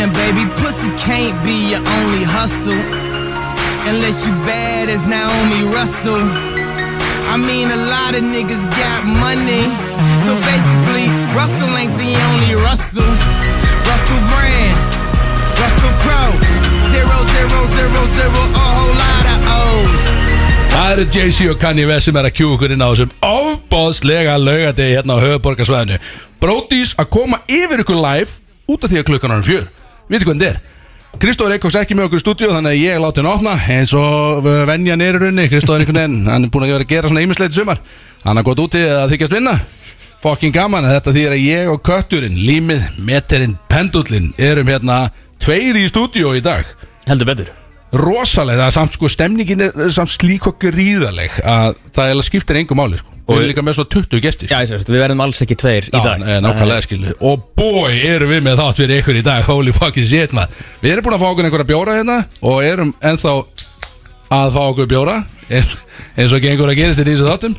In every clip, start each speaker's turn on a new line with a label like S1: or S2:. S1: Baby, pussy can't be your only hustle. Unless you bad as Naomi Russell. I mean, a lot of niggas got money. So basically, Russell ain't the only Russell. Russell Brand, Russell Crowe. Zero, zero, zero, zero, a whole lot of O's.
S2: Það eru Jay-Z og Kanye West sem er að kjúa okkur inn á þessum ofbóðslega laugadegi hérna á höfuborgarsvæðinu. Brótís að koma yfir ykkur live út af því að klukkan er um fjör. Vitið hvað þetta er? Kristóður Eikóks ekki með okkur í stúdíu þannig að ég láti hann opna eins og uh, venjan er í runni. Kristóður einhvern veginn, hann er búin að vera að gera svona ímisleit í sumar. Hann er gott úti að þykjast vinna. Fokkin gaman að þetta þýðir að ég og kötturinn, límið, meterinn, pendullinn erum hérna tveir í stúdíu í dag
S3: Heldur betur
S2: rosalega, það er samt sko stemningin er er samt slík og gríðaleg að það eiginlega skiptir engum máli sko og við erum líka með svo 20 gestir
S3: Já, ég sérst, við verðum alls ekki tveir í dag
S2: eh, nákvæmlega skilu og boy erum við með þátt fyrir ykkur í dag holy fucking shit maður við erum búin að fá okkur einhverja bjóra hérna og erum ennþá að fá okkur bjóra eins eins og gengur að gerist í þessu þáttum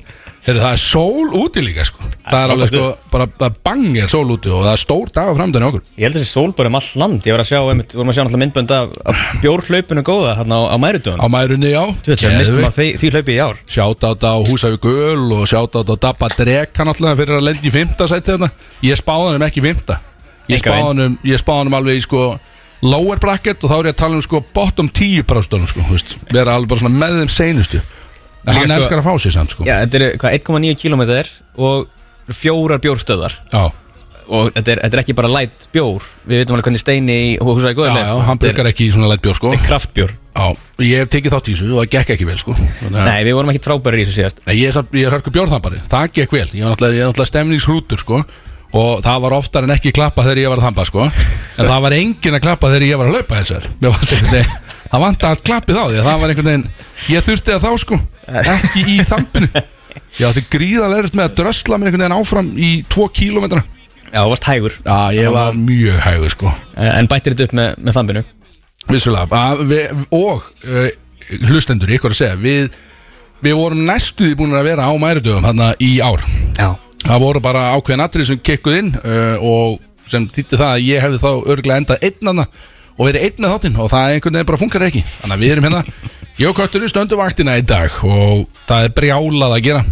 S2: Heru, það er sól úti líka sko það er alveg sko bara það bangir sól úti og það er stór dag á framdöðinu okkur
S3: Ég held að þessi sól bara um allt land Ég var að sjá, einmitt, vorum að sjá náttúrulega myndbönd af, af bjórhlaupinu góða hérna á, á
S2: á
S3: mærutunum
S2: mærunni já
S3: Þú veit, sem mistum að því, því hlaupi í ár
S2: Shoutout á Húsavík Öl og shoutout á Dabba Dreka náttúrulega fyrir að lendi í fymta sæti þarna Ég spáði hann um ekki í fymta Ég
S3: Engan
S2: spáði
S3: veginn.
S2: hann um, ég spáði hann um alveg í sko lower bracket og þá er ég að tala um sko bottom 10 brástunum sko, þú veist Vera alveg bara svona með þeim seinustu En
S3: Líka
S2: hann
S3: sko-
S2: elskar að fá sér samt sko
S3: Já, þetta er hvað, 1,9 km og fjórar bjórstöðar
S2: Já,
S3: og þetta er, þetta er ekki bara light bjór Við veitum alveg hvernig steini í húsaði
S2: já,
S3: góða
S2: já, hann brukar ekki í svona lætt bjór sko
S3: Þetta er kraftbjór
S2: Já, ég hef tekið þátt í þessu og það gekk ekki vel sko Þannig að-
S3: Nei, við vorum ekki frábæri í þessu síðast
S2: Nei, ég er, samt- ég er hörku bjórþambari, það gekk vel Ég er náttúrulega, ég er náttúrulega stemningshrútur sko Og það var oftar en ekki klappa þegar ég var að þamba sko En það var engin að klappa þegar ég var að laupa hins vegar Mér vant einhvern veginn Það vant að klappið á því að Það var einhvern veginn Ég þurfti að þá sko Ekki í þambinu Ég átti gríðalegurist með að drösla mér einhvern veginn áfram í 2 kílómetra
S3: Já, þú varst hægur
S2: Já, ég var mjög hægur sko
S3: En bættir þetta upp með, með þambinu
S2: Vissulega, að við, og uh, hlustendur, ykkur að segja Við, við vorum næstuði búin að vera á mæridöfum þarna í ár
S3: Já
S2: Það voru bara ákveðin atrið sem kekkuð inn uh, og sem þýtti það að ég hefði þá örglega endað einnana og verið einn með þáttinn og það einhvern veginn bara funkar ekki þannig að við erum hérna, ég og kötturinn stöndum vaktina í dag og það er brjálað að gera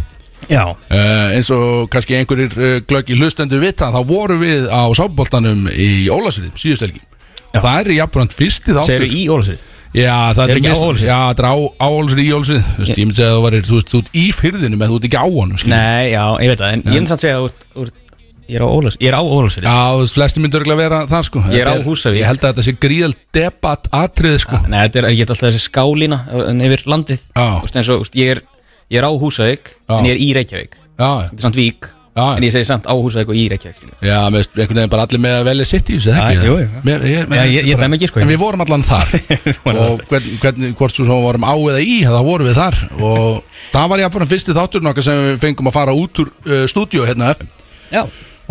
S3: Já
S2: uh, eins og kannski einhverjir uh, glöggi hlustendur vita þá voru við á sáboltanum í Ólasrið síðust helgi
S3: Já.
S2: Það er jafnbrand fyrsti þáttur
S3: Segir í Ólusið
S2: Já, það
S3: Segirðu ekki
S2: mist-
S3: á Ólafsvík?
S2: Já, þetta er á, á Ólasrið í Ólasrið Þú veist, ég myndi segja að þú varir, þú veist, þú ert í fyrðinum en þú ert ekki á honum, skilur
S3: Nei, já, ég veit það, en ég er samt að segja að þú ert- þú ert- ég er á Ólafs Ég er á Ólafs
S2: Já, þú veist, flesti myndur örgulega vera það sko
S3: Ég er á
S2: Þetta
S3: Húsavík.
S2: Ég held að þetta sé gríðal debatt atrið sko
S3: Ah, Nei, þetta er, ég get alltaf þessi skálína en yfir landið
S2: Já.
S3: Þú veist, eins og, þú veist, ég, er, ég er á Húsavík
S2: Já.
S3: en ég er í Reykjavík Þetta
S2: Já,
S3: er samt vík,
S2: Já, já.
S3: en ég segi samt á Húsavík og í Reykjavík skilur.
S2: já, með einhvern veginn bara allir með að velja sitt í þessu,
S3: Já,
S2: ekki?
S3: jú, jú.
S2: Mér, ég,
S3: Já, ég- ég dæmi ekki, sko,
S2: En
S3: ég-
S2: við vorum allan þar Og hvern, hvern, hvort svo sem við vorum á eða í, þá vorum við þar Og það var ég að fara fyrsti þátturinn okkar sem við fengum að fara út úr uh, stúdíu hérna á FM
S3: Já,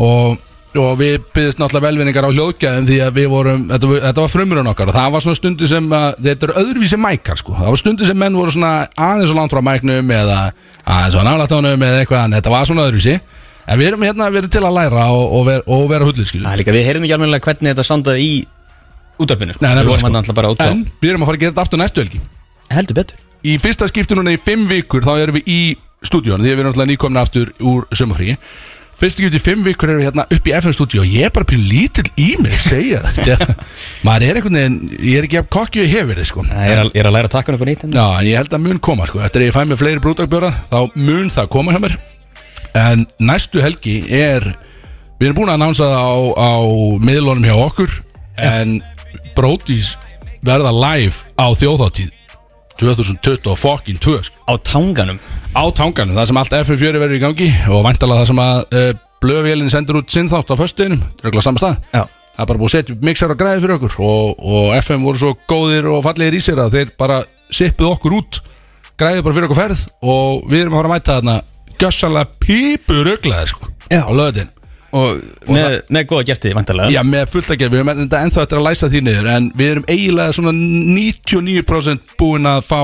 S2: og, og við byggðist náttúrulega velvinningar á hljóðgæðum því að við vorum, þetta, var- þetta var frumurinn okkar og það var svona stundu sem að, þetta eru öðruvísi mækar sko, það var stundu sem menn voru svona aðeins og langt frá mæknum eða aðeins og nálægt ánum eða eitthvað en þetta var svona öðruvísi en við erum hérna, við erum til að læra og, og, ver, og vera hullið skilju
S3: það er líka, við heyrðum ekki alveg hvernig þetta sandaði í útarpinu sko.
S2: Nei, nefnilega,
S3: Við vorum
S2: sko.
S3: hann alltaf bara út á
S2: en við erum að fara að gera þetta aftur næstu helgi
S3: Heldur betur
S2: í fyrsta skipti núna í fimm vikur þá erum við í stúdíónu því að við erum náttúrulega nýkomna aftur úr sömufrí fyrsta skipti í fimm vikur erum við hérna upp í FM stúdíó og ég er bara pínu lítill í mig segja það maður er einhvern veginn, ég er ekki að kokki og ég hefur þið sko
S3: Ég er, að, ég er að læra að taka hann upp á nýtt hérna. en-
S2: Já, en ég held að mun koma sko Eftir að ég fæ mér fleiri brúdagbjóra Þá mun það koma hjá mér En næstu helgi er Við erum búin að annánsa það á, á miðlunum hjá okkur En brótis verða live á þjóðháttíð 2022 sko
S3: Á tanganum
S2: á tanganum, það sem allt F4 verður í gangi og væntalega það sem að uh, blöfélinn sendur út sinn þátt á föstuðinum röglega sama stað
S3: Já.
S2: það er bara búið að setja upp mixar og græði fyrir okkur og, og FM voru svo góðir og fallegir í sér að þeir bara sippuð okkur út græði bara fyrir okkur ferð og við erum að fara að mæta þarna gjössanlega pípur röglega sko,
S3: Já.
S2: á löðin
S3: Og, með, með góða gesti, vantarlega
S2: Já, með fullt að gefa, við erum enda ennþá eftir að læsa því niður en við erum eiginlega svona 99% búin að fá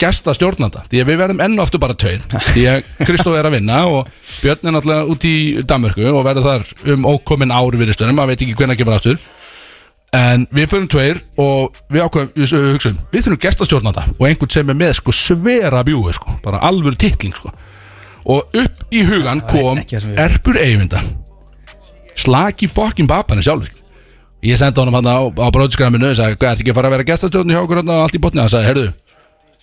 S2: gesta stjórnanda, því að við verðum enn og aftur bara tveir, því að Kristof er að vinna og Björn er náttúrulega út í Danmörku og verður þar um ókomin ár virðistunum, maður veit ekki hvenær kemur aftur En við fyrir tveir og við ákveðum, við uh, hugsaum, við þurfum gestastjórnanda og einhvern sem er með sko svera bjúi sko, bara alvöru titling sko. Og upp í hugan kom
S3: ekki það sem við-
S2: Erpur Eyvinda, slaki fokkin babanir sjálfur. Ég sendi honum hann á, á bróðskraminu og sagði, hvað ertu ekki að fara að vera gestastjórn hjá okkur hann og allt í botni? Hann sagði, herðu,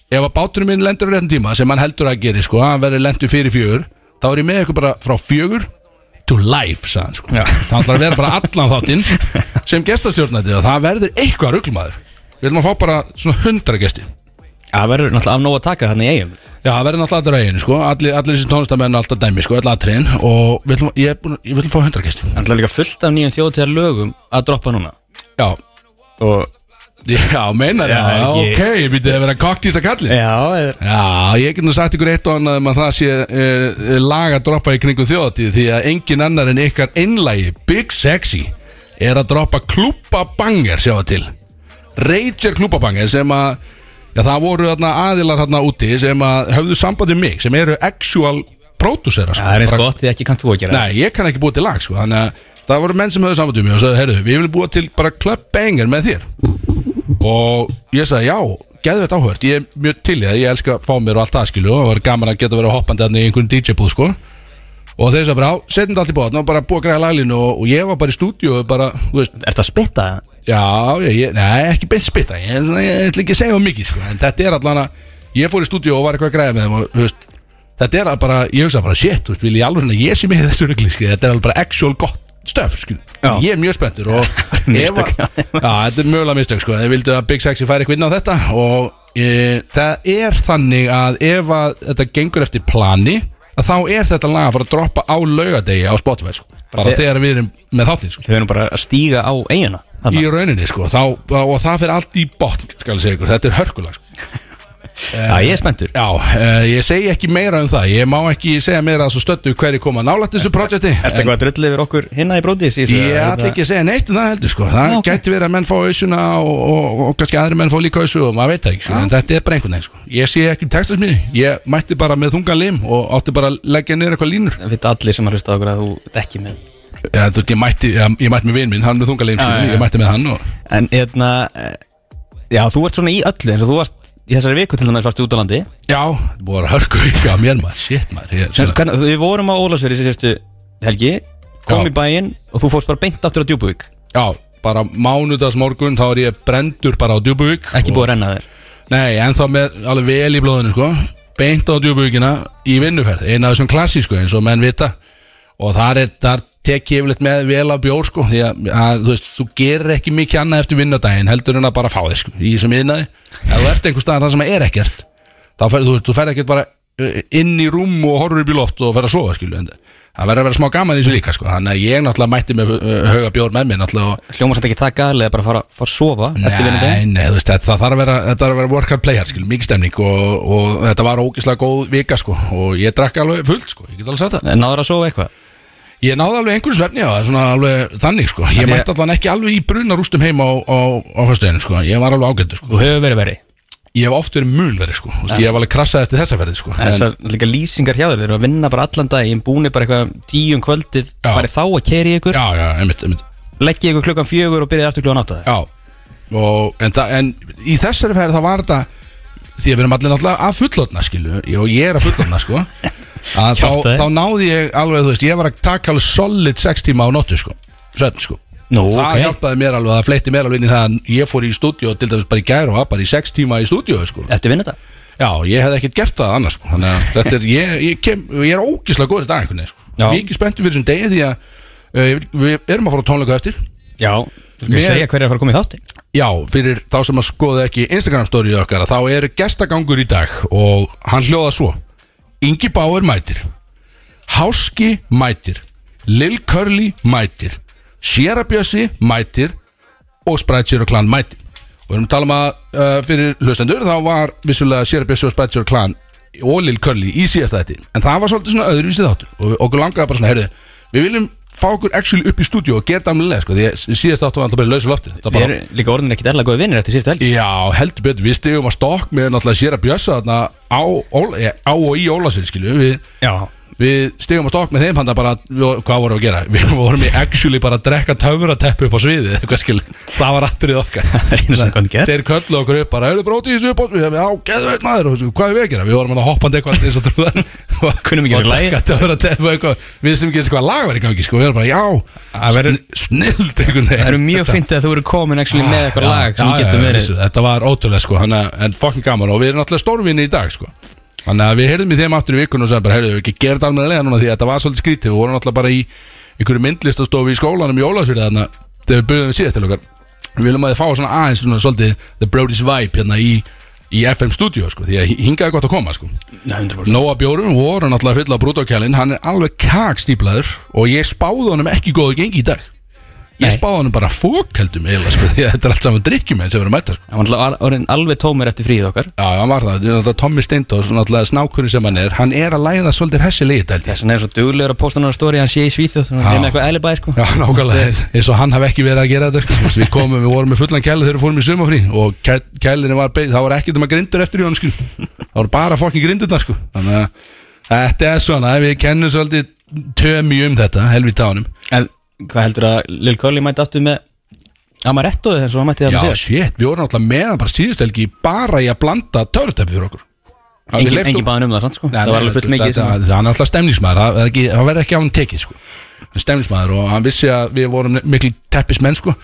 S2: ef að báturinn minn lendur á réttum tíma sem hann heldur að gera sko, að hann verður lendur fyrir fjögur þá er ég með ykkur bara frá fjögur to life, sagði hann sko
S3: Já.
S2: það ætlar að vera bara allan þáttinn sem gestastjórnætti og það verður eitthvað ruglmaður við viljum að fá bara svona hundra gesti já,
S3: Það verður náttúrulega af nóg að taka þannig í eigum
S2: það verður náttúrulega alltaf ræðinu sko allir, allir þessi tónlistamenn alltaf dæmi sko, allir aðtriðin og við viljum, ég, er búinn að- ég viljum fá hundra gesti
S3: Náttúrulega líka fullt af nýjum þjóðtíðar lögum að droppa núna
S2: já,
S3: Og
S2: já, meinar
S3: Já,
S2: það,
S3: ekki-
S2: ok, ég býtti að vera koktís að kallin
S3: Já, er
S2: Já, ég get nú sagt ykkur eitt og annað um að það sé uh, laga droppa í kringum þjóðatíð því að engin annar en ykkar einlægi Big Sexy er að droppa klúpabanger sjá það til Rager klúpabanger sem að já, það voru þarna aðilar þarna úti sem að höfðu samband við mig sem eru actual pródúsera sko.
S3: Það er eins
S2: Bara-
S3: gott því ekki kannt þú að gera
S2: Nei, ég kann ekki búa til lag sko Þannig að það voru menn sem höfðu samband við mig og sagði, heyrðu, við viljum búa til bara club banger með þér Og ég sagði, já, geðvett áhört Ég er mjög til í það, ég elska að fá mér og allt það skilu Og það var gaman að geta verið hoppandi þarna í einhverjum DJ búð sko Og þeir sagði bara, já, setjum þetta allt í bóðan og bara búa að græða laglínu og, og ég var bara í stúdíu og bara, þú veist,
S3: Er það að spytta það?
S2: Já, ég, ég, nei, ekki beint spita Ég, ég, ég ætla ekki að segja um mikið sko. En þetta er allan að Ég fór í stúdíu og var eitthvað að græða með þeim og, þú veist, Þetta er að bara, ég hugsa bara Shit, þú veist, vil ég alveg hérna Ég sé mig í þessu rugli sko. Þetta er alveg bara actual gott stöf sko.
S3: Já.
S2: Ég er mjög spenntur og ef
S3: Mistök,
S2: að-
S3: já.
S2: Já, þetta er mögulega mistök sko. Þeir vildu að Big Sexy færi eitthvað inn á þetta Og e, það er þannig að Ef að þetta gengur eftir plani að Þá er þetta lag að fara að droppa á laugadegi á Spotify sko. Bara
S3: Þe-
S2: þegar við erum með þáttinn sko
S3: Þau erum bara að stíga á eiguna
S2: í rauninni sko þá, og það fyrir allt í botn skal ég segja ykkur, þetta er hörkulag sko.
S3: Já, ég er spenntur
S2: já, uh, ég segi ekki meira um það ég má ekki segja meira að svo stöndu hverju koma nálætt þessu projekti
S3: Er þetta
S2: en
S3: eitthvað að drullu yfir okkur hinna í hérna- brótis?
S2: ég ætla ekki að segja neitt um það heldur sko það
S3: Já, ok.
S2: gæti verið að menn fá ausuna og, og, og, og kannski aðri menn fá líka ausu og maður veit það ekki sko, en þetta er bara einhvern veginn sko ég sé ekki um textasmiði, ég mætti bara með þungan lim og átti bara að leggja niður eitthvað línur
S3: Það veit allir sem að hlusta á okkur að þú dekki með
S2: ja, þú, veist, ég, mætti, ég, ég mætti með vin minn, hann er með þungan lim
S3: Já, já, já.
S2: ég mætti með hann og
S3: En hérna eh, Já, þú ert svona í öllu eins og þú varst í þessari viku til dæmis varst í útalandi
S2: já, það búið að hörku ekki á mér maður, shit maður ég,
S3: Sem sagt, hvernig- Við vorum á Ólasveri sér sérstu helgi kom
S2: Já.
S3: í bæinn og þú fórst bara beint aftur á Djúbuvík
S2: Já, bara mánudags morgun þá er ég brendur bara á djúbuvík
S3: ekki búið að renna þér
S2: Nei, en þá með alveg vel í blóðinu sko Beint á djúbuvíkina í vinnuferð Einn af þessum klassísku eins og menn vita Og þar, er, þar tek ég yfirleitt með vel af bjór sko Því að, að þú veist, þú gerir ekki mikið annað eftir vinnudaginn Heldur en að bara fá þig sko Í þessum yðnaði Ef þú ert einhver staðar það sem er ekkert Þá ferð þú, þú ferð ekkert bara uh, inn í rúm og horfur upp í loft og ferð að sofa skilu en Það verður að vera smá gaman í þessu líka sko Þannig að ég náttúrulega mætti með uh, hauga bjór með mér náttúrulega og
S3: hljóma samt ekki það gæli að bara fara, fara að sofa eftir vinnu
S2: Nei, nei, þú veist, þetta, það þarf að vera, þetta þarf að vera work hard play hard, skil, mikið stemning og, og þetta var ógislega góð vika, sko og ég drakk alveg fullt, sko, ég get alveg sagt það
S3: náður að sofa eitthvað
S2: Ég náði alveg einhverjum svefni á það, svona alveg þannig, sko Ég
S3: Af því að-
S2: mætti allan ekki alveg í brunarústum heima á, á, á föstudaginu, sko, ég var alveg ágættur, sko
S3: þú hefur verið verið
S2: Ég hef oft verið mun verið, sko, Þú veist, ég hef alveg krassað eftir þessa ferði, sko En-
S3: þessar líka lýsingar hjá þér, þeir eru að vinna bara allan dag ég búni bara eitthvað tíum kvöldið
S2: Já.
S3: farið þá að keri ykkur,
S2: Já, já, einmitt, einmitt
S3: leggja ykkur klukkan fjögur og byrja aftur klukkan átta
S2: Já, og, en, þa, en í þessari ferð það var þetta því að við erum allir náttúrulega að fullotna skilu og ég er að fullotna sko að þá,
S3: Kjaftaði.
S2: þá náði ég alveg, þú veist, ég var að taka alveg solid 6 tíma á nóttu sko svefn sko
S3: nú
S2: Það
S3: ok,
S2: hjálpaði mér alveg, það fleitti mér alveg inn í það að ég fór í stúdíu til dæmis bara í gær og var bara í 6 tíma í stúdíu sko.
S3: eftir vinna þetta
S2: Já, ég hef ekkert gert það annars sko. Þannig að þetta er, ég, ég, kem, ég er ógislega góður í dag einhvern veginn sko.
S3: Já.
S2: Mikið spenntur fyrir þessum degi því að uh, við erum að fara á tónleika á eftir
S3: já, þú skal
S2: Mér-
S3: segja hverja er að fara að koma í þáttin
S2: Já, fyrir þá sem að skoða ekki Instagram storyið okkar þá er gestagangur í dag og hann hljóða svo Ingi Bauer mætir Háski mætir Lil Curly mætir Sierra Bjössi mætir og Sprite Zero Clan mætir og við erum að tala um að uh, fyrir hlustendur þá var vissulega Sierra Bjössi og Sprite Zero Clan og Lil Curly í síðasta þetta en það var svolítið svona öðruvísið þáttur og við- okkur langaði bara svona, heyrðu við viljum fá okkur actually upp í stúdíu og gera það amlega sko, því að síðast áttu var alltaf bara í lausu lofti Það
S3: við
S2: bara-
S3: erum líka orðin ekkit erlega góði vinnir eftir síðustu helgi
S2: Já, heldur betur, við stegum að stokk með náttúrulega sér að bjösa þarna á, Óla- eh, á og í Ólasvið, skilju við,
S3: já,
S2: Við stigum að stokk með þeim handa bara við, Hvað vorum við að gera? Við vorum í actually bara að drekka töfrateppu upp á sviði Hvað skil, það var aftur í okkar
S3: Einu sem kom gerð.
S2: Þeir köllu okkur upp bara Eru brótið í þessu upp á sviði Já, geðveit maður og Hvað er við að gera? Við vorum að hoppandi eitthvað eins og trúðan
S3: Kunnum ekki
S2: Og
S3: verið lagið.
S2: drekka töfrateppu eitthvað Við sem ekki eins hvað lag var í gangi sko Við erum bara, já,
S3: verður-
S2: sn- snillt einhvern veginn
S3: Það eru mjög
S2: Þetta-
S3: fint að þú eru komin actually með eitthvað
S2: Já,
S3: lag sem
S2: Ah, já,
S3: við
S2: já,
S3: getum
S2: já,
S3: verið
S2: vissu, Þetta var ótrúlega sko hana, En fucking gaman Og við erum alltaf stórvinni í dag sko Þannig að við heyrðum í þeim aftur í vikun Og sagði bara Heyrðu, ekki gera þetta almennilega núna Því að þetta var svolítið skrítið Við vorum alltaf bara í Einhverju myndlistastofu í skólanum í Ólafsfjörði Þannig að þegar við byrjuðum síðast til okkar Við viljum að þið fá svona aðeins svona, Svolítið The Brody's Vibe Hérna í, í FM Studio sko Því að hingaði gott að koma sko
S3: Nei, 100%.
S2: Nóa Bjórum voru náttúrulega fulla brúdókjælin Hann er alveg kakstíplaður Og ég spáði honum ekki góðu gengi í dag Ég
S3: Nei.
S2: spáði honum bara fókeldum eiginlega sko Því að þetta er allt saman drikkjumenn sem verður að mæta sko.
S3: Hann var náttúrulega orðinn alveg tómur eftir fríð okkar
S2: Já, hann var það, þetta er náttúrulega Tommy Steindós Náttúrulega snákurinn sem hann er Hann er að læða svolítið hessilegi dældi
S3: Þess vegna er hann svo duglegur að posta náttúrulega stóri Hann sé í Svíþjóð, hann
S2: Já.
S3: er með eitthvað eðlibæði sko
S2: Já, nákvæmlega, eins og hann hafði ekki verið að gera þetta sko. Þú veist, Við komum, við vorum með fullan kæli þegar við fórum í sumafrí Og kælinni var beigð, það var ekkert um að grindur eftir í honum sko. Það voru bara fokkin grindurnar sko. Þannig að þetta er svona Við kennum svolítið tömi um þetta Helvita ánum
S3: En hvað heldur að Lil Curly mætti aftur með Amaretto eins og hann mætti
S2: Já,
S3: þarna síðast
S2: shit, við vorum alltaf meðan bara síðust helgi Bara í að blanda törutæpi fyrir okkur Það við
S3: Engin,
S2: leiftum-
S3: engin báðin um það, sant, sko Það var alveg fullt mikið
S2: þetta-
S3: sem-
S2: þetta- Hann er alltaf stemningsmaður, það, er ekki, það verður ekki á hann tekið sko. Hann er stemningsmaður og hann vissi að við vorum mikil teppismenn sko.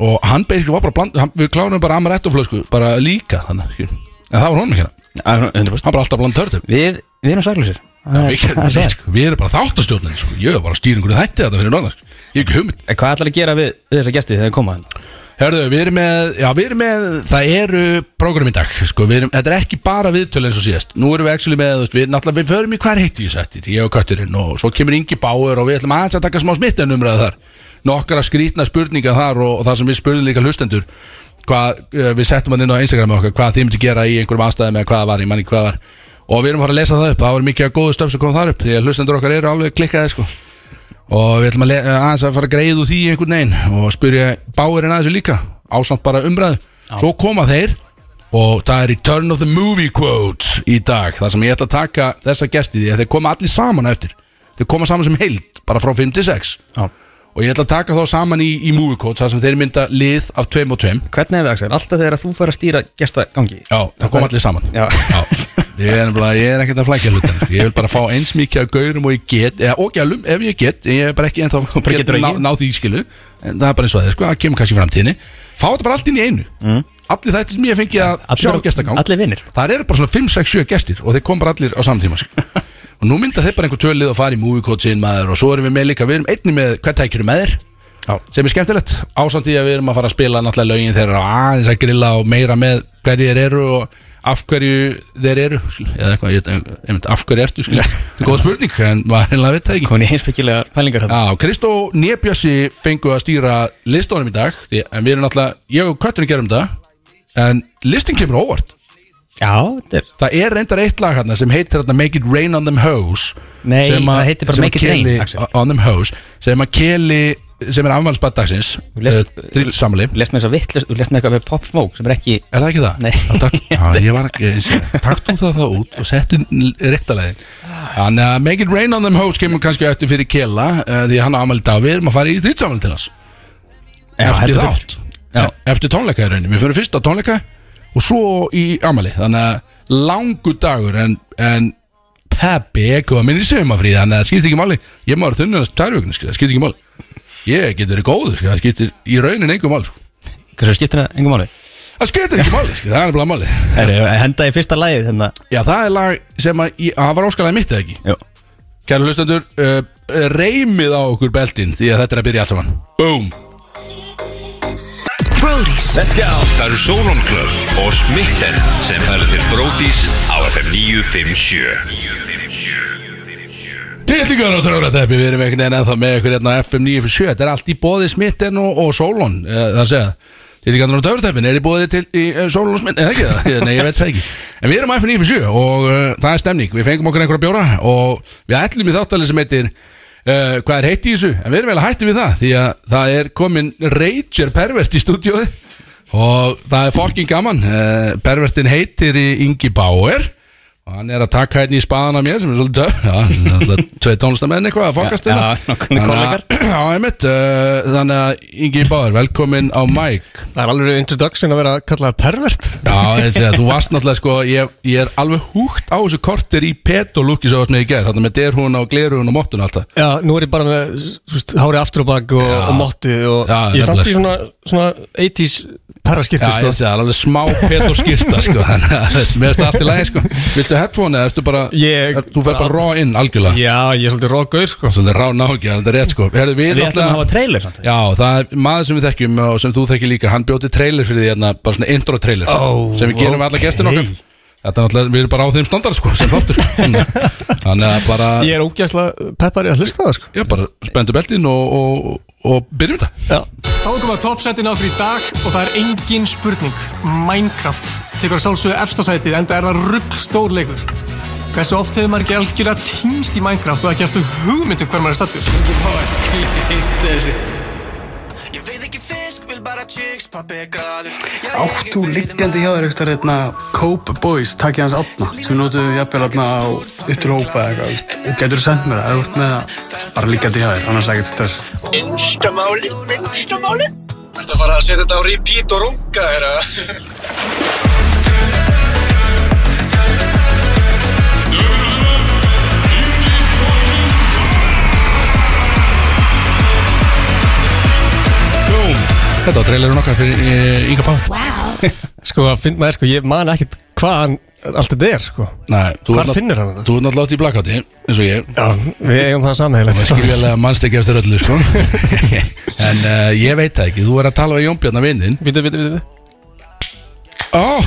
S2: og hann basically var bara bland, hann, við klárum bara amaretto flösku, bara líka þannig, skil. en það var honum ekki hérna
S3: Já, 100%.
S2: hann bara alltaf bland törtum
S3: Við við erum saklusir
S2: við, gerum
S3: Hvað
S2: neitt, sko. við erum bara þáttastjórnin sko. ég er bara að stýra einhverju þætti þetta fyrir náðan sko. ég er ekki hugmynd
S3: ætlar að gera við við þessa gesti þegar þeir koma hérna? hann?
S2: Herðu, við erum með, já, við erum með, það eru prógram í dag, sko, við erum, þetta er ekki bara viðtölu eins og síðast, nú erum við actually með, þú veist, við, náttúrulega, við förum í hver heitti í sættir, ég og Kötturinn og svo kemur Ingi Báur og við ætlum aðeins að taka smá smitten umræðu þar, nokkara skrítna spurninga þar og, og það sem við spurðum líka hlustendur, hvað, eh, við settum hann inn á Instagram okkar, hvað þið myndi gera í einhverjum aðstæðum eða hvað það var, ég manni hvað það var, og við erum að fara að lesa það upp, það var mikið góðu stöf sem kom þar upp, því að hlustendur okkar eru alveg klikkaði, sko og við ætlum að le- eh, aðeins að fara að greiða úr því einhvern veginn og spyrja báirinn aðeins líka ásamt bara umræðu svo koma þeir og það er í Turn of the Movie Quote í dag þar sem ég ætla að taka þessa gesti því að þeir koma allir saman á eftir þeir koma saman sem heild bara frá 5 til 6
S3: Já.
S2: og ég ætla að taka þá saman í, í Movie Quote þar sem þeir mynda lið af 2 og 2
S3: Hvernig er það, Axel? Alltaf þegar þú fær að stýra gesta gangi
S2: Já, það kom allir saman
S3: Já.
S2: Ég, er nefnilega, ég er ekkert að flækja hlutin Ég vil bara fá eins mikið af gaurum og ég get eða, og gælum ef ég get en Ég er bara ekki ennþá
S3: bara
S2: get
S3: getur
S2: ná,
S3: ekki.
S2: ná því skilu En það er bara eins og það er, sko, það kemur kannski í framtíðinni Fá þetta bara allt inn í einu mm. Allir þetta sem ég fengi að sjá
S3: bara-
S2: gestagang
S3: allir vinir.
S2: Það eru bara svona 5, 6, 7 gestir og þeir kom bara allir á sko. samtíma Og nú mynda þeir bara einhver tölið og fara í movie coach inn maður Og svo erum við með líka, við erum einni með hvað tækjur með þér
S3: Já.
S2: sem er skemmtilegt ásamt því að við erum að fara að spila náttúrulega lögin þeirra og aðeins að grilla og meira með hverju þeir eru og af hverju þeir eru skil, eða eitthvað, ég, einmitt, af hverju ertu skil. þetta er góð spurning, en maður einlega veit það ekki
S3: Komin í heimspekilega pælingar þarna
S2: Já, Kristó Nébjössi fengu að stýra listónum í dag, því, en við erum náttúrulega ég og Kötturinn gerum þetta en listin kemur á óvart
S3: Já, þetta er
S2: Það er reyndar eitt lag hérna sem heitir hérna Make it rain on them hoes
S3: Nei,
S2: sem að-
S3: það heitir bara
S2: sem að
S3: Make It Rain,
S2: Kelly-
S3: Axel.
S2: On them hoes Sem að keli, sem er eh, afmælsbaddagsins
S3: Þú lest-
S2: Þrítsamli
S3: Lest með þess að vittlust, þú lest með eitthvað með Pop Smoke sem er ekki
S2: Er það ekki það?
S3: Nei.
S2: Já, takk, já, ég var ekki ég sé- Taktum það það út og settum reyktalegin Þannig að Make it rain on them hoes kemur kannski eftir fyrir Kela uh, Því að hann á afmæli í dag Við erum að fara í þrítsamli til hans Eftir
S3: heldur
S2: þátt E,
S3: Já.
S2: Eftir tónleika er raunin Við fyrir fyrst á tónleika Og svo í afmæli Þannig að langu dagur En, en Peppi er komin í sömafrí Þannig að það skiptir ekki máli Ég maður þunnast tærvögnu sko, Það skiptir ekki máli Ég getur verið góður skilja, Það skiptir í raunin engum máli sko.
S3: Hversu skiptir það engum máli?
S2: Það skiptir ekki máli skilja, Það er bara máli
S3: Herri, henda í fyrsta lagið hérna
S2: Já, það er lag sem að í- Það var óskalega mitt eða ekki
S3: Jó
S2: Kæra hlustendur uh, Reymið á okkur beltin Því að þetta er að byrja allt saman Boom
S4: Brody's
S5: Það eru Sauron Club og Smitten sem færa til Bródís á FM 957
S2: Tillingar og töfratæpi, við erum einhvern veginn ennþá með ykkur hérna á FM 957, þetta er allt í bóði smitten og, og sólón, uh, það segja Tillingar og töfratæpin er í bóði til í, uh, sólón og smitten, eða ekki það, nei ég veit það ekki En við erum á FM 957 og uh, það er stemning, við fengum okkur einhverja bjóra og við ætlum í þáttalið sem heitir uh, Hvað er heitt í þessu? En við erum vel að hætti við það, því að það er komin Rager Pervert í stúdíóði Eh, Og það er fokkin gaman, uh, Pervertin heitir í Ingi Bauer og hann er að taka hérna í spaðan af mér sem er svolítið töf já, það er alltaf tvei tónlistamenn eitthvað að fokast
S3: Já,
S2: hérna.
S3: já, nokkuð kollegar.
S2: Þannig að- já, einmitt uh, þannig að Ingi Báður, velkomin á Mike
S4: Það er alveg introduction að vera kallað pervert
S2: já, þessi að þú varst náttúrulega sko ég, ég er alveg húgt á þessu kortir í petolúki svo sem ég ger, þannig með derhún og glerhún og mottun alltaf
S4: Já, nú er ég bara með þú veist, hári aftur og bak og, og mottu og
S2: Já,
S4: ég er samt
S2: nefnilega. sko.
S4: í svona, svona 80s
S2: Já,
S4: perraskipti
S2: ég
S4: sko.
S2: sé það er alveg smá pet og skýrta sko, þannig að mér finnst það allt í lagi sko Viltu headphone eða ertu bara
S4: Ég-
S2: er, Þú fer bara raw inn algjörlega
S4: Já, ég er svolítið rókaur sko.
S2: Svolítið rá nákja, þetta er rétt sko Herðu, við,
S3: Við ætlum
S2: náttúrulega-
S3: að hafa trailer samt
S2: Já, það er maður sem við þekkjum og sem þú þekkir líka Hann bjóti trailer fyrir því hérna, bara svona intro trailer
S4: Ó,
S2: Sem við gerum við alla
S4: ókei.
S2: gestin okkur Þetta er náttúrulega, við erum bara á þeim standard sko Sem þáttur Þannig að bara,
S4: Ég er ógæslega peppari að hlusta á það sko.
S2: já, bara spendu beltin og, og, og byrjum þetta
S4: Já,
S6: Þá komum við að toppsætinu okkur í dag og það er engin spurning. Minecraft tekur að sjálfsögðu efstasætið enda er það ruggstór leikur. Hversu oft hefur maður ekki algjörlega týnst í Minecraft og ekki eftir hugmyndum hver maður er stattur?
S7: Ég veit ekki fisk, vil bara chicks, pappi er graður
S8: Átt þú liggjandi hjá þér eitthvað hérna Cope Boys, takkja hans átna sem notuðu jafnvel hérna á upptrópa eða eitthvað og getur sendt mér það, ef þú ert með það bara liggjandi hjá þér, annars ekkert stress
S7: Innstamáli, minnstamáli
S6: Þetta fara að setja þetta á repeat og runga, herra.
S2: Þetta var trailerun okkar fyrir e, Inga Pá
S4: eh, sko, að finn maður sko, ég man ekkit hvað hann allt þetta er sko.
S2: Nei, þú
S4: Hvar
S2: ert nátt-
S4: finnur hann þetta?
S2: Þú er náttúrulega átt í blackouti, eins og ég
S4: Já, við eigum það samheilegt
S2: skiljaðlega mannst ekki eftir öllu sko. en uh, ég veit það ekki þú er að tala við Jónbjörna vinninn
S4: Býtu, býtu, býtu
S2: oh,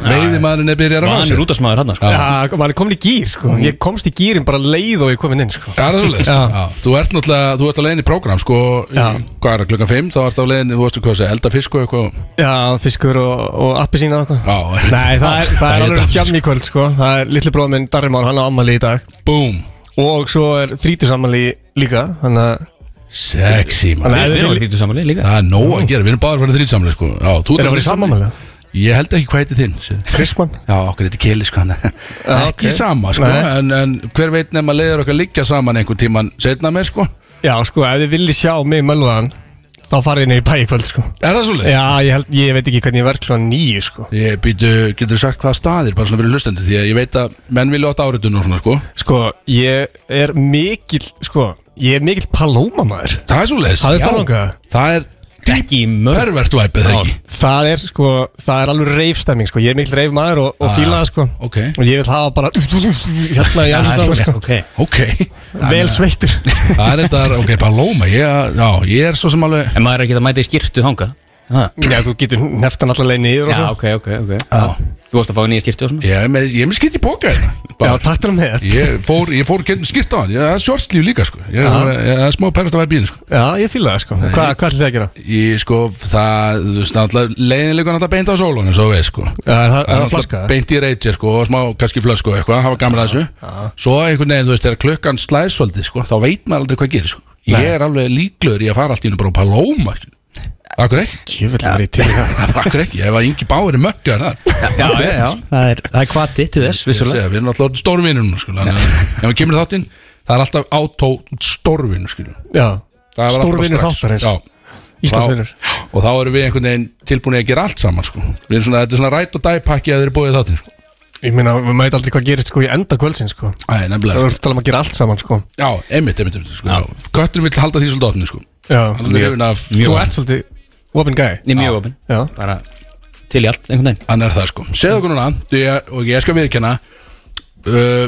S2: veiðimaðurinn er byrjar að fá
S3: Hann
S2: sér.
S3: er útasmaður hann sko
S2: Já. Mm.
S4: Já, maður er komin í gýr sko. Ég komst í gýrin bara leið og ég komin inn sko.
S2: Já, það er svoleiðis.
S4: Já.
S2: Já, þú ert náttúrulega, þú ert á leiðin í prógram sko,
S4: Já.
S2: hvað er það, klukkan 5 þá ert á leiðin, þú veist hvað það, elda fisk og eitthvað
S4: Já, fiskur og, og appi sína og eitthvað
S2: Já.
S4: Nei, það er, það
S2: Það er
S4: er alveg
S2: þetta.
S4: gjamni í kvöld sko. Það er litli bróð minn Darri Már, hann á ammali í dag
S2: Búm,
S4: og svo er þrítusammali líka þannig að
S2: sexy maður
S4: Þannig að-
S3: Við erum alveg þýttu samanlega líka
S2: Það er nóg að gera, við erum báður fyrir þrýtsamlega sko Já, þú
S4: er það verið samanmæli
S2: Ég held ekki hvað heiti þinn sér.
S4: Krisman
S2: Já, okkur þetta er keli sko hann Ekki
S4: ok.
S2: sama sko,
S4: Nei.
S2: en, en hver veit nema leiður okkar liggja saman einhvern tíman setna með sko
S4: Já sko, ef þið viljið sjá mig mölvaðan þá farið inn í bæ í kvöld sko
S2: Er það svoleiðis?
S4: Já, ég, held, ég veit ekki hvernig ég verð klúan nýju sko
S2: Ég býtu, getur sagt hvaða staðir bara svona fyrir hlustendur því að ég veit að menn vilja átta áritun og svona sko
S4: Sko, ég er mikill sko, ég er mikill palómamaður
S2: Það er svo leiðis
S4: Það er fálangað
S2: Það er
S3: Ekki í mörg
S2: pervert væpið þegar ekki
S4: Það er sko, það er alveg reifstemming sko Ég er mikill reifmaður og, og fíla það sko
S2: Ah. ok.
S4: Og ég vil hafa bara Hérna, ég
S3: Það er
S4: er
S3: svo
S4: sko
S3: ok
S2: Ok
S4: Vel sveittur
S2: Það er þetta, ok, Paloma ég, Já, ég er svo sem alveg
S3: En maður er ekki að mæta í skýrtu þanga
S4: Já, þú getur neftan allar leið niður og
S3: Já,
S4: svo
S3: ok, ok, ok
S2: Já.
S3: Þú varst að fá nýja skýrtu og svona
S2: Ég er með, ég er með skitt í póka hérna.
S4: Já,
S2: Bara-
S4: takk til hann með
S2: Ég fór, ég fór getn skitt á hann Ég- Það er sjórslíf líka sko Ég er alveg- ég- það er smá pervert væpið sko
S4: Ah. Já, ég fýla það sko Hvað hva ætlum þið að gera?
S2: Ég sko, það, þú veist, náttúrulega leiðinleikur náttúrulega beint á sólunum, svo veist sko
S4: Já, það það
S2: Það
S4: er
S2: er
S4: að flaska
S2: alltaf beint í reytja sko og smá kannski flösku og eitthvað, hafa gamla þessu Svo einhvern veginn, þú veist, þegar klukkan slæðs svolítið sko, þá veit maður aldrei hvað gerir sko Ég er alveg líklegur í að fara allt í hennu bara á Paloma sko. Akkur ekki,
S4: Kjöfull er í til
S2: akkur ekki, ef að yngi báir er mökkaðan þar Sko.
S3: Já, já, já Það er, það er kvati til þess,
S2: Ég
S3: vissulega
S2: segja, Við erum alltaf stórvinum sko, þannig að ef við kemur í þáttinn, það er alltaf átó stórvinu sko
S4: Já, stórvinur þáttarins
S2: Já
S4: Íslandsvinur
S2: Þá- Og þá erum við einhvern veginn tilbúin að gera allt saman sko. Við erum svona, þetta er svona rætt og dæpakki að þeir eru búið þáttinn sko.
S4: Ég meina, maður veit aldrei hvað gerist sko í enda kvöldsins sko
S2: Æ, nefnilega
S4: Það
S2: sko.
S4: voru að tala um að gera allt saman sko
S2: Já, einmitt, einmitt, einmitt sko. Já. Kötturinn vill halda því svolítið opnið sko.
S4: Já,
S2: Hann er hrifin af
S4: þú ert svolítið Open guy
S3: Ég er mjög opinn
S4: Já,
S3: Bara til í allt, einhvern veginn
S2: Hann er það sko Segðu okkur núna, því að- og ég skal viðkjanna uh,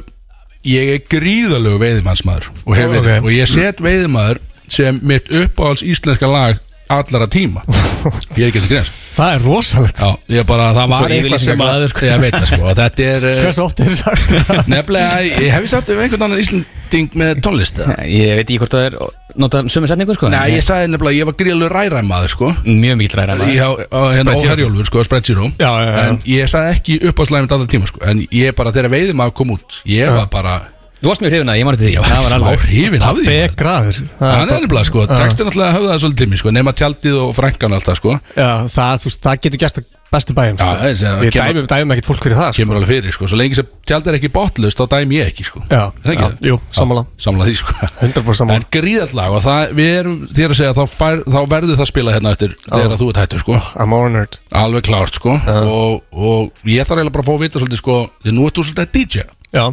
S2: Ég er gríðalög veiðimannsmaður og, hef verið.
S4: Ok.
S2: og ég set veiðimaður sem mitt uppáhalds íslenska lag allara tíma Ég er ekki til græns
S4: það er rosalegt
S2: Já, ég bara, það var
S3: Svo
S2: eitthvað sem að
S3: yfirlýsingaglaður, sko.
S2: Ég veit það sko, að þetta er uh,
S4: Hversu oft er sagt
S2: Nefnilega, ég hef ég sagt um einhvern annan Íslanding með tónlist eða?
S3: Ég veit ekki hvort það er notað sömu setningu sko en
S2: Nei,
S3: ég
S2: ég sagði nefnilega, ég var gríðalög ræræmaður sko
S3: er Mjög mikil ræra
S2: Í
S3: maður.
S2: á, á, hérna á
S3: Spreadsheet.
S2: Herjólfur, sko, Spreadsheet Room
S4: Já, já, já.
S2: En ég sagði ekki uppáðslæði mitt alltaf tíma, sko En ég bara, þegar veiðum að koma út Ég var bara
S3: Þú varst mjög hrifin að því, ég man eftir því Það var alveg
S2: hrifin af því maður.
S4: Begraður
S2: Hann er nefnilega sko, textin alltaf höfða það svolítið til mér sko, nema tjaldið og frænkan alltaf sko,
S4: Já, það, þú, veist, það getur gæst að bestu bæjum sko.
S2: Já, það er sem að
S4: Við
S2: kemur-
S4: dæmum, dæmum ekkert fólk fyrir það sko.
S2: kemur alveg fyrir sko, svo lengi sem tjaldið er ekki botlust, þá dæmi ég ekki sko.
S4: Já,
S2: Er það
S4: já,
S2: ekki?
S4: jú, sammála.
S2: Já, Sammála því sko.
S4: 100% sammála.
S2: En gríðallag og það, við erum, þér að segja, þá, fær, þá verður það spila hérna eftir þegar að þú ert hættur sko,
S4: Oh, I'm honored
S2: alveg klárt sko, og, og ég þarf eiginlega bara að fá að vita svolítið sko, því nú ert þú svolítið að DJ,
S4: Já,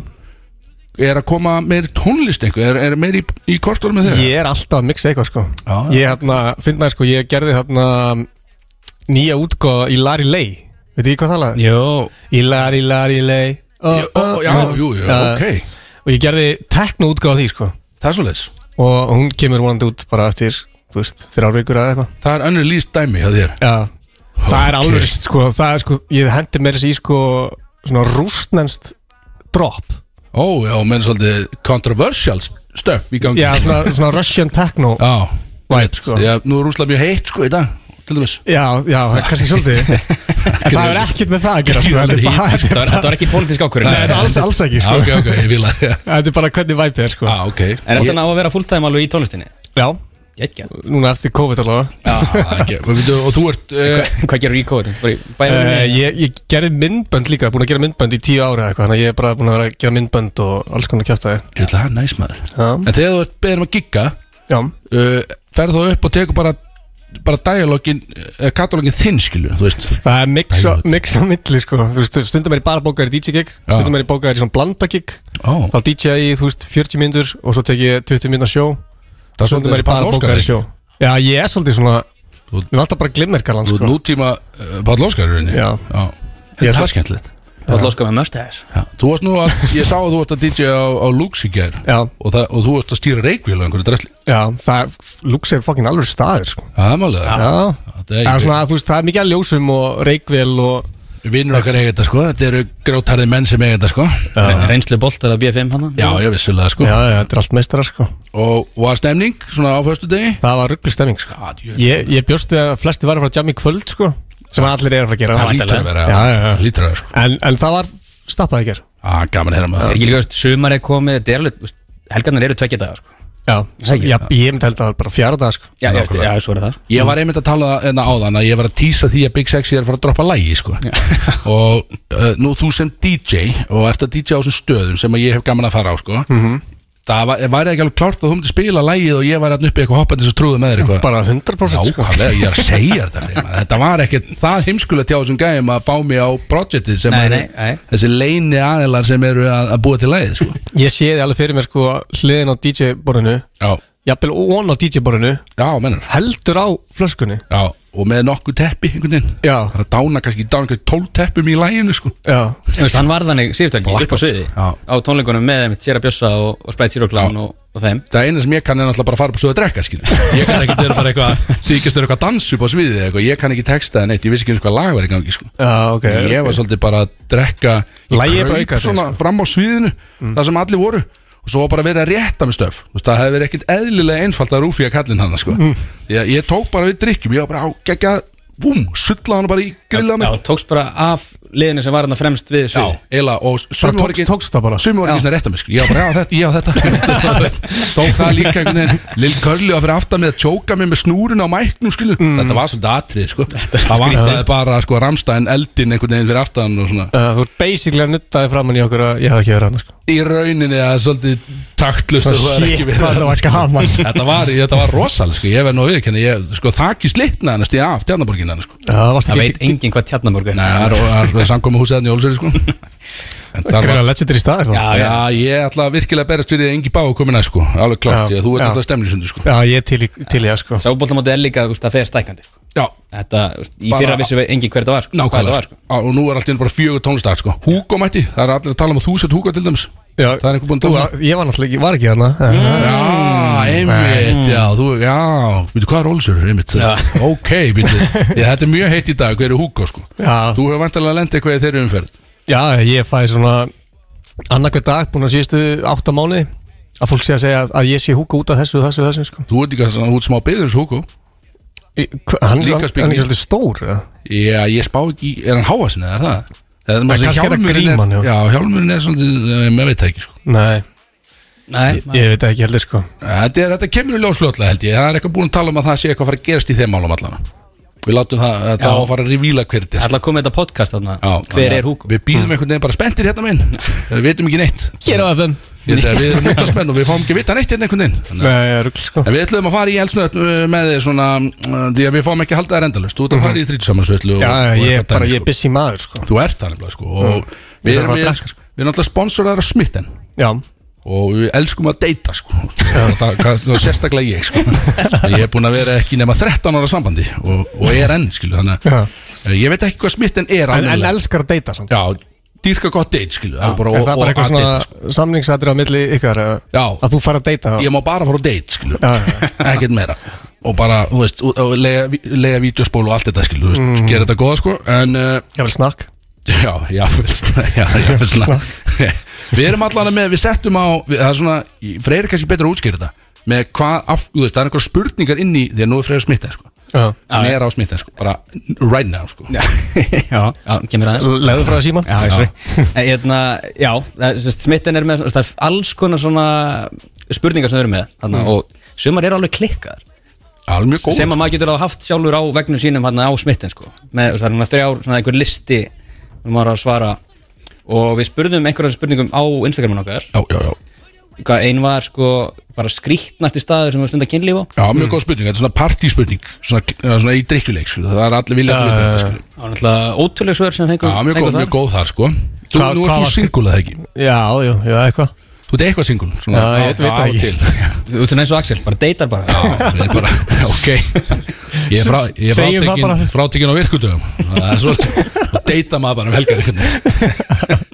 S2: er að koma meir tónlist einhver, er, er meir í, í kortunum með þeirra?
S4: ég er alltaf að mixa eitthvað sko
S2: Já, já.
S4: Ég hérna, finna sko, ég gerði hérna nýja útgóða í Larry Lay Veitu ég hvað það laði?
S3: Jó
S4: Í Larry, Larry Lay oh,
S2: Ó, ó, já, jú, jú, ok,
S4: Og ég gerði tekno útgóða því sko
S2: það er svolítið
S4: Og hún kemur vonandi út bara eftir, þú veist, þrjár vikur eða eitthvað
S2: Það er önnur líst dæmi hjá þér
S4: Já, það er
S2: Ok.
S4: alveg sko, það er sko, ég hendi mér þessi í sko svona rústnenst drop
S2: Ó, já, menn svolítið controversial stuff í gangi
S4: Já, svona, svona Russian techno
S2: já
S4: Right,
S2: einmitt.
S4: sko.
S2: Já, nú er Rúsland mjög heitt, sko, í dag Til dæmis
S4: Já, já, það er kannski svolítið En það er ekkert með það að gera sko, þetta er bara- þetta er
S3: Það var-
S4: bara-
S3: þetta var ekki pólitísk ákvörðin
S4: Nei, þetta er alls, alls ekki
S2: Já,
S4: sko
S2: ok, ok, ég vil að Já,
S4: Þetta er bara hvernig væpið er sko
S2: ok Já,
S3: En er þetta ná að vera fulltime alveg í tónlistinni?
S4: Já,
S3: Jækja
S4: núna eftir COVID allavega
S2: það er ekki Og veitu, Og þú ert eh,
S3: Hvað gerur í COVID? Bara í
S4: Uh,
S3: bæjum?
S4: ég, ég gerði myndbönd líka, búin að gera myndbönd í tíu ára eitthvað, þannig að ég er bara búin að vera að gera myndbönd og alls konar kjæft að
S2: Þú ætla það, næs maður
S4: þið
S2: En þegar þú ert beðin um að gigga
S4: Já,
S2: uh, Ferð þú upp og tekur bara Bara dialogin, uh, katalogin þinn, skilur Þú veist
S4: Það er mix á- mix á milli sko Þú veist, stundum er ég bara bókaður í DJ gig Stundum er ég bókaður í svona blanda gig
S2: Ó,
S4: Þá DJ ég, þú veist, 40 myndur Og svo tek ég 20 myndar sjó
S2: það er
S4: Stundum er ég bara bókaður í sjó Já, ég er svolítið svona
S2: Þú-
S4: Mér vantar bara glimmerkarlan
S2: Þú ert
S4: sko
S2: nútíma uh, Páll Óskar í rauninni.
S4: Já.
S2: Já
S4: Ég
S2: Þetta er
S4: ætla-
S2: það skemmtilegt
S3: Það er lóska með mustache
S2: Já, Þú varst nú að, ég sá að þú varst að DJ á, á Lux í gær
S4: Já.
S2: og, það, og þú varst að stýra reikvíl og einhverju dressli
S4: Já, það, Lux er fokkin alveg staður sko
S2: Það er málega
S4: Já
S2: Það
S4: Það
S2: er
S4: er svona, þú veist, það er mikið að ljósum og reikvél og
S2: vinnur okkar eiga þetta sko Þetta eru grátarði menn sem eiga þetta sko Já,
S3: Reynslu boltar af BFM hann
S2: ég vissulega sko
S4: Já, já, þetta er allt mestara sko
S2: Og var stemning svona á föstu degi?
S4: Það var rugglu stemming sko
S2: Já, Ah, djöfull. Ah.
S4: Ég, ég bjóst við að flesti var að fara að jamma í kvöld sko Sem allir er að fara að gera
S2: Það lítur að vera
S4: Já, já, já.
S2: Lítur að vera sko
S4: En, en það var stappað ekki
S2: Á, Ah, gaman að heyra
S3: Er
S2: maður
S3: ekki líka, veist, sumar er komið þetta er alveg, veist, Helgarnar eru tveggja dagar sko.
S4: Já,
S3: Sækir.
S4: já, ég myndi held að það var bara fjara dag sko.
S3: já, já, veist, já, svo er það sko.
S2: Ég var einmitt að tala enna áðan að ég var að týsa því að Big Sexy er að fara að droppa lægi sko Og uh, nú þú sem DJ og ert að DJ á þessum stöðum sem að ég hef gaman að fara á sko Það var, væri ekki alveg klárt að þú myndi spila lægið og ég væri að uppi eitthvað hoppandi sem trúðu með þér eitthvað
S4: Bara 100% sko.
S2: Nákvæmlega, ég er að segja þetta fyrir maður Þetta var ekkert það heimskulegt hjá þessum gæm að fá mig á projektið sem
S3: Nei,
S2: eru-
S3: nei, nei.
S2: þessi leini aðilar sem eru að, að búa til lægið sko.
S4: Ég sé þið alveg fyrir mér sko hliðin á DJ-borðinu
S2: Já,
S4: Jafnvel ón á DJ-borðinu
S2: já, mennur
S4: Heldur á flöskunni
S2: Já, og með nokkuð teppi einhvern veginn
S4: Já.
S2: Það er að dána kannski, dána kannski tól teppum í læginu sko.
S4: Já,
S3: Þú veist, Hann var þannig síðustu helgi upp á sviði
S2: Já.
S3: Á tónleikunum með þeim Sér að bjössa og, og Sprite Zero Clown og, og þeim
S2: Það eina sem ég kann er náttúrulega bara að fara upp á svo að drekka skil. Ég kann ekki vera bara eitthvað Þykist vera eitthvað dans upp á sviðið eða eitthvað Ég kann ekki texta en eitt, ég vissi ekki eins og hvað lag var í gangi sko.
S4: já ok
S2: Ég var svolítið bara að drekka í
S4: Lagið er bara
S2: kraup
S4: aukaatriði,
S2: svona
S4: sko. Mm.
S2: fram á sviðinu Það sem allir voru Og svo var bara verið að rétta með stöf Þú veist, Það hefði verið ekkert eðlilega einfalt að rúfi að kallin hana sko.
S4: Mm.
S2: ég, ég tók bara við drikkjum Ég var bara á gegja Búm, sulla hana bara í grilla
S3: Já,
S2: mig
S3: tókst bara af liðinu sem var hann fremst við
S2: Já,
S3: sviði
S2: eila Og
S4: Bara
S2: sumum var
S4: tókst,
S2: ekki
S4: tókst það bara
S2: Sumum var ekki svona rétta mig sko. Ég var bara, já þetta, já þetta Tók það líka einhvern veginn Lill Curly var fyrir aftan með að tjóka mig með snúrun á mæknum skilu
S4: Mm.
S2: Þetta var svolítið atrið sko. Það vantaði bara sko, ramstæðin eldin einhvern veginn fyrir aftan og svona
S4: uh, Þú ert basically að nuttaði framann í okkur að ég hef ekki verið hann sko.
S2: í rauninni að það er svolítið taktlust og það er ekki
S4: Shit,
S2: verið
S4: hvað það var ekki að hafa Já,
S2: Þetta var, þetta var rosal, sko, ég verð nú að viðurkenna ég, sko, þakki slitna hann, stíða af tjarnaborgin hann, sko
S4: það varst
S3: Það
S4: ekki
S3: veit enginn hvað tjarnamorgu
S2: Nei, það er- það er samkomi húsið hann í Ólsveri, sko En það
S4: Greina
S2: var,
S4: legendary staðir þá
S3: Já,
S2: já, ég ætla virkilega að berast fyrir því að engi bá að koma næst, sko, alveg klart,
S4: Já,
S2: ég, þú ert
S4: já.
S2: alltaf stemlisundu, sko
S4: Já, ég er til í til í það sko
S3: Sábóltamóti er líka, þú veist, það fer stækandi sko.
S2: Já,
S3: Þetta, þú veist, í
S2: Bara-
S3: fyrra vissi við enginn hver þetta var sko, hvað
S2: nákvæmlega,
S3: þetta var,
S2: sko Á, Og nú er alltaf bara fjögur tónlistak, sko Hugo mætti, það er allir að tala um að þú sett Hugo til dæmis
S4: Já,
S2: Það er einhver búinn að
S4: þú
S2: tala um
S4: var- Ég var náttúrulega ekki, var ekki hann
S2: Já,
S4: Mm.
S2: einmitt, já, þú, já, veitu hvað er Ólsur, einmitt, já. ok, veitu, ég, þetta er mjög heitt í dag, hver er Hugo, sko,
S4: Já.
S2: þú hefur vantilega lendið eitthvað í þeirri umferð,
S4: Já, ég fæði svona annarkvæð dag búin að síðustu átta mánu að fólk sé að segja að, að ég sé húka út af þessu og þessu og þessu sko.
S2: þú ert líka svona út smá byður eins og Hugo,
S4: Í- hva- Hann er
S2: Líka
S4: hann-
S2: spegli.
S4: hann er ekki svolítið stór eða?
S2: já, ég spá ekki, er hann háa sinni, er það? Það
S4: kannski er að
S2: hjálmurinn
S4: gríma hann,
S2: er,
S4: já.
S2: já, hjálmurinn er svolítið, eh, maður veit það ekki, sko,
S4: Nei
S2: Nei,
S4: Ég, ég veit það ekki heldur sko
S2: þetta, er, þetta kemur í ljósfljóðlega held ég Það er eitthvað búin að tala um að það sé eitthvað að fara að gerast í þeim málum allan Við látum það, það á að fara að revíla hver þetta er. sko.
S3: Alltaf komið þetta podcast þarna
S2: Já, þannig
S3: Hver
S2: að
S3: er Hugo?
S2: Við
S4: Mm.
S2: býðum einhvern veginn bara spenntir hérna minn Við veitum ekki neitt
S3: Hér á FM
S2: Ég segi, Við erum útaspenn og við fáum ekki að vita neitt hérna einhvern veginn Þannig að-
S4: Nei, rugl sko
S2: En við ætlum að fara í elsnöð með þið svona uh, Því að við fáum ekki að halda þær endalust Þú
S4: Mhm.
S2: ert að fara í þrítjusamansveitlu
S4: Já, ég er bara, ég er busy maður sko Mm.
S2: Þú ert það nefnilega sko Og við
S4: þarf
S2: erum
S4: að
S2: við-
S4: drekka, sko.
S2: við erum alltaf sponsorar af smitten
S4: Já,
S2: og við elskum að deyta sko. það, það, það, það sérstaklega ég sko. ég hef búin að vera ekki nema 13 ára sambandi og, og er enn skilu, þannig
S4: Já.
S2: að Eh, ég veit ekki hvað smitten er
S4: en, en
S2: almennilega.
S4: elskar að deyta samt
S2: já, dýrka gott deyt skilu, já, bara,
S4: Er það bara eitthvað
S2: að
S4: svona
S2: deyta, sko.
S4: samningsættur á milli ykkar eða-
S2: Já.
S4: Að þú fara að deyta þá
S2: ég má bara fara á deyt skilu,
S4: Já, já,
S2: ekkert meira og bara, þú veist, og- og lega, lega vídeospól og allt þetta skilu, þú veist, gera þetta góða sko en uh,
S4: Ég vil Mhm. snakk
S2: Já, já, já, já, já Við erum allan með, við settum á við, Það er svona, Freyr er kannski betra að útskýra þetta Með hvað, af, þú veist, það er einhver spurningar inn í Því að nú er Freyr smittað, sko
S4: Já,
S2: Hann er á smittað, sko, bara right now, sko
S3: Já, já, já, kemur aðeins
S4: legðu frá það síma
S3: Já, ég sori En hérna, já, það- sem sagt, smitten er með það er alls konar svona spurningar sem þau eru með þarna, og sumar eru alveg klikkaðar
S2: Alveg mjög Mm. góð
S3: sem að maður getur að haft sjálfur á vegnum sínum hann á smitten sko með, það er núna þrjár, svona einhver listi sem maður á að svara og við spurðum einhverja spurningum á Instagramun okkar
S2: Já, já, já,
S3: hvað einn var sko bara skrýtnasti staður sem við stundum að kynlífa
S2: já, mjög góð spurning Þetta er svona partíspurning, svona, svona, svona í drikkjuleik, sko Það er allir vilja til
S4: Já,
S2: þetta,
S4: já,
S2: sko
S3: það var náttúrulega ótrúleg svör sem fengum
S2: Já, mjög góð, mjög góð þar, sko Þú,
S4: Hvað-
S2: nú ert
S4: hvað var
S2: þú
S4: skri-
S2: singul, eða ekki
S4: Já, já, já, eitthvað
S2: Þú ert eitthvað singul, svona
S4: Já, ég
S2: á-
S4: veit
S2: á
S4: það
S2: og
S4: ekki.
S2: til.
S3: þú ert eins og Axel, bara deytar bara
S2: Já, við erum bara, ok Ég er, frá, ég er
S4: Segjum það bara.
S2: frátekin, frátekin á virkudöfum Það er svolítið Og deyta maður bara um helgar einhvern veginn.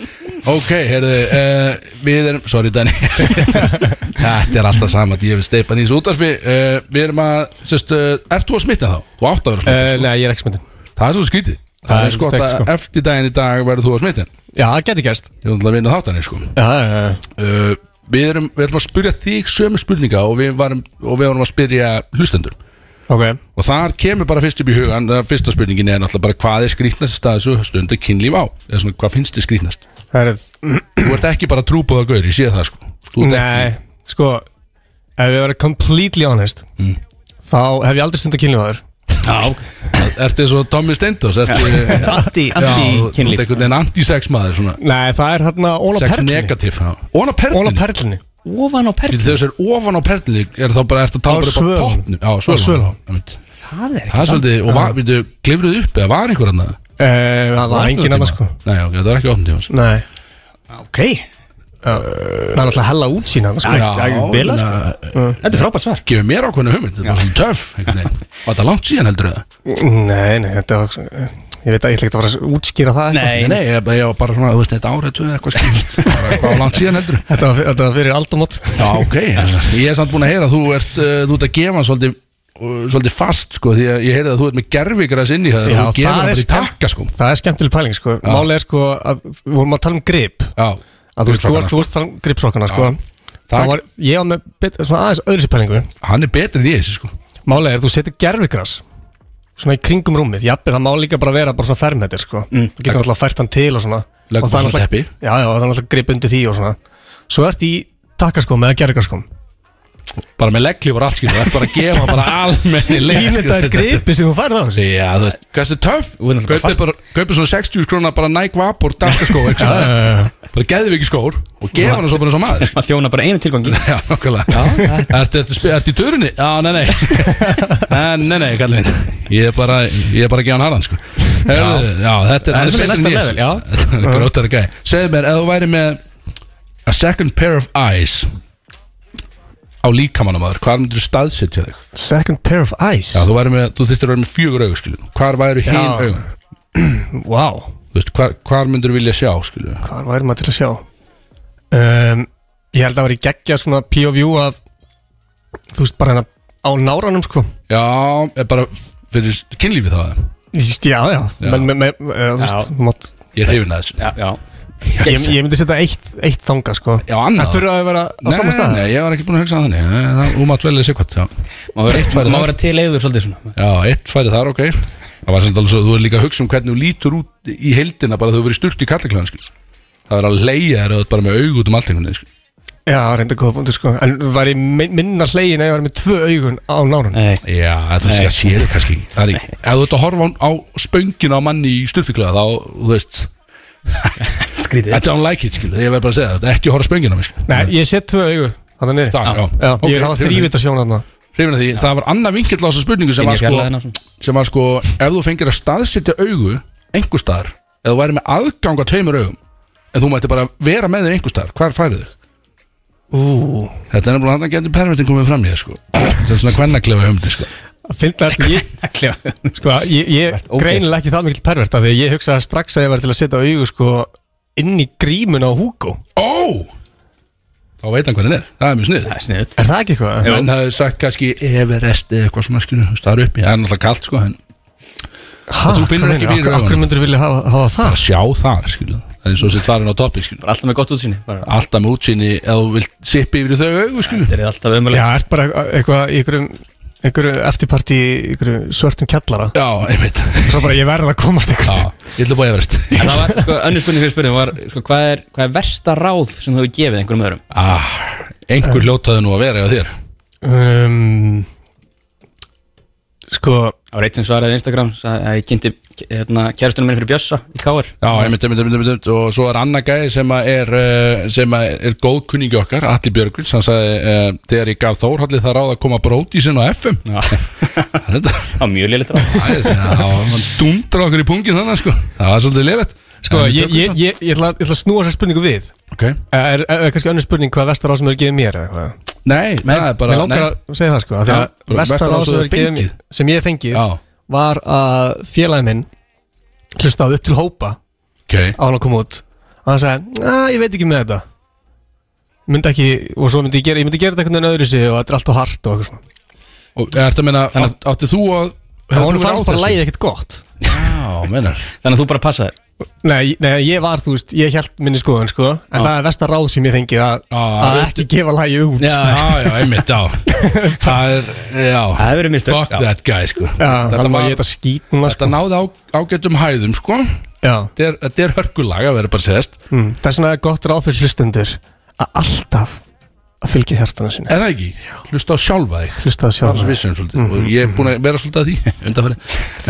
S2: Ok, heyrðu uh, Við erum, sorry Danny Þetta er alltaf sama Því ég vil steipa nýs útvarfi uh, Við erum að, sérst, uh, ert þú að smita þá? Þú átt að vera
S4: Eh,
S2: smita
S4: Nei, ég er ekki smittin
S2: Það er svo skýtið
S4: það
S2: Það
S4: er
S2: er sko
S4: steikt, sko.
S2: að eftir daginn í dag verður þú að smita Ég
S4: Já, það geti gerst
S2: er náttúrulega að vinna þáttanir sko
S4: Já, já, já
S2: uh, Við erum, við ætlum að spyrja þig sömu spurninga og við varum, og við varum að spyrja hlustendur
S4: Ok,
S2: Og þar kemur bara fyrst upp í hugan eh, Fyrsta spurningin er náttúrulega bara hvað er skrýtnast staðis og stundu kynlíf á eða svona hvað finnst þið skrýtnast
S4: það er
S2: Þú ert ekki bara trúbúða gaur, ég sé það sko Þú ert ekki,
S4: Nei, sko Ef ég verið completely honest
S2: Mm.
S4: Þá hef ég aldrei stund að kynlífa þér
S2: ertu eins og Tommy Steindos Ertu
S3: anti,
S2: Já,
S3: anti
S2: þú- þú ert
S3: kynlíf
S2: einhvern veginn anti-sex maður svona
S4: Nei, það er hérna Óla
S2: Sex
S4: Perlin
S2: negativ Óna
S4: Óla
S2: perlin
S4: Perlin
S3: ofan á
S2: Fyrir
S3: perlin,
S2: þess er ofan á perlin er þá bara ertu að
S4: Á
S2: tala bara upp á
S4: svölum.
S2: popnum Já,
S4: Á
S2: svölum
S4: svölum.
S2: já, einmitt.
S3: það er
S2: Það er svolítið, og var, við glifruð upp eða var einhver annað
S4: Eh, Það var engin annars sko
S2: Nei, ok, það var ekki opnum tíma
S4: Nei,
S3: ok
S4: það er alltaf hella útsýn annars sko
S2: Já,
S4: Mm.
S3: þetta er frábært svar
S2: gefur mér ákveðna hugmynd þetta var svona töff einhvern veginn. var þetta langt síðan heldur það
S4: Nei, nei, þetta var Ég veit að ég ætla ekki að fara að útskýra það eitthvað.
S3: nei,
S2: nei, ég, ég var bara svona, þú veist, þetta árið tvö eitthvað skipt hvað var langt síðan heldur
S4: Þetta var, þetta var fyrir aldamót
S2: já, ok, ég er samt búin að heyra að þú ert, uh, þú ert að gefa hann svolítið uh, svolítið fast, sko, því að ég heyrði að þú ert með gerfigræs inn í það,
S4: Já,
S2: þú gefur
S4: það
S2: hann
S4: er
S2: bara í
S4: skemmt.
S2: takka, sko
S4: Það er skemmtileg pæling sko Málið er sko að við vorum að tala um grip
S2: já,
S4: að þú veist, þú
S2: Gripsokkana,
S4: varst, þú varst þann gripsokkana sko.
S2: Það-
S4: það var, ég var með bet, svona aðeins öðru sér pælingu
S2: sko. hann er betri en ég, þessi, sko
S4: málega er þú setur gerfigras svona í kringum rúmið, jafnir það má líka bara vera bara svona fermetir sko, þú getur alltaf fært hann til og svona,
S2: Mm. Leggur
S4: og það
S2: bara
S4: er
S2: svona teppi.
S4: alltaf já, já, og það er alltaf grip undir því og svona svo ert í takkaskóm eða gerfigraskom
S2: bara með leggli var allt, skilur, það er bara að gefa bara almenni leik,
S4: þetta er gripi sem þú færð á þessi
S2: Já, þú veist, hvað er töff?
S3: Þú ert náttúrulega
S2: Kaupið
S3: fast.
S2: bara, kaupið svona 60 krona bara Nike Vapor dagaskó, eitthvað Bara geðið ekki skór og gefa hann svo bara eins og maður
S3: maður þjóna bara einu tilgangi
S2: Já, nokkulega Ertu ertu spe- ertu í törunni? Já, nei, nei Eh, Nei, nei, kallin Ég er bara, ég er bara að gefa hann harðan, sko Heyrðu, Já, þetta er
S3: Það er
S2: þetta
S3: næsta
S2: nýjast.
S3: level, já.
S2: sko. Þetta er Grótari gæ Segðu mér, ef þú væri með A second pair of eyes Á líkamannum aður Hvar myndir þú staðsetja þig?
S4: second pair of eyes
S2: Já, þú, væri með, þú þyrftir að vera með fjögur augu, skiljum Hvar væri hinn
S4: Já.
S2: augun?
S4: wow,
S2: Þú veist, hvar, hvar myndur vilja sjá, skilju?
S4: hvað væri maður til að sjá um, ég held að vera í geggja svona POV af þú veist, bara hérna á náranum sko
S2: Já, er bara fyrir kynlífið það
S4: Ég veist, Já, já,
S2: Já.
S4: Men, men, men, uh, þú veist,
S3: Já.
S4: mátt,
S2: Ég er hrifin að þessu
S3: já, já,
S4: ég, ég myndi setja eitt, eitt þanga sko.
S2: Já, annað.
S4: Það þurfa að vera á
S2: Nei,
S4: sama stað
S2: nei, ég var ekki búin að hugsa að þannig Nei, það- Þú mátt velja sér hvað Já,
S3: maður
S2: Eitt færi
S3: vera-
S2: þar.
S3: maður vera til eður svolítið svona
S2: já eitt færi þar, ok Það var samt alveg svo, þú er líka að hugsa um hvernig þú lítur út í heildina bara þú verið sturt í kallaklæðan, skilju Það er að leia þér að þú ert bara með aug út um allt einhvern veginn, skilju
S4: Já, reynda góða búndur sko En var ég min- minna hlegin að ég var með tvö augun á nárun
S3: Nei,
S2: Já, þú veist,
S3: Nei.
S2: það séu kannski Það er ekki, ef þú ert að horfa á, á spöngin á manni í styrfíkla þá, þú veist
S3: skrítið
S2: Þetta don't like it, skilu, ég verð bara að segja það Þetta er ekki að horfa á spöngin á mig, skilu
S4: Nei, ég set tvö augu Þannig niður
S2: Það, já,
S4: Já, ég er að hafa þrývita sjón þarna
S2: Hrifin að því, það var annað vinkill á þessu spurningu sem
S3: Finn
S2: var,
S3: ég fjarlæðina og
S2: sko,
S3: svona.
S2: sem var sko Ef þú fengir að staðsetja augu einhver staðar Ef þú væri með aðgang að tveimur augum En þú mætti bara vera með þér einhver staðar Hvar færið þig?
S4: Ú,
S2: Þetta er nefnilega að það getur pervertin komið fram í þér, sko Þetta er svona kvennaklefa humdi, sko
S4: að finna ég, Sko, ég, ég
S3: Þú ert ógeð.
S4: greinilega ekki það mikill pervert af Því að ég hugsaði strax að ég var til að setja augu sko Inn í grímun á Hugo
S2: Ó! Þá veit hann hvernig er, það er mjög snið
S3: Sniðut
S4: Er það ekki eitthvað?
S2: Ef hann hafði sagt kannski Everest eða eitthvað svona skilur, þú veist, það er uppi, það er náttúrulega kalt sko en
S4: Ha,
S2: Þú finnur
S4: hvað
S2: ekki fyrir
S4: meinar? Af- af hverju
S2: augunum.
S4: myndirðu vilja hafa, hafa
S2: bara
S4: það?
S2: sjá þar skilu það er svo sem þarinn á toppi skilu
S3: Alltaf með gott útsýni bara.
S2: alltaf með útsýni eða þú vilt sippi yfir þau augu skilu
S3: Þetta er alltaf um
S4: Já,
S3: ömulega
S4: ert bara eitthvað í einhverjum einhverju eftirparti í einhverju svörtum kjallara
S2: já, einmitt
S4: Svo bara ég verð að komast
S2: já,
S4: eitthvað
S2: ég ætla að búa Everest
S3: En það var, sko, önnur spurning fyrir spurning var sko, hvað, er, hvað er versta ráð sem þú hefur gefið einhverjum öðrum?
S2: ah, einhver hljótaði nú að vera eða þér
S4: um, Sko
S3: Það var eitt sem svaraði á Instagram sagði að ég kynnti hérna, kærastunum minn fyrir Bjössa í Káar
S2: já, einmitt, einmitt, einmitt, einmitt og svo er annar gæði sem að er eh, sem að er góð kunningi okkar Alli Björgvins, hann sagði eh, þegar ég gaf Þórhalli það ráð að koma bróti sinna á FM þetta
S3: Það var mjög lélitt ráð
S2: Það er það, hann dundra okkur í pungin þannig sko Það var svolítið lefett
S4: Sko, ég, ég, ég, ég, ætla, ég ætla að snúa þessar spurningu við Eh,
S2: Ok,
S4: Er, er, er kannski önnur spurning hvað vestar á sem hefur gefið mér eða eitthvað?
S2: nei, það er bara
S4: Mér langar
S2: nei,
S4: að segja það sko af Því
S2: Já,
S4: að vestar á
S2: versta ráð sem
S4: sem
S2: þú
S4: hefur gefið mér
S2: fengið.
S4: sem ég hef fengið
S2: Já.
S4: var að félagi minn hlustaði upp til hópa
S2: Ok,
S4: á hann að koma út og hann sagði, að ég veit ekki með þetta myndi ekki, og svo myndi ég gera ég myndi gera þetta einhvern veginn öðru sig og þetta er allt og hart og eitthvað svona
S2: og ertu að meina átt, Átti þú að
S4: og
S2: hefur
S4: hann
S2: þú
S4: fannst
S2: ráð
S4: bara
S2: þessu?
S4: lægið ekkert gott
S2: Já, meinar
S3: Þannig að þú bara passa þér
S4: nei, nei, ég var, þú veist, ég held minni skoðan sko, en það er versta ráð sem ég fengið að,
S2: Já,
S4: að
S2: veitu-
S4: ekki gefa lægið út sko.
S3: Já.
S2: Já, já, einmitt, já Það er, já
S3: Það hefur verið mistök,
S2: Fuck
S3: já.
S2: that guy, sko
S4: Já,
S2: Þetta
S4: þannig að
S2: var,
S4: ég þetta skýt núna
S2: þetta
S4: sko.
S2: náði á, ágættum hæðum, sko
S4: Já,
S2: Þetta er- Þetta er hörkulag að vera bara sést
S4: mm. það er svona gott ráð fyrir hlustundur að alltaf að fylgja hjartana sinni
S2: Eða ekki, hlusta á sjálfa þig
S4: hlusta að sjá
S2: Það er svo vissum svolítið
S4: Mm.
S2: og ég er búin að vera svolítið að því undanfæri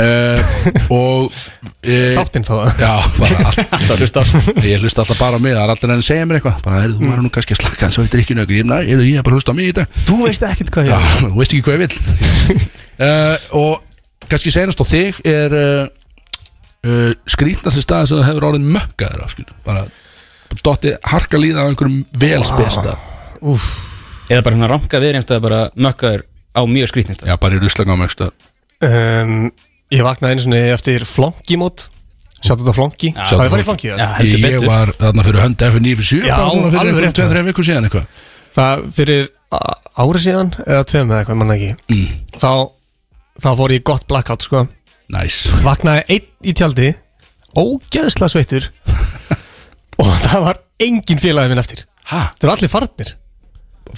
S2: uh, og uh,
S4: þáttinn þá að
S2: Já, bara alltaf hlusta Ég hlusta alltaf bara á mig, það er alltaf enn að segja mér eitthvað Bara, heyrðu, þú var nú kannski að slaka þessu Þetta er ekki nöggur, ég næ, heyrðu, ég er bara að hlusta á mig í dag
S4: þú veist ekkert hvað
S2: Já,
S4: ég
S2: þú veist ekki hvað ég vil uh, Og kannski senast á þig er uh, uh, Skrýtnasti staði sem þú hefur orðin mökkaður á skilu. Bara, bara dotti harka líða á einhverjum velspesta
S4: Úf,
S3: Eða bara hérna ranka við einstu að bara mökka þér á mjög skrýtnist
S2: Já, bara í ruslaga á mögsta
S4: um, Ég vaknaði einu svona eftir flonkimót Sjátt þetta flonki Það er farið í flonki
S3: Já,
S4: ja.
S3: heldur
S2: Ég
S3: betur
S2: var þarna fyrir hönda F957
S4: Já, alveg rétt.
S2: Tveið þreif vikur síðan eitthvað
S4: Það fyrir á- ári síðan Eða tveim eða eitthvað, manna ekki
S2: Mm.
S4: þá, þá fór ég í gott blackout sko
S2: Næs
S4: Vaknaði einn í tjaldi Ógeðslega sveittur Og það var engin félagi minn eftir
S2: Hæ?
S4: Þeir eru allir farnir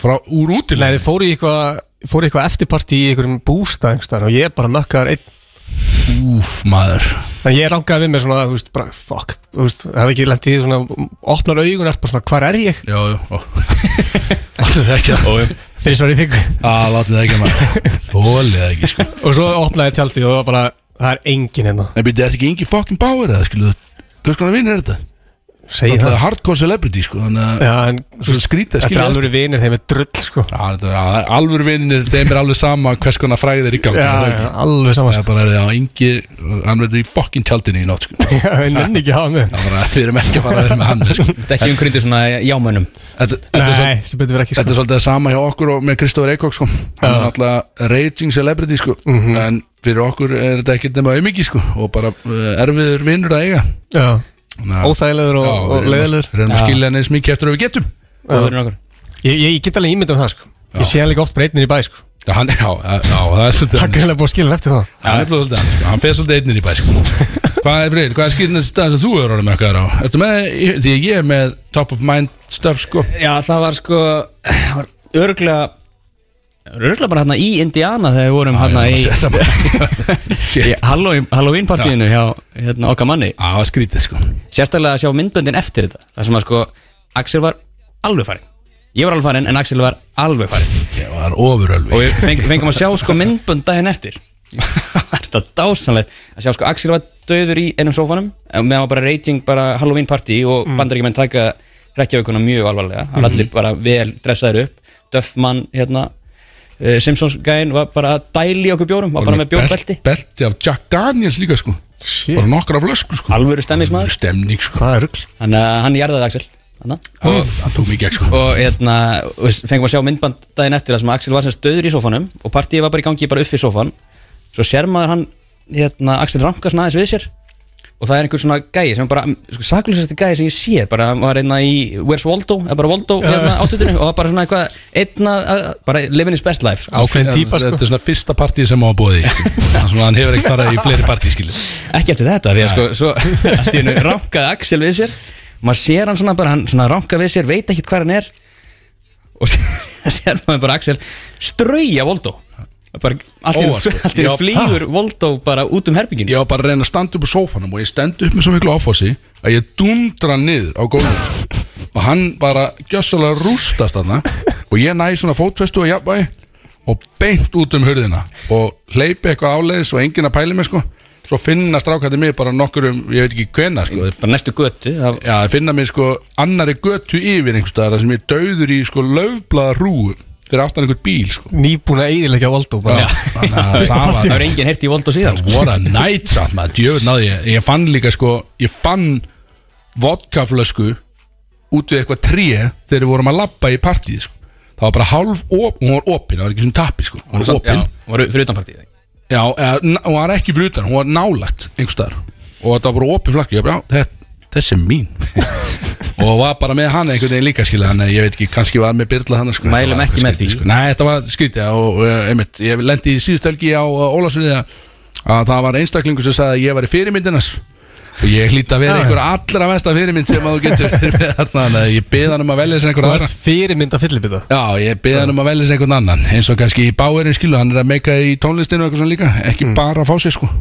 S2: Frá úr útil
S4: Nei, þeir fóru í eitthvað fóru í eitthvað eftirparti í einhverjum bústa einhverstaðar og ég bara mökkaðar einn
S2: Úf, maður
S4: Þannig ég rangaði við mér svona, þú veist, bara fuck Þú veist, það hef ekki lent í því svona opnar augun, ert bara svona, hvar er ég?
S2: Já, já ó. Láttu það ekki að
S4: Þrísvar í viku
S2: ah, Láttu það ekki að maður Þólið það ekki sko
S4: Og svo opnaði tjaldið og það var bara Það er enginn hérna
S2: Nei, byrja, þetta ekki engin fucking báir eða skilu Hvers konar vinur er þetta?
S4: Segji
S2: Þetta
S4: það
S2: er hardcore celebrity sko Þannig að
S4: Já, en
S2: Svo skrítið,
S4: Þetta
S2: skilur
S4: er
S2: það.
S4: alveg vinir þeim er drull sko
S2: Já, þetta er- já, alvöru vinir Þeim er alveg sama hvers konar fræðið er í gangi
S4: Já,
S2: Það er
S4: já,
S2: ekki-
S4: alveg sama
S2: Það er
S4: sko
S2: bara að það engi Hann verður í fucking tjaldinu í nótt sko Það
S4: Já, Ég nenni ekki að hafa með
S2: er bara að við erum ekki að fara að vera með hann sko.
S3: Þetta er ekki umkringdur svona jámönnum
S2: Þetta, þetta er svo
S4: Nei, sem betur verið ekki
S2: Þetta er
S4: sko
S2: svolítið það sama hjá okkur og með Kristófur Eikók sko. hann er náttúrulega raging celebrity sko.
S4: Mhm.
S2: en fyrir okkur er þetta ekkert nema auðmiki sko. og bara uh, erfiður vinnur að eiga
S4: Já, óþægilegur og, og leiðilegur
S2: Við erum að skilja hann eins mikið eftir að við getum
S3: Góðurinn okkur
S4: ég, ég, ég get alveg ímynd um það sko Ég sé hann líka oft breytnir í bæ sko
S2: Já, hann, já, já, já, það er svolítið
S4: Það er greinlega búið að skilja hann eftir það
S2: hann er svolítið hann, sko. hann fer svolítið einnir í bæ sko. Hvað er fyrir, hvað er skilja þessi stað sem þú er orðin með okkar á? Ertu með, því ég er með top of mind stuff sko
S3: Já, það var sko það var Örglega Örglega bara hérna í Indiana þegar við vorum hérna í í
S2: Shit,
S3: Halloween- Halloween partíinu hjá hérna, okkar manni
S2: á að skrítið sko
S3: Sérstaklega að sjá myndböndin eftir þetta Það sem að sko Axel var alveg farinn Ég var alveg farinn en Axel var alveg farinn
S2: Ég var ofurölvi
S3: Og við feng, fengum að sjá sko myndbönd daginn eftir Þetta er dásanlegt Að sjá sko Axel var döður í einum sófanum Meðan var bara reyting bara Halloween party Og mm. bandaríkjumenn taka rekkjaukuna mjög alvarlega Hann allir bara vel dressaður upp Duffmann hérna eh, Simpsons gæinn var bara að dæli okkur bjórum Var bara með bjórbelti
S2: sko. Belti af Jack Daniels líka sko
S4: Shit.
S2: Bara nokkra flösku sko
S3: Alvöru stemmismæður
S2: Stemning sko
S4: Hvað er rugl?
S3: Þannig að hann jarðaði Axel Þannig
S2: Og Það tók mikið ekki sko
S3: og hérna og við fengum að sjá myndband daginn eftir það sem Axel var sem stöður í sófanum og partíið var bara í gangi bara upp fyrir sófan svo sér maður hann hérna Axel ranka svona aðeins við sér og það er einhver svona gæi sem er bara sko, saklusasti gæi sem ég sé bara hann var einna í Where's Waldo eða bara Waldo hérna áttutinu og var bara svona eitthvað einna bara living is best life sko.
S4: Ákveðin típa sko
S2: Þetta er svona fyrsta partíð sem á að bóði Þannig að hann hefur ekki farað í fleiri partíð skilur
S3: ekki eftir þetta því að sko svo allt í hennu rankaði Axel við sér maður sér hann svona bara, hann svona rankaði við sér veit ekkert hvað hann er og sér, sér maður bara Axel strauja Voldó bara, allt í einu-
S2: Óvart.
S3: allt
S2: sko. Já,
S3: í hennu flýgur Voldó bara út um herbygginu
S2: Ég var bara að reyna að standa upp á sófanum og ég stend upp með svo miklu áfósi að ég dundra hann niður á gólfinu sko. og hann bara gjössalega rústast þarna og ég næ svona fótfestu og jafnvægi og beint út um hurðina og hleypi eitthvað áleiðis og enginn að pæli mig sko svo finna strákandi mig bara nokkur um ég veit ekki hvena sko Þeir-
S3: bara næstu götu það,
S2: Já, þeir finna mig sko annari götu yfir einhvers staðar þar sem ég dauður í sko löfblaða rúu fyrir aftan einhvern bíl sko
S4: Nýbúin að eiginlega Valdó bara
S2: þannig að
S4: Fyrsta
S2: það var-
S4: partíð.
S3: það er enginn heyrt í Voldó síðan sko.
S2: What a night samt maður, djöfur náði ég Ég fann líka sko, ég fann vodkaflösku út við eitthvað tré þegar við vorum að labba í partíð sko. Það var bara hálf op, hún var opin, það var ekki svona tappi sko. Hún var opin,
S3: já, voru fyrir utanpartíð
S2: já, eða, n- hún var ekki fyrir utan, hún var nálægt einhvers staðar og þetta var bara opin flakki, ég bara, já, þess, þess er mín og var bara með hann einhvern veginn líka skilja, þannig að ég veit ekki, kannski var með byrla hann sko,
S3: Mælum
S2: Þetta var bara
S3: ekki með
S2: skrítið,
S3: því.
S2: sko. Nei, þetta var skrítið og eh, einmitt, ég lendi í síðustelgi á Ólasviði að að það var einstaklingur sem sagði að ég var í fyrirmyndinas og ég hlýtt að vera einhver allra mesta fyrirmynd sem að þú getur verið með þarna, þannig að ég beði hann um að velja sér einhver
S4: Þú
S2: aðra
S4: ert fyrirmynd að fyllibita
S2: Já, ég beði hann um að velja sér einhvern annan eins og kannski í báerinn skilu, hann er að meika í tónlistinu og eitthvað svona líka, ekki
S4: Mm.
S2: bara að fá sér sko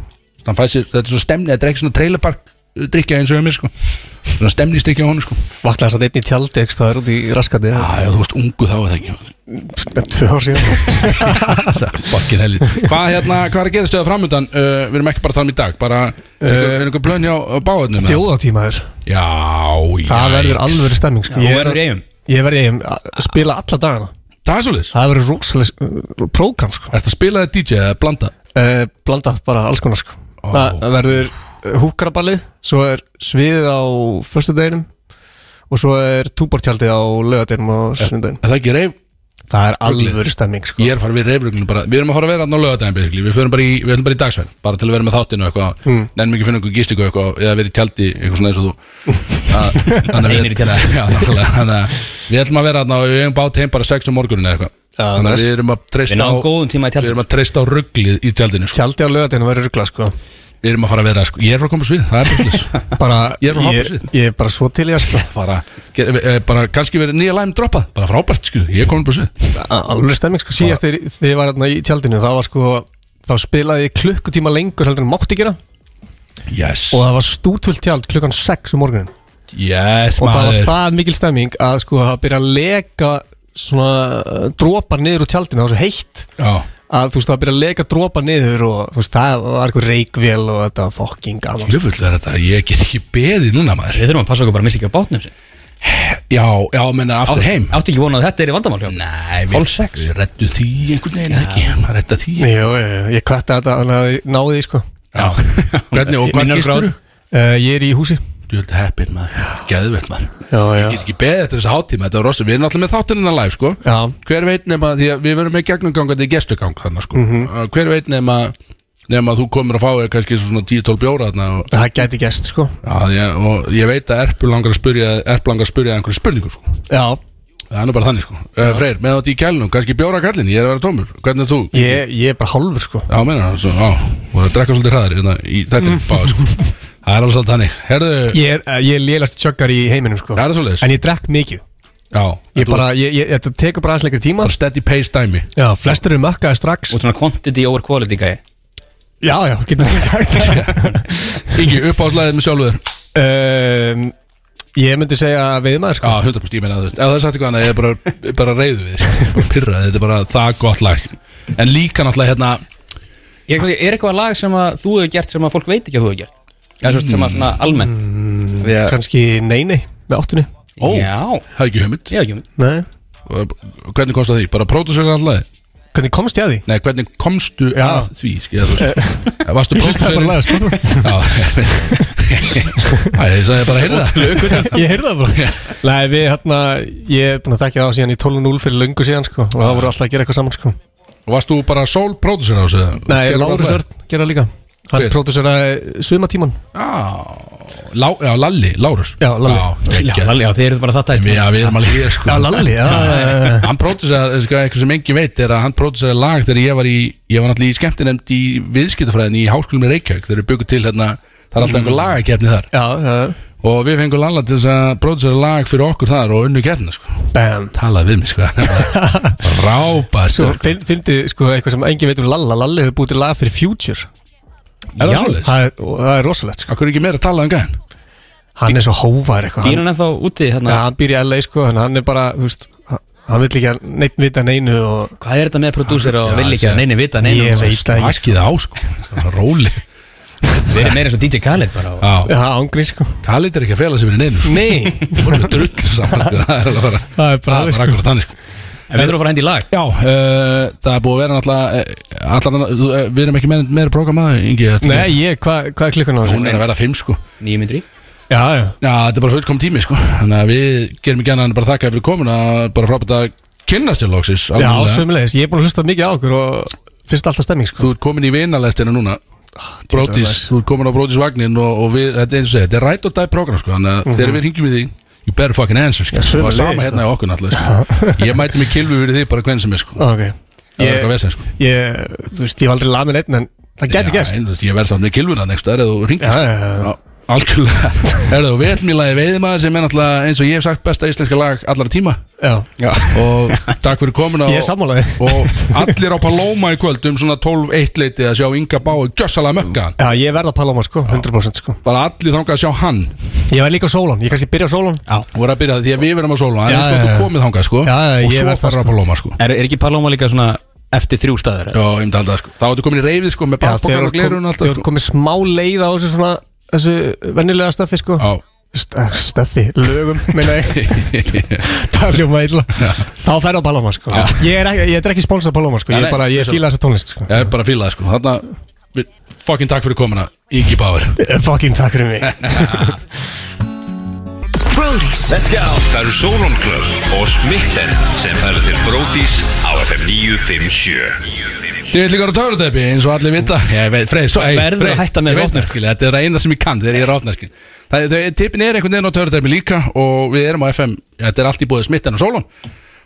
S2: Þannig fæ sér, þetta er svo stemni, þetta er ekki svona trailerpark drikja eins og hjá mér sko svona stemni á honum sko
S4: Vaknaði satt einn í tjaldi ekki staðar út í raskandi
S2: Já, já, þú veist ungu þá er það ekki
S4: Tvö ár síðan
S2: Fokkin helvið Hvað hérna, hvað er að gera stöða framöndan? Uh, við erum ekki bara að tala um í dag Bara, er einhver,
S4: Uh,
S2: er einhver plönni á báðunum?
S4: Þjóðatíma er
S2: Já, já
S4: Það verður alveg stemming sko.
S3: Já,
S4: Ég
S3: hún verður í
S4: verð-
S3: Eyjum.
S4: Ég verður eigum að spila alla dagana
S2: Það er svolítið
S4: Það verður rosalega prógram sko.
S2: Ertu að spila þið DJ eða blanda?
S4: uh, Blandað bara alls konar sko. Það það verður húkaraballið Svo er sviðið á Föstudeginum Og svo er túbortjaldið á lögadeginum og sunnudeginum
S2: Er það ekki reif?
S4: Það er alveg stemming sko.
S2: Ég er að fara við reifruglunum bara Við erum að fara að vera hann á lögadaginn basically. Við förum bara í, við erum bara í dagsverð Bara til að vera með þáttinu og eitthvað
S4: Hmm.
S2: mm. Nennum ekki að finna einhver gistingu og eitthvað Eða verið í tjaldi, eitthvað svona eins og þú Að- þannig að við-
S3: Einir í tjaldi.
S2: Já, nákvæmlega. Þannig að Við ætlum að vera hann og við erum bát heim bara 6 um morgunin eða eitthvað Þannig að við erum að
S3: við
S2: treysta á
S3: náðum góðum tíma í
S2: Við
S3: tjaldum
S2: erum að treysta á rugglið í tjaldinu sko.
S4: Tjaldi á lögadeginum verður ruggla sko.
S2: Við erum að fara að vera sko. Ég er frá að koma svið, það er búinlis
S4: bara,
S2: Ég er frá
S4: ég,
S2: Hafnarsvið.
S4: ég er bara svo til ég sko.
S2: bara, ge- eh, bara kannski verið nýja læm droppað Bara frábært, sko. ég er komin búin svið
S4: Al- Alveg stemming sko. Síðast þegar þegar ég var hérna í tjaldinu Þá, var, sko, þá spilaði ég klukkutíma lengur heldur en mátti gera
S2: Yes,
S4: Og það var stútvöld tjald klukkan 6 um morgunin
S2: yes
S4: og það var
S2: maður
S4: það mikil stemming að sko að byrja að leka svona uh, dropar niður úr tjaldinu það var svo heitt
S2: Já,
S4: að þú veist það var að byrja að leka dropar niður og þú veist það var eitthvað reikvél og þetta var fokking gaman sko.
S2: hljöfull er þetta Ég get ekki beðið núna maður
S3: við þurfum að passa okkur bara að missa ekki á bátnum sinn
S2: Já, já, menna aftur heim
S3: áttu ekki vonað að þetta er í vandamál hjá honum?
S2: Nei,
S3: Hálf
S2: við,
S3: sex.
S2: við rettum því einhvern veginn eða ekki Maður retta því
S4: Jú, jú, jú, ég kvætti þetta þannig að ég náði því sko
S2: Já, hvernig og hvað
S3: Minnar
S2: gistur þú?
S4: uh, Ég er í húsi
S2: Þú heldur heppin maður, geðvett maður
S4: Já, já,
S2: Ég get ekki beðið eftir þessa hátíma, þetta var rosa Við erum alltaf með þáttinina live, sko
S4: já,
S2: Hver veit nema, því að við verum með gegnumgangandi gestugang þannig, sko Uh, Hver veit nema, nema að þú komir að fá þér kannski svona 10-12 bjóra þarna og,
S4: það gæti gæst sko
S2: já, ég, og ég veit að Erpur langar að spyrja Erpur langar að spyrja einhverju spurningu, sko
S4: Já,
S2: Það er nú bara þannig, sko uh, Freyr, með þetta í kælunum, kannski bjóra kælin, ég er að vera tómur Hvernig er þú?
S4: ég, ég er bara hálfur sko
S2: Já, meina, svo, á, voru að drekka svolítið hraðar hérna, í þetta er báð, sko Það er alveg svolítið þannig, herðu
S4: Mm. Ég er, eh, ég er lélast tjöggar í heiminum sko
S2: Er það svoleiðis?
S4: En ég drekk mikið
S2: Já,
S4: Ég
S2: þú-
S4: bara, ég, ég, þetta tekur bara aðeins lengri tíma
S2: bara steady pace dæmi
S4: Já, flestir eru mökkaði strax
S3: og svona quantity over quality gæi
S4: Já, já, getur ekki sagt það
S3: Ehm,
S2: Ingi, uppáðslæðið með sjálfur
S4: um, Ég myndi segja
S2: Já,
S4: veiðmaður sko
S2: 100% ég meina þú veist Ef það er sagt eitthvað annað, ég er bara, ég er bara reyðu við sko. Ég er bara pyrrað, þetta er bara það gott lag En líka náttúrulega hérna
S3: Ég, er eitthvað lag sem að þú hefur gert sem að fólk veit ekki að þú hefur gert Já, svo, sem að svona
S2: Mm.
S3: almennt Því að,
S4: Kanski neini Mm, með áttunni
S2: Ó,
S3: já,
S2: hafði ekki hugmynd
S3: ég hef ekki um
S4: Nei
S2: Og Hvernig komst það því? Bara pródusur alltaf lagi?
S4: Hvernig komst ég að því?
S2: Nei, hvernig komstu
S4: Já.
S2: að því? Skilja, þú veist Eh, Varstu
S4: Ég hlustaði bara
S2: pródusur?
S4: að laga sko
S2: Já, Æ, ég sagði bara að heyrða það
S4: Ég heyrði það bara Nei, við hérna Ég er búin að þekka það síðan í 12.0 fyrir löngu síðan sko Og það voru alltaf að gera eitthvað saman sko
S2: Og varst þú bara sól pródusur á þessu?
S4: Nei,
S2: Gerðu
S4: Lárus
S2: bara það?
S4: Örn gera líka Hann
S2: Hver? Ah,
S4: próduseraði Sumatíman
S2: Já, Lá, já, Lalli, Lárus
S4: Já, Lalli.
S2: Já,
S3: Já, Lalli, já, þeir eru bara það tætt
S2: Já, við erum alveg hér sko
S4: Lalli, já
S2: Hann pródusera, sko, eitthvað sem engin veit er að hann pródusera lag þegar ég var í ég var náttúrulega í skemmtinemnd í viðskiptafræðin í háskólum í Reykjavík þegar við byggum til hérna það er alltaf einhver lagakefni þar
S4: Mm. Já, já
S2: og við fengum Lalla til þess að pródusera lag fyrir okkur þar og unnu kefni sko
S4: Bam
S2: talaði við mig sko rábært
S4: Svo
S2: sko.
S4: finn- fyndi sko eitthvað sem engin veit um Lalla Lalli hefur búið til lag fyrir Future
S2: er það svolítið?
S4: það er, og það er rosalegt sko
S2: Akkur er ekki meira að tala um gæðin?
S4: Hann er svo hóvar eitthvað
S3: Býr
S4: hann,
S3: hann ennþá úti,
S4: ja,
S3: hérna
S4: hann býr í LA sko en hann er bara þú veist hann- hann vill ekki að neitt vita neinu og
S3: Hvað er þetta með prodúsir og
S2: Já,
S3: vil ekki
S2: þessi-
S3: að neini vita neinu
S4: ég veit að ég sko
S2: Akið á sko Það er Róli
S3: Þeir eru meira eins og DJ Khaled bara og-
S2: Já,
S4: Já, ángrín sko
S2: Khalid er ekki að fela sig fyrir neinu sko.
S4: Nei
S2: Þú voru með drull saman sko. Það er alveg bara
S4: Það er bara
S2: Það er bara akkurat þannig sko
S3: En við þurfum að fara að hendi í lag
S2: Já, uh, það er búið að vera náttúrulega uh, allan, uh, Við erum ekki meira, meira prógramaði Ingi, þetta-
S4: Nei, ég, hvað hva er klukkan á þessu?
S2: hún er að vera fimm sko
S3: Nýjum myndri
S4: Já, já
S2: Já, þetta er bara fullkom tími sko Þannig að við gerum ekki annað en bara þakka ef við komin að bara frábært að kynnast til loksins
S4: Já,
S2: almennilega.
S4: sömulegis, ég er búin að hlusta mikið á okkur og finnst alltaf stemming sko
S2: Þú ert komin í vinalestina núna
S4: Ah,
S2: Brótis,
S4: næs.
S2: þú ert komin á Brótis vagnin og, og við, þetta er eins og segja, þetta er rætt og dæ program sko Þannig að
S4: Mhm.
S2: þegar við hingjum í því You better fucking answer sko Það var
S4: sömuleiðis,
S2: sama hérna í okkur náttúrulega sko. Ég mæti mig kilvi fyrir því bara hvern sem er sko
S4: Ok
S2: Það er eitthvað
S4: Ég,
S2: vesend sko
S4: ég, þú veist, ég hef aldrei lað með neitt en það
S2: Já,
S4: gæti gerst
S2: en þú veist, Ég verð samt með kilvuna hérna next Það er þú ringir
S4: Já, já, já
S2: Algjörlega Herðu, við ætlum í lagi veiðimaður sem er náttúrulega eins og ég hef sagt besta íslenska lag allara tíma
S4: Já,
S2: og takk fyrir komin á
S4: ég er sammálaði
S2: og allir á Paloma í kvöld um svona 12-1 leiti að sjá Inga Báu gjössalega mökka hann
S4: Já, ég verða að Paloma sko, 100% sko
S2: bara allir þangað að sjá hann
S4: Ég verð líka á Sólon, ég kannski byrja á Sólon
S2: voru að byrja það því að við verðum að sóla hann
S4: Já,
S2: er sko
S4: já, já.
S2: þú komið þangað sko
S4: Já, já,
S2: og
S4: ég
S2: svo
S4: verð það,
S2: ferður á
S4: sko.
S2: Paloma sko
S3: Er, er ekki Paloma líka svona eftir þrjú staðar?
S2: Já, ég myndi alltaf sko. Þá ertu komin í reyfið sko með
S4: Já, þegar
S2: bakbókar og
S4: þú
S2: glerun
S4: ert
S2: alltaf
S4: kom,
S2: sko.
S4: komið smá leið á þessu svona þessu vennilega staffi sko
S2: Já
S4: St- Staffi, lögum, minna ég Það er hljóma illa Þá færðu á Paloma sko Ég er ekki, ég er ekki sponsor af Paloma sko Ég
S2: Nei,
S4: er bara, ég
S2: vissulega.
S4: fíla þessa tónlist sko
S2: Ég er bara að fíla það sko Þarna við- Fucking takk fyrir komina Ingi Báur
S4: Eh, Fucking takk fyrir mig
S9: Brody's
S5: Það eru Sólon Club og Smitten sem færa til Brótis á FM 957
S2: Þið veit líka að törutæpi eins og allir vita Ég veit, Freyr, svo, ei,
S3: Verður að
S2: Freyr,
S3: hætta með
S2: ég veit það,
S3: rotnarkil.
S2: skilja, Þetta er það eina sem ég kann þegar ég er rotnarskil Það er, tippin er einhvern veginn á törutæpi líka Og við erum á FM, þetta er allt í búið smitten og sólun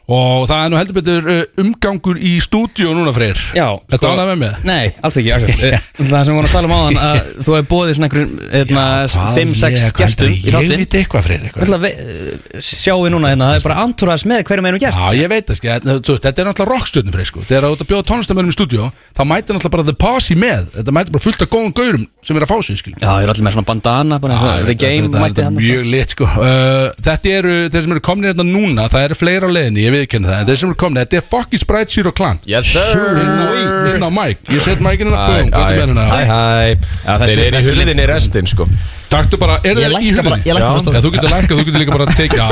S2: Og það er nú heldur betur uh, umgangur í stúdíu núna, Freyr Þetta sko, ánaði með mig
S3: Nei, alls ekki, alls ekki. Eh, Það sem við vorum að tala um áðan að þú hefur bóðið svona einhverjum hérna,
S2: Hvað
S3: 5-6
S2: ég- hvað heldur
S3: gestum í
S2: Ég
S3: þáttinn
S2: veit eitthvað, Freyr,
S3: Við
S2: eitthvað
S3: ætlum að ve- sjáum við núna hérna, það er bara antúraðs með hverjum erum gest
S2: Já, ég veit það, skilja, þetta þú veist, þetta er náttúrulega rockstjörnum Freyr, sko Þegar þú ert að bjóða tónlistamönnum í stúdíu þá mætir náttúrulega bara the posse með Þetta mætir bara fullt af góðum gaurum sem er að fá sig, skilja
S3: Já, ég er allir með svona bandana bara,
S2: Já,
S3: ah, The
S2: þetta-
S3: Game
S2: þetta-
S3: mætti
S2: þetta er
S3: hann
S2: Mjög lit sko uh, Þetta eru, þeir sem eru komnir hérna núna Það eru fleira á leiðinni, ég viðkenni það En þeir sem eru komnir, þetta er fucking Sprite Zero Clan
S10: Yes sir
S2: Inn á- inn á mic, ég set micinn hérna Bum, hvað er með
S10: Æ,
S2: hérna?
S10: æ
S3: Já, þessi-
S10: Þeir eru í
S3: þessi-
S10: hullinni restin sko
S2: Taktu bara, eru
S3: Ég
S2: þeir í
S3: lækka bara- ég
S2: hulunni?
S3: lækka bara
S2: Já,
S3: stofn.
S2: þú getur lækka, þú getur líka bara að teka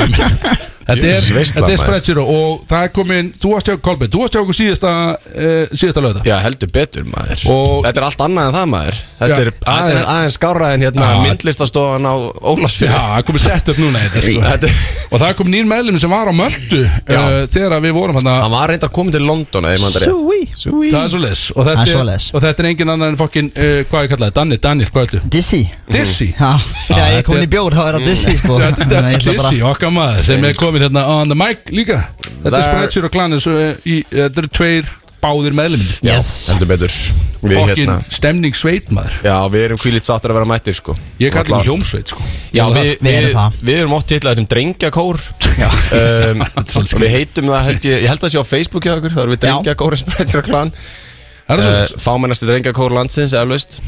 S2: af Þetta er,
S10: Jesus, veistla,
S2: þetta er
S10: maður.
S2: Sprite Zero Og það er komin, þú varst hjá Kolbeinn Þú varst hjá okkur síðasta, uh, síðasta lögða
S10: Já, heldur betur maður
S2: Og-
S10: Þetta er allt annað en það maður Þetta
S2: Já.
S10: er aðeins, aðeins skárra en hérna
S2: Já.
S10: myndlistastofan á
S2: Já,
S10: Ólafsfjörð
S2: það er komið sett upp núna þetta, sko.
S10: Þetta er
S2: Og það kom nýr meðlum sem var á Möldu uh,
S10: Já.
S2: Þegar að við vorum hann
S10: Hann var reyndar komin til London eða ég maður rétt
S4: Sweet
S2: Það er svo les og
S11: Það er
S2: þetta er,
S11: svoleiðis.
S2: og þetta er engin annar en fokkin uh, Hvað ég kallaði, Danni, Danni, hvað heldur
S11: Dizzy
S2: Dizzy
S11: Já, þegar ég er komin í bjór þá er það Dizzy sko Þannig að ég
S2: Já, Mm. Þetta er
S11: ætla bara-
S2: Dizzy, okkar maður sem er komin hérna on the mic líka Þetta er
S10: Það er-
S2: Spretsur og Klanis og í, þetta eru tveir báðir meðluminn
S10: Já,
S11: Yes.
S10: heldur betur Við
S2: Fokkin
S10: hérna
S2: stemning sveit maður
S10: Já, við erum kvílít sáttir að vera mættir sko
S2: Ég kallar
S10: Alla-
S2: það hjómsveit sko
S10: Já, við,
S11: Við
S10: við,
S11: erum það.
S10: við erum ótt hitlað þessum drengjakór
S2: Já.
S10: um,
S2: Svolítið
S10: Við heitum það, held ég, ég held það sé á Facebooki okkur Það erum við drengjakórin sem breytir á klan
S2: Það er svo
S10: uh,
S2: les
S10: Fámennasti drengjakór landsins, eflaust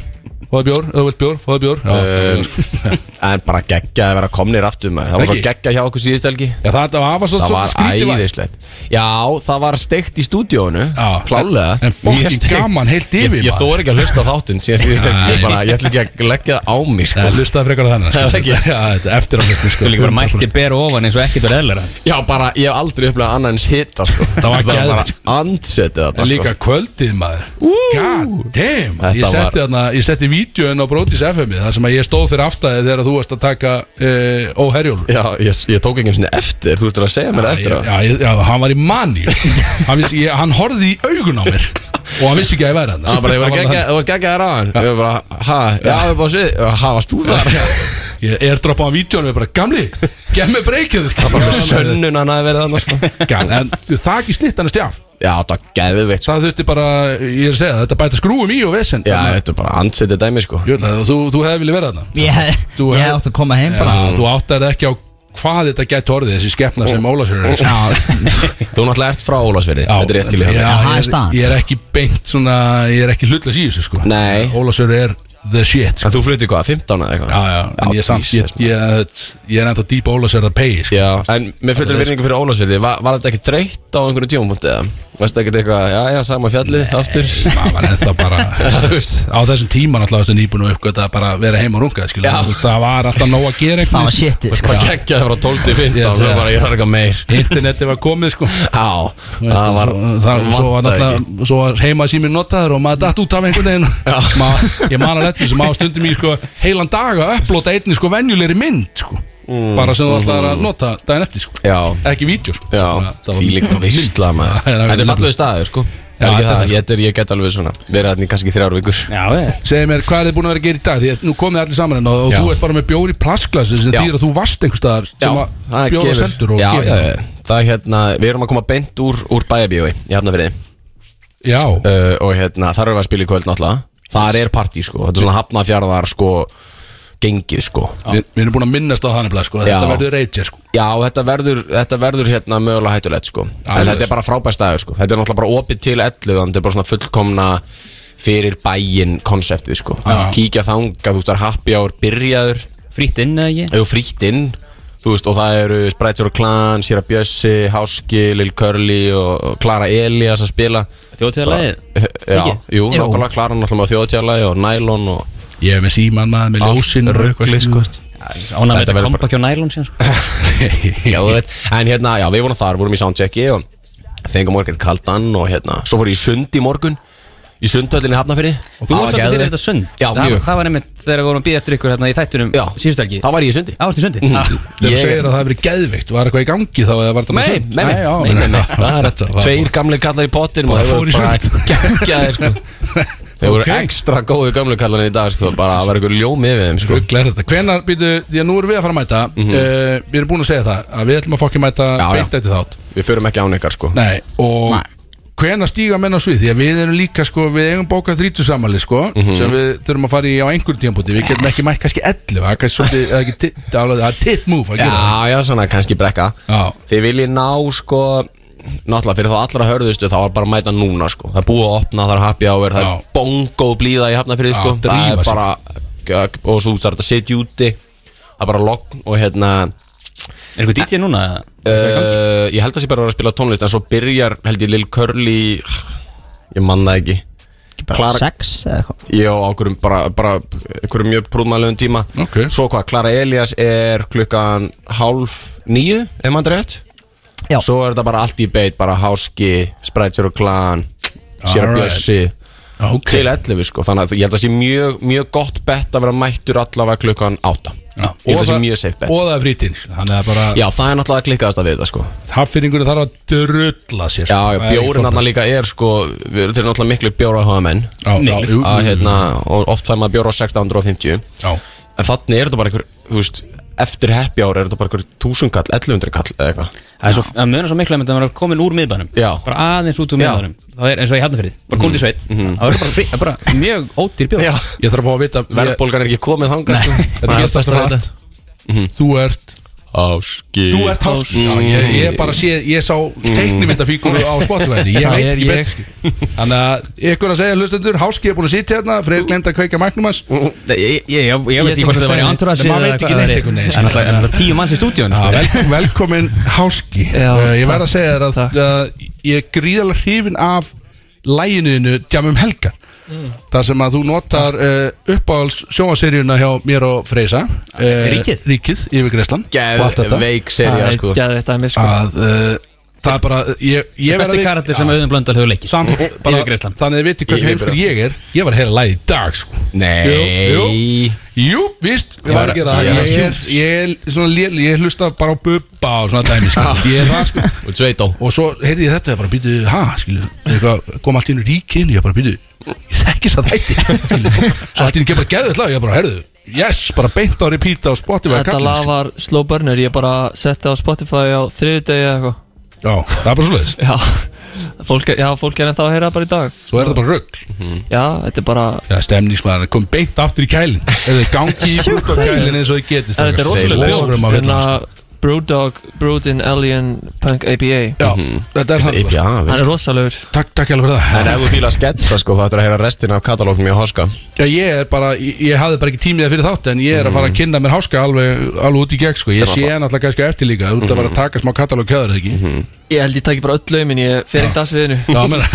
S2: Fáðu bjór, ef þú vilt bjór, fáðu bjór
S10: Um, En bara geggja að vera komnir aftur maður Það var svo
S2: Ekki?
S10: geggja hjá okkur síðust helgi
S2: Já, það, það var svo-
S10: Það
S2: svo
S10: var
S2: skrítið væp.
S10: æðislegt Já, það var steikt í stúdíónu Klálega
S2: en- en fucking
S10: Mjög steikt.
S2: gaman heilt yfir,
S10: Ég, ég
S2: maður.
S10: þóri ekki að hlusta á þáttinn síðan síðust helgi Ég bara, ég ætla ekki að leggja það á mig sko.
S2: Nei, hlustaði frekar á þennan, sko.
S10: Það er ekki
S2: Já, þetta er eftir á hlustu sko.
S10: Þú líka bara mættir
S3: bera ofan eins og ekkert var eðlera
S10: Já, bara, ég hef aldrei upplegað annað eins hita sko.
S2: Það var
S10: bara
S2: geðveikt,
S10: andsetið sko. þetta
S2: En líka kvöldið maður God damn
S10: Þetta
S2: Ég setti,
S10: var-
S2: þarna, ég setti vídjóin á Brótis FM -ið, Það sem að ég stóð fyrir aftæði þegar þú varst að taka uh, óherjólfur
S10: Já, ég, ég tók ekki einu sinni eftir, þú ert að segja mér eftir
S2: ég, já, ég, já, hann var í manni hann, vissi- ég- hann horfði í augun á mér Og hann vissi ekki að ég væri hann
S10: Það var bara, ég var geggja, þú varst geggja þér á hann Ég var bara, ha, já, ég var bara svið Ha, varst þú þar?
S2: Ég er droppað á vídjóin og ég bara Gamli, gef mér breykið Það
S10: Bara með sönnun hann hafi verið þarna sko.
S2: En það ekki slitt hann að stjaf
S10: Já, það er geðveikt sko.
S2: Það þurfti bara, ég er að segja, þetta bæta skrúum í og vesend
S10: Já, þetta er bara andsetið dæmi sko.
S2: Ég ætla að þú, þú hefði viljað vera þarna
S11: Ég
S2: Þú
S11: ég átti að koma heim bara
S2: Já, þú áttar ekki á hvað þetta gæti orðið þessi skepna sem Ólasjörður er Já,
S10: Þú náttúrulega ert frá Ólafsverði
S2: já,
S10: Þetta er ég skilja
S2: já,
S10: hann
S11: það er
S2: ég,
S11: staðan.
S2: ég er ekki beint svona, ég er ekki hlutlega síðustu sko
S10: Nei.
S2: Ólasjörður er the shit sko.
S10: En þú flyttir hvað, 15 eða eitthvað?
S2: Já, já, en ég, samt, ég,
S10: Jesus, maður.
S2: ég, ég er enda dýpa Ólasjörður að pegi sko.
S10: Já, en með fullur virðingu fyrir Ólafsverði var, var þetta ekki dreitt á einhverju tímapunkti eða? Varst þetta ekki eitthvað, já, já, sama fjallið, aftur
S2: maður var ennþá bara þú veist, á þessum tíma náttúrulega þetta nýbúin og uppgöta að bara vera heima og runga skilur.
S10: Já.
S2: Þú veist, það var alltaf nóg að gera
S11: Það var shitið, sko.
S10: Bara geggja það frá 12 til 15
S2: Ég
S10: yes,
S2: segi
S10: Svo
S2: það.
S10: bara, ég þarf eitthvað meir
S2: interneti var komið sko
S10: Já, það var
S2: það, svo var
S10: vantaði ekki.
S2: náttúrulega svo var heima síminn notaður og maður datt út af einhvern veginn Ma, ég man alveg eftir sem á stundum í sko, heilan dag að upplota einni sko venjulegri mynd sko. bara sem þú ætlar að nota daginn eftir sko.
S10: Mm. Mm-hmm. Já.
S2: ekki vídeo sko.
S10: Já,
S2: Bara, það var-
S10: fíling og
S2: mynd,
S10: veistla
S2: sko.
S10: maður
S2: Það
S10: Þetta er
S2: var-
S10: fallegu staður, sko
S2: Já,
S10: Já,
S2: þetta er
S10: ég, þetta er, ég get alveg svona Verið þarna í kannski þrjár vikur
S3: Já, ég
S2: Segðu mér, hvað er þið búin að vera að gera í dag? Því að nú komið allir saman hérna og, og
S10: Já.
S2: þú ert bara með bjór í plastglasi sem
S10: Já.
S2: þýðir að þú varst einhvers staðar sem
S10: Já, það
S2: að
S10: er
S2: bjóra
S10: gefur.
S2: sendur og
S10: já,
S2: gefur.
S10: já, já, það er hérna, við erum að koma beint úr, úr bæjabíói í Hafnafriði
S2: já.
S10: uh, og hérna, þar erum við að spila í kvöld náttúrulega þar er partí sko, þetta er svona Hafnafjarðar sko, gengið sko
S2: Við, við erum búin að minnast á þannig blað sko. Þetta
S10: Já.
S2: verður reytja sko.
S10: Já, þetta verður, þetta verður hérna mögulega hættulegt sko En
S2: svoleiðis.
S10: þetta er bara frábær staður sko Þetta er náttúrulega bara opið til 11 Þannig þetta er bara svona fullkomna fyrir bæinn konseptið sko Kíkja þangað, þú veist, það er happy hour byrjaður
S3: Frýtt inn eða ekki
S10: Eða frítt inn Þú veist, og það eru Spreitsur og Klan, Sýra Bjössi, Háski, Lil Curly og Klara Elias að spila
S3: Þjóðtíðarlagið?
S10: Já,
S3: Ekki?
S10: jú,
S3: Jú.
S10: nákvæmlega Klara náttúrulega með þjóðtjálagi og Nylon og
S2: Ég er með síman maður með
S10: Allt
S2: ljósin
S10: ruglið, sko.
S3: Ánægð með
S10: Þetta
S3: þetta
S10: verður
S3: kompakk á nælón síðan sko.
S10: já, þú veit En hérna, já, við vorum þar, vorum í soundchecki og fengum morgun kaldan og hérna Svo fór ég í sund í morgun Í sundhöllinni hafnafyrir
S3: Þú varst alltaf fyrir þetta sund
S10: Já,
S3: það,
S10: mjög
S3: það var einmitt þegar við vorum að býða eftir ykkur hérna í þættunum
S10: Já,
S3: síðustu helgi
S10: Það var ég í sundi
S3: Það varst í sundi
S2: Þegar þú
S10: Ég-
S2: segir að það hefur verið geðveikt, var eitthvað í gangi þá eða var það
S10: Nei, nei, nei,
S2: já,
S10: nei, nei, nei, það er þetta Tveir gamli kallar í pottinum
S2: Bara
S10: og þeir voru
S2: fór í
S10: bara geggjaðir, sko. Þeir voru
S2: Ok.
S10: ekstra góðu gamli kallarni í dag sko, bara að vera ykkur ljómi yfir þeim sko. Mhm.
S2: Ruggla er þetta Hvenar, býtu, því að nú erum við að fara að mæta uh, Við erum búin að segja það að við ætlum að fokki mæta
S10: Já, já.
S2: beint eftir þátt
S10: Við förum ekki án ykkar sko.
S2: Nei, og hvenar stíga menn á svið Því að við erum líka, sko, við eigum bókað 30 samali, sko
S10: Mhm.
S2: Sem við þurfum að fara í á einhverjum tímpúti Við getum ekki mætt kannski 11 Það er kannski svolítið, það er ekki tit- það er alveg- það er tit move að
S10: Já,
S2: gera það.
S10: já, svona kannski brekka
S2: Já.
S10: Þið viljið ná sko Náttúrulega fyrir þá allra hörðustu þá var bara að mæta núna sko Það er búið að opna, það er happy hour, það
S2: Já.
S10: er bongo blíða í hafnafyrði sko Það
S2: drífa
S10: er
S2: sig.
S10: bara, og svo þarf þetta að sitja úti Það er bara logn og hérna
S3: Er ykkur DJ núna?
S10: uh, Ég held að sé bara að vera að spila tónlist En svo byrjar held ég Lil Curly Ég man það ekki Klara-
S11: Sex eða eitthvað
S10: Ég á einhverjum bara, bara einhverjum mjög prúðmæluðum tíma
S2: Ok.
S10: Svo hvað, Klara Elias er klukkan hálf nýju, ef maður rétt
S11: Já.
S10: Svo er þetta bara allt í beit, bara Háski, Spreitser og Klan Sér
S2: Alright.
S10: að Bjössi
S2: Já, ok
S10: Til 11 sko, þannig að ég held að sé mjög, mjög gott bett að vera mættur allavega klukkan 8
S2: Já,
S10: Ég held
S2: Ah. og
S10: að sé
S2: það-
S10: mjög safe bett
S2: Og það er frítinn, sko, þannig að bara
S10: Já, það er náttúrulega klikkaðast að við þetta sko
S2: Haffinningur þarf að drulla sér sko.
S10: Já,
S2: Það
S10: já,
S2: er ekki
S10: bjórin
S2: fornað.
S10: þarna líka er sko Við erum til náttúrulega miklu bjóra að hafa menn
S2: Já, já, jú, jú,
S10: að, hérna, og Oft fær maður bjóra á 1650
S2: Já,
S10: En þannig er þetta bara einhver, þú veist Eftir happy hour er þetta bara einhver túsunkall 1100 kall eða eitthvað
S3: Það er svo, það munar svo miklu um að maður er komin úr miðbænum
S10: Já.
S3: Bara aðeins út úr miðbænum Það er eins og ég hafna fyrir Bara
S2: Mhm.
S3: komið í sveit
S10: Mhm.
S3: Það verður bara, frí- það er bara mjög ódýr bjóð
S2: ég þarf að fá að vita ég-
S10: Verðbólgan er ekki komið þangað sko.
S2: Þetta
S10: Það er
S2: gerist
S10: alltaf
S2: strax
S10: strax
S2: Þú ert
S10: Áskil Mhm.
S2: Þú ert háskil ég, ég bara sé, ég sá teiknumyndafíkuru á Spotify Ég
S10: Já,
S2: veit
S10: ég-
S2: ekki betur sko. Þannig að ykkur að segja hlustendur Háski er búin að sitja hérna Freyr glemt að kveika magnum hans
S3: Mhm. Ég, ég, ég, ég veist ekki hvort það var í andrasi
S2: Maður veit ekki neitt einhvern veginn,
S3: Það er
S2: skilur.
S3: náttúrulega- náttúrulega tíu manns í stúdíun
S2: Já, vel, velkomin Háski
S3: Já,
S2: uh, Ég verð
S3: takk,
S2: að segja þér að uh, ég er gríðalega hrifin af læginuðinu Djamum um Helgar
S9: Mm.
S2: þar sem að þú notar uh, uppáhalds sjónvaseríuna hjá mér og Freysa
S3: Ah,
S2: uh,
S10: Ríkið?
S2: Ríkið, yfir Greisland
S10: Geð- veik sería, Það er sko. geðveikt dæmi, sko.
S2: að, uh, Það er bara ég, ég verð
S3: Það er
S2: að
S3: besti
S2: vit-
S3: karakter
S2: Já.
S3: sem auðvitað blöndal hefur leikið
S2: Samt- bara-
S3: Yfir Grænland.
S2: Þannig að þið viti hversu
S3: Yfir
S2: heimskur
S3: Grænland.
S2: ég er Ég var að heyra lagið í dag sko
S10: Nei.
S2: Jú, jú, jú víst Ég var að gera það Ég er, ég er svona lél Ég hlusta bara á bubba og svona dæmi sko Ég er það sko
S10: Og tveit á
S2: Og svo heyrði ég þetta Ég bara býtið Ha, skilu eitthvað, Kom allt inn í ríkinu Ég bara býtið Ég þekki það þætti skilu. Svo allt inn í bara geðið lag Ég bara, herðu Yes, bara beint á repeat á Spotify
S12: Þetta
S2: kallinn,
S12: lag
S2: sko.
S12: var slow burner Ég bara setti á Spotify á þriðudegi eða eitthvað
S2: Já, það er bara svoleiðis
S12: Já, fólk, já, fólk er ennþá að heyra það bara í dag
S2: Svo er þetta bara rugg
S12: Já, þetta er bara
S2: Já, stemningsmaður Kom beint aftur í kælin Eða gangi í brútt á kælin eins og þið getist
S12: En þetta er rosalega bjór
S2: Órum á
S12: Hérna
S2: villan, sko.
S12: Brewdog, Brewed in Alien Punk APA
S2: Já, þetta er það
S10: APA,
S12: Hann er rosalegur
S2: Takk, takk alveg fyrir
S10: En ef þú fíla sketsa sko, þá ættir að heyra restina af katalógum í Háska
S2: Já, ég er bara, ég, ég hafði bara ekki tímið fyrir þátt En ég er að fara að kynna mér háska alveg, alveg út í gegn sko. Ég
S10: Þetta er
S2: sé hann alltaf kannski á eftir líka Þú ert að fara að taka smá katalóg kjöður, eða ekki?
S12: Ég held ég taki bara öll lögmin Ég fer ekki að sviðinu
S2: Já, meina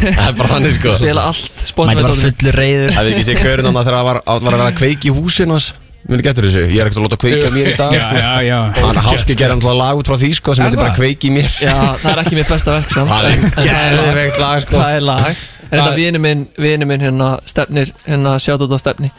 S10: Það er bara þannig sko
S12: Spila allt Spotify
S10: Það við ekki séð gaurinn hann þegar það var, var að vera að kveiki í húsin hans Mér ekki eftir þessu, ég er ekkert að láta kveiki á mér í dag
S12: Já,
S10: sko.
S12: já, já.
S10: Hann háski gerði hann lag út frá því sko, sem
S12: Er
S10: heitir bara
S12: það?
S10: kveiki í mér
S12: Já, það er ekki mitt besta verk samt.
S10: Það er
S12: En
S10: geðveikt lag, sko.
S12: Það er lag En þetta
S10: Það-
S12: vinu minn, vinu minn hérna Stefnir, hérna sjátt á Stefni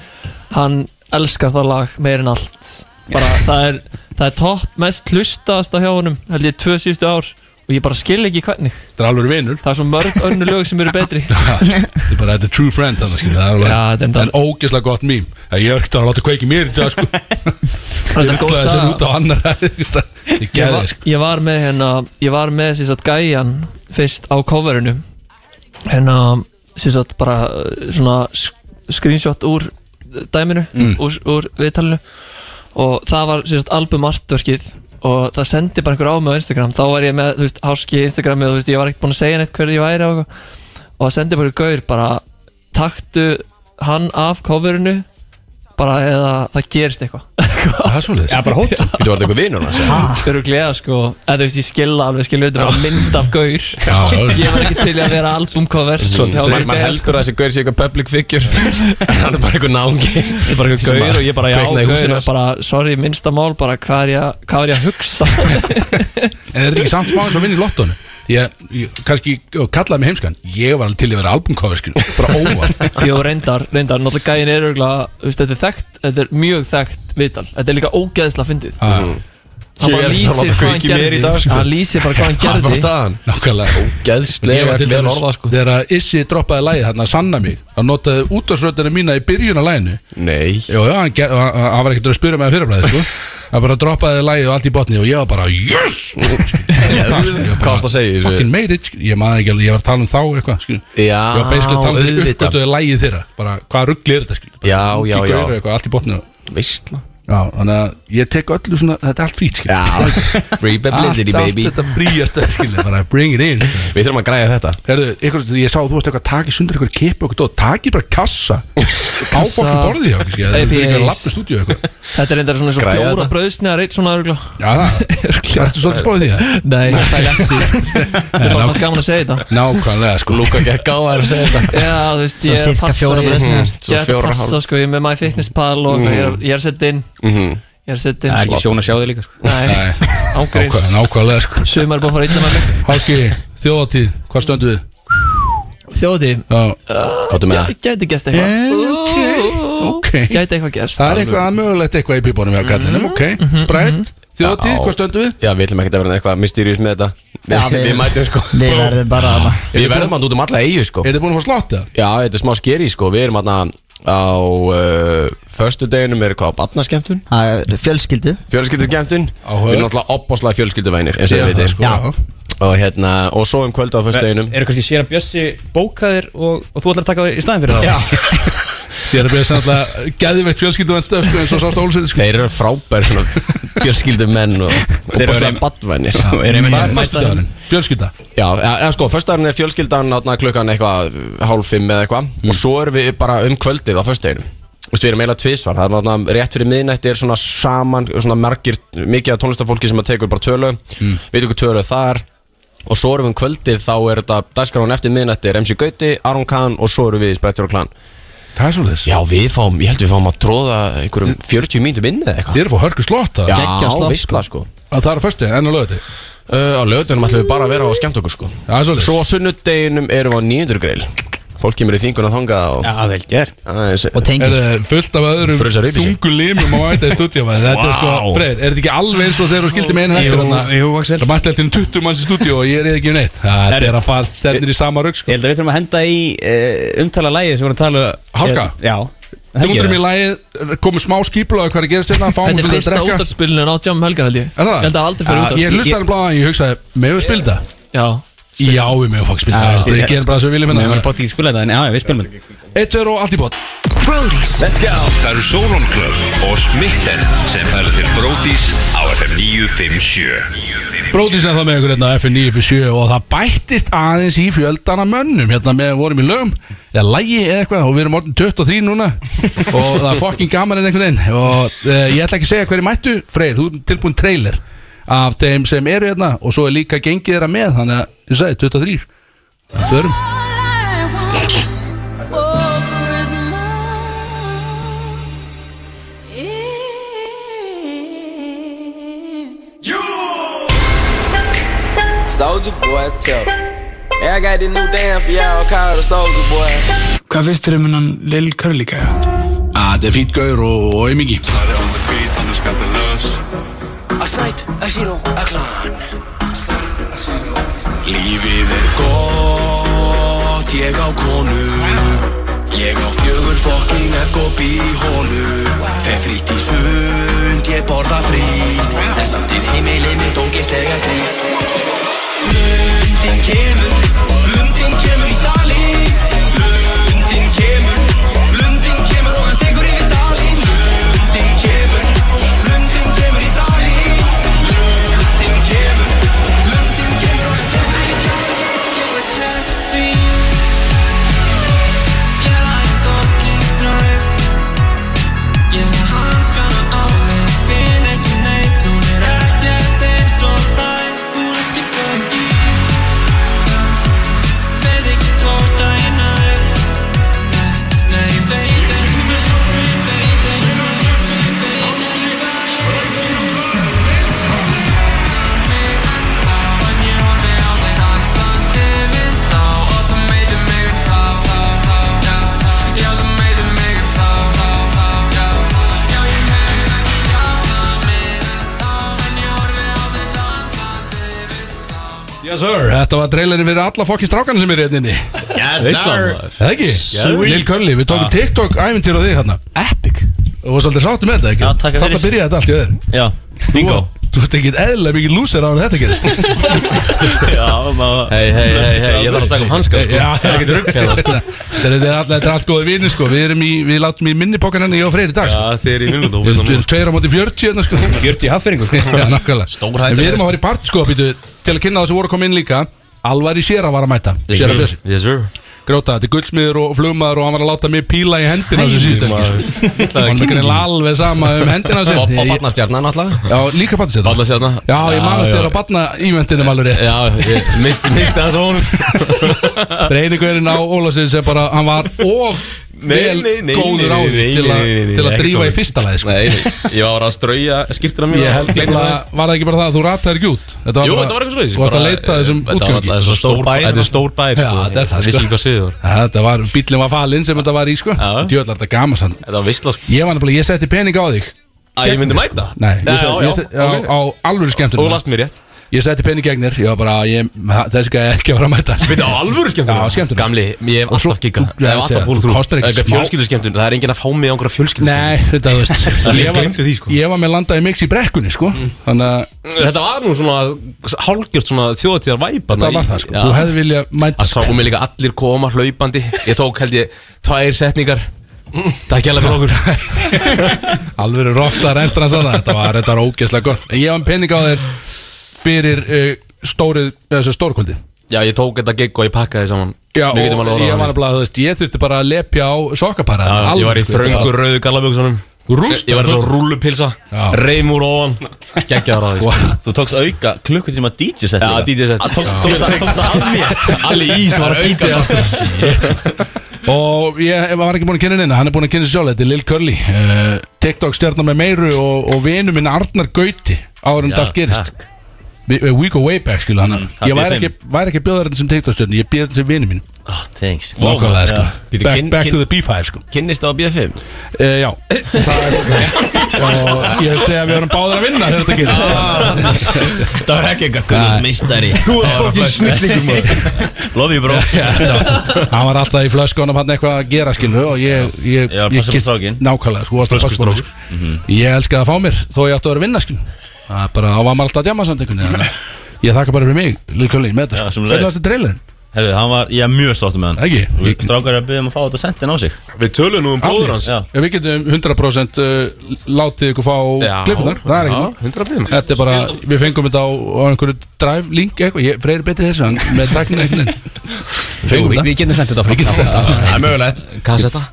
S12: Hann elskar það lag meir en allt Bara það er Það er topp mest hlustaðasta hjá honum Held ég tvö síðustu ár Og ég bara skil ekki hvernig
S2: Það er alveg vinur
S12: Það er svo mörg önnu lög sem eru betri
S2: Þetta er bara, þetta er true friend þannig, skil, það er alveg,
S12: Já,
S2: En ógeðslega gott mím Það Ég er ekkert að láta kveiki mér í dag sko. Ég
S12: er góð
S2: ætlaði þessi
S12: saga.
S2: út á annar Ég
S12: ég
S2: geði
S12: var,
S2: sko.
S12: ég var með hérna ég var með sem sagt gæjan fyrst á coverinu hérna sem sagt bara uh, svona sk- screenshot úr dæminu,
S2: Mm.
S12: úr, úr viðtalinu og það var sem sagt album artverkið og það sendi bara einhver á mig á Instagram þá var ég með, þú veist, háski í Instagrami og þú veist, ég var ekkert búinn að segja neitt hver ég væri og, eitthvað. og það sendi bara einhver gaur bara taktu hann af coverinu bara eða það gerist eitthvað
S2: Það er svolítið
S10: Já, bara hótt Þú var þetta eitthvað vinur hans
S12: Þau eru glega sko En þú veist ég skilja alveg skilja Þetta er bara mynd af gaur
S10: já.
S12: Ég var ekki til í að vera
S2: Mhm.
S12: albumcover hjá
S10: Man
S12: Gaur
S10: man
S12: Geir,
S10: heldur að þessi gaur sé eitthvað public figure En Hann er bara eitthvað náungi Það
S12: er bara eitthvað Gaur og ég bara já gaur
S10: hans
S12: og bara Sorry minnsta mál bara hvað er ég, að- hvað er ég að hugsa
S2: En er þetta ekki samt smá eins og að vinna í lottónu Því að, ég- kannski, og kallaði mig heimskan Ég var alveg til í að vera albumcover skil, Bara óvart
S12: Jó reyndar, reyndar Náttúrulega gæin er örgulega Þú veist þetta er þekkt Þetta er mjög þekkt viðtal Þetta er líka ógeðsla fyndið
S2: Ah.
S12: Hann bara lýsir hvað hann gerði Hann lýsir bara hvað hann gerði
S2: Nákvæmlega
S10: Ógeðslega
S2: Ég var til
S10: vel
S2: dæmis-
S10: orðað, sko.
S2: Þegar að Issi droppaði lægið þarna að sanna mig Hann notaði útvarsröndina mína í byrjun af læginu
S10: Nei
S2: Jó, já, hann, ger, hann, hann var ekkert að spyrja með fyrirblæði sko. Hann bara droppaði lægið og allt í botni Og ég var bara, yes
S10: Hvað varst að segja í þessu?
S2: Fucking made it, skil. ég maður ekki alveg Ég var að tala um þá eitthvað skil.
S10: Já,
S2: Ég var basically að tala um því
S10: auðvitað.
S2: uppgötuði lægið þeirra Bara, hvaða ruggli er þetta skil? Bara,
S10: Já,
S2: ungi
S10: já, já.
S2: gaurar eitthvað, Allt í botni
S10: Veistla
S2: Já, þannig að ég tek öllu svona Þetta er allt fít skil.
S10: Já, free publicity,
S2: Allt-
S10: baby.
S2: Allt þetta fríast skil, bara bring it in
S10: Við þurfum að græja þetta
S2: Herðu, ykkur, ég sá að þú varst eitthvað að taka í sundur eitthvað kipa okkur dót, taki bara kassa á
S12: Kassa,
S2: fokkin borðið hjá okkur, skilja, það er fyrir eitthvað
S12: APAs.
S2: lappið stúdíu eitthvað
S12: Þetta er reyndar svona eins og
S2: Græja
S12: fjóra
S2: þetta.
S12: bröðsneðar Eitt svona örgulega
S2: Já, það, ertu svolítið spáðið því það?
S12: Nei, það er ekki Það er bara fannst gaman að segja þetta
S2: Nákvæmlega, sko
S10: Lúka gekk á það að segja þetta
S12: Já, þú veist,
S10: Svo
S12: ég er að
S10: cirka
S12: passa
S10: fjóra
S12: Ég
S10: brauðsneiðar.
S12: Mhm,
S10: Svo
S12: ég er að
S10: fjóra
S12: passa,
S10: hálf.
S12: sko, ég er með MyFitnessPal og
S2: Mm.
S10: Mhm.
S12: ég er- ég er að setja inn
S2: Mm-hmm.
S10: Mhm.
S12: Ég er að setja inn
S3: Það er ekki
S12: sko.
S3: sjón að sjá þig líka sko.
S12: Nei, ángríns
S2: Nákvæmlega, nákvæmlega, sko
S12: Sumar búið að fara illa með mig
S2: Háski, þjóðatíð, hvað stöndu þið?
S12: Þjóðatíð?
S2: Já
S10: Káttu með það?
S12: Gæti gæst eitthvað
S2: Eh, Ok,
S12: Gæti eitthvað gerst Mhm,
S2: Það er eitthvað að mögulegt eitthvað í pípunum hjá kallinum, ok Sprætt, þjóðatíð, hvað stöndu við?
S10: Já, við ætlum ekkert að vera eitthvað mysterious með þetta
S2: Já,
S10: Við,
S2: við-
S10: við mætum sko
S11: Við verðum bara að
S10: Við verðum að út um alla eigu sko
S2: Er þið búin að fá slátt það?
S10: Já, þetta er smá skeri sko Við erum aðna á uh, Förstu deginum er hvað, batnaskemtun
S11: það er Fjölskyldu
S10: Fjölskylduskemtun
S11: Áhugavert.
S10: Við erum alltaf opbáslega fjölskylduvenir eins og ég veit þið sko
S11: Já.
S10: Og hérna, og svo um kvöldu á förstu deginum
S3: Eru kannski sér að Bjössi bókaðir og, og þú ætlar að taka þig í staðin fyrir það?
S10: Já
S2: Sér að beða sannlega geðveikt fjölskyldu en stöð sko, eins og sást Ólsveit sko.
S10: Þeir eru frábær svona fjölskyldu menn og, og
S2: Þeir eru
S10: bara
S2: einmitt-
S10: badvænir
S2: Já, eru einmitt Hvað er að mæta- föstudagurinn? Fjölskylda?
S10: Já, e- eða sko, föstudagurinn er fjölskyldan átna, klukkan eitthvað hálf fimm eða eitthvað og svo erum við bara um kvöldið á föstudaginum Þú veist, við erum eiginlega tvísvar, það er náttúrulega rétt fyrir miðnætti er svona saman, svona margir, mikið af tónlistafólki sem að tekur bara tölu, mm. við tekur tölu þar og svo erum við um kvöldið þá er þetta dagskráin eftir miðnætti er MC Gauti, Aron Kahn og svo erum við í Sprettur og Klan.
S2: Það er svolítið?
S10: Já, við fáum, ég held við fáum að tróða einhverjum 40 mínútum inn eða eitthvað.
S2: Þið eru fór hörku slott
S10: Já, veistla sko
S2: Að það er að föstu, en á lögðu
S10: Uh, á lögutunum ætlum við bara að vera á að skemmt okkur sko
S2: Já, svolítið
S10: Svo á sunnudeginum erum við á 900 greil Fólk kemur í þinguna þangað og Já, vel gert Og
S2: Er það fullt af
S10: Frusar
S2: öðrum
S10: upp í sig.
S2: þungu limum á ætta í stúdíu maður. Þetta er sko,
S10: Vá.
S2: Freyr, er þetta ekki alveg eins og þegar þú skildi með einu
S10: Jú,
S2: hættir þarna?
S10: jú,
S2: Axel Það mætti alltaf 20 manns í stúdíu og ég er ekki um neitt Það
S3: Herru.
S2: er að fara stefnir í sama rögg sko
S3: Ég held að við þurfum að henda í uh, umtala lægið sem við vorum að tala
S2: Háska?
S3: Eh, Já
S2: Þú í lagið, komum smá skýpla hvað er að gerast hérna, fáum
S12: Þetta er
S2: svolítið að
S12: fyrsta
S2: drekka
S12: útarspilinu á Jam Helgar held ég
S2: Er það?
S12: Ég held að aldrei fyrir
S2: Ja,
S12: útarp
S2: Ég hlustaði bara á hann, ég hugsaði, meðu við spilda?
S12: Já
S2: Já, við meðu fokk spilda, við gerum bara svo við viljum
S3: Við
S2: hérna
S3: erum bara ekki skula þetta, en já, já, við spilum þetta
S2: Eitt, tveir og allt í bótt
S5: Brodís Let's go Það eru Sauron Club og Smitten sem færa til Brodís á FM 957
S2: Brótis er það með ykkur hérna á FN 957 og það bættist aðeins í fjöldana mönnum hérna með vorum í lögum eða lægi eða eitthvað og við erum orðin 23 núna og það er fokkin gaman en einhvern veginn og uh, ég ætla ekki að segja hverju mættu Freyr, þú er tilbúin trailer af þeim sem eru hérna og svo er líka gengið þeirra með þannig að, ég sagði, 23 Það förum
S9: Soldier boy, tough. Hey, I got this new damn for y'all called a soldier boy.
S8: Hvað finnst þér um hennan Lil Curly gæja?
S2: Ah, þetta er fýtt gaur og, og aumingi
S13: Snarri on the beat, hann er skemmtilegs
S7: Að spæt, að síró, að klan
S13: Lífið er gott, ég á konu Ég á fjögur fokking ekko bíhólu Fer frýtt í sund, ég borða frýtt En samt er heimilið mitt ógeðslega grýtt Lundin kemur, lundin kemur í dalinn Lundin kemur, lundin kemur og hann tekur yfir dalinn Lundin kemur, lundin kemur í dalinn Lundin kemur, lundin kemur og hann tekur yfir dalinn Ég er tætt því Ég læk og skýt draug Ég með hanskana á mér finn ekki neitt Hún er ekkert eins og þær Búin að skipta um gír Veð ekki hvort að ég nær Nei, ég veit ekki með Ég veit ekki með Ég veit ekki með Þannig en þá En ég horfi á þig hansandi við þá Og þú meitir mig um þá, þá, þá, já Já, þú meitir mig um þá, þá, þá, já Já, ég hef ekki játað mig en þá En ég horfi á þig dansandi
S2: Yes sir, þetta var trailerin fyrir alla fokkin strákan sem eru hérna inni
S13: Yes,
S2: Veistla,
S13: sir.
S2: maður. Það ekki?
S13: Sweet.
S2: Lil Curly, við tókum
S13: Ah.
S2: TikTok æventyr á þig hérna Epic Og var svolítið sáttu með þetta ekki?
S14: Já, takk fyrir.
S2: Þarna byrjaði þetta allt í öður
S14: Já, bingo
S2: Þú ert ekkert eðlilega mikið lúsir á hann þetta gerist
S14: Já, maður
S10: Hei, hei, hei, hei, ég þarf að taka um hanska sko
S2: Já,
S10: Það er ekkert rugg hérna
S2: Þetta er- þetta er all- þetta er allt góði vinir sko Við erum í, við látum í minnipokkan henni ég og Freyr í dag sko
S14: Já, þið eru í vinnulótt og
S2: Við
S14: vinna
S2: erum
S14: núna.
S2: tveir á móti 40 hérna sko
S3: 40 hafferingur sko
S2: Já, nákvæmlega En
S14: Stórhættulega,
S2: við erum
S14: sko.
S2: að fara í part sko, býtu Til að kynna það sem voru að koma inn líka Alvar í Sjera var að mæta
S14: Yes,
S2: Sjera
S14: sir.
S2: Bjössi
S14: Yes, sir
S2: Gróta, þetta er guldsmiður og flugmaður og hann var að láta mig píla í hendina þessu
S14: Hæ,
S2: síðan
S14: maður.
S2: Hann var greinlega alveg sama um hendina sér
S10: Og- Og
S2: Ég-
S10: barnastjarnan alltaf
S2: Já, líka barnastjarnan
S10: Barnastjarnan
S2: Já, ég man eftir
S10: já.
S2: þér á barna íventinum alveg rétt
S10: Já, ég misti, misti það svo honum
S2: Reyningurinn á Ólasins er bara, hann var of vel góður á því til að- til að drífa í fyrsta lagi sko.
S10: Nei, nei, ég var að strauja skýrtina mín
S2: Ég held ekki bara, var það ekki bara það að þú rataðir ekki út Þetta
S10: Jú,
S2: bara-
S10: þetta var eitthvað svoleiðis,
S2: Þú ætti að
S10: bara-
S2: leita þessum
S10: þetta var
S2: útgangi
S10: alltaf þessi stór bær, þetta er stór
S2: Já,
S10: bær, sko.
S2: þetta er það
S10: Vissi ekki hvað siður var.
S2: Ja, Þetta var, bílinn var falinn sem þetta var í sko Djöðlar þetta gaman sann
S10: Þetta var vissla sko
S2: Ég var nefnilega, ég setti pening á þig
S10: Að ég myndi
S2: Gegnir, sko.
S10: mæta?
S2: Nei,
S10: Já,
S2: ég setti,
S10: já,
S2: ég setti á,
S10: ok.
S2: á alvöru skemmtun
S10: Og last mér rétt
S2: Ég setti pening gegnir, ég var bara, ég, þessi gæði ekki að vera að mæta
S10: Við á alvöru skemmtun
S2: Já, skemmtun
S10: Gamli, ég hef alltaf gigga
S2: já,
S10: Ég
S2: ég segi
S10: hef alltaf
S2: það,
S10: púl
S2: þú kostar ekki smá.
S10: Fjölskyldu skemmtun, það er enginn að fá mig á einhverja fjölskyldu
S2: Nei, þetta þú veist ég,
S10: Ég
S2: var,
S10: gleymdi því, sko. Mm.
S2: ég var með landað í mix í brekkunni sko Þannig að
S10: Þetta var nú svona hálgjört svona þjóðatíðar væp
S2: þetta var það sko Þú hefði viljað mæta
S10: um Að sá mig líka allir koma hlaupandi Ég tók held ég tvær setningar
S15: Takk hérlega fyrir okkur
S2: Alveg rockstar endur hans að það Þetta var þetta var ógeðslega gott En ég hafði pening á þér fyrir uh, stórið, þessu stórkvöldi
S15: Já, ég tók þetta gig og ég pakkaði saman
S2: Já,
S15: Við getum
S2: og
S15: alveg orðað
S2: ég
S15: það
S2: var
S15: þannig.
S2: nefnilega, þú veist, ég þurfti bara að lepja á sko. sokkapara
S15: Já, Ég var í þröngur rauðu gallabjöksunum
S2: Þú rústaði
S15: Ég var svo rúllupilsa Reymur ofan Gekkjaður á því sko.
S14: Þú tókst auka klukkutíma DJ set
S15: Já,
S14: líka.
S15: DJ set.
S14: Ah, Tókst
S15: Já.
S14: tókst það tókst það af mér
S15: Alli Ís var auka
S2: Og ég var ekki búin að kynna henni Hann er búin að kynna sér sjálf, þetta er Lil Curly uh, TikTok stjarnar með meiru og, og vinu minn Arnar Gauti Áður en
S14: Já,
S2: það Um gerist We, eh, we go way back, skilu
S15: Mm,
S2: hann
S14: það býr
S2: Ég væri
S14: þeim.
S2: ekki, væri ekki bjóðar henni sem TikTok stjarni Ég býður henni sem vinu minn
S14: Thanks
S2: Vákvæðlega, sko
S15: Býtu,
S2: Back,
S15: kyn-
S2: back
S15: kyn-
S2: to the B5, sko
S15: Kynnist það á BF5?
S2: Uh, já Og ég vil segja að við erum báðir að vinna þegar þetta
S15: Ah.
S2: gerist
S14: Það var ekki eitthvað Gunnur meistari
S2: Þú ert fokkin snillingur,
S14: maður Love you bro
S2: Já, þetta- Hann var alltaf í flöskunum hann eitthvað að gera skilu Og ég, ég,
S14: Já,
S2: ég
S14: passa
S2: gift-
S14: på strákinn.
S2: Nákvæmlega, sko, varst að passa
S14: Flöskustrák.
S2: strók Ég elskaði að fá mér, þó ég átti að vera að vinna skilu Það er bara, þá var maður alltaf að djama samt einhvern veginn Ég þakka bara fyrir mig, Lilkjöli, með þetta
S14: Já,
S2: sko.
S14: sem
S2: Hvernig
S14: leiðist.
S2: var þetta trailerinn?
S14: Herru, hann var, ég er mjög stoltur með hann
S2: Ekki?
S14: Við- Strákar er að byggja um að fá þetta sentin á sig
S15: Við tölum nú um
S2: Allir.
S14: Já
S2: Já, Við getum 100% uh, látið ykkur fá
S15: Já,
S2: klipunar Það er ekki
S15: já,
S2: mál.
S15: 100%.
S2: Þetta er bara, við fengum þetta á, á einhverju drive link eitthvað Ég freyri betri þessu en með takna einhvern veginn
S3: Jú, við- við getum sent þetta fram.
S2: Við getum sent þetta
S15: Það er mögulegt Kassetta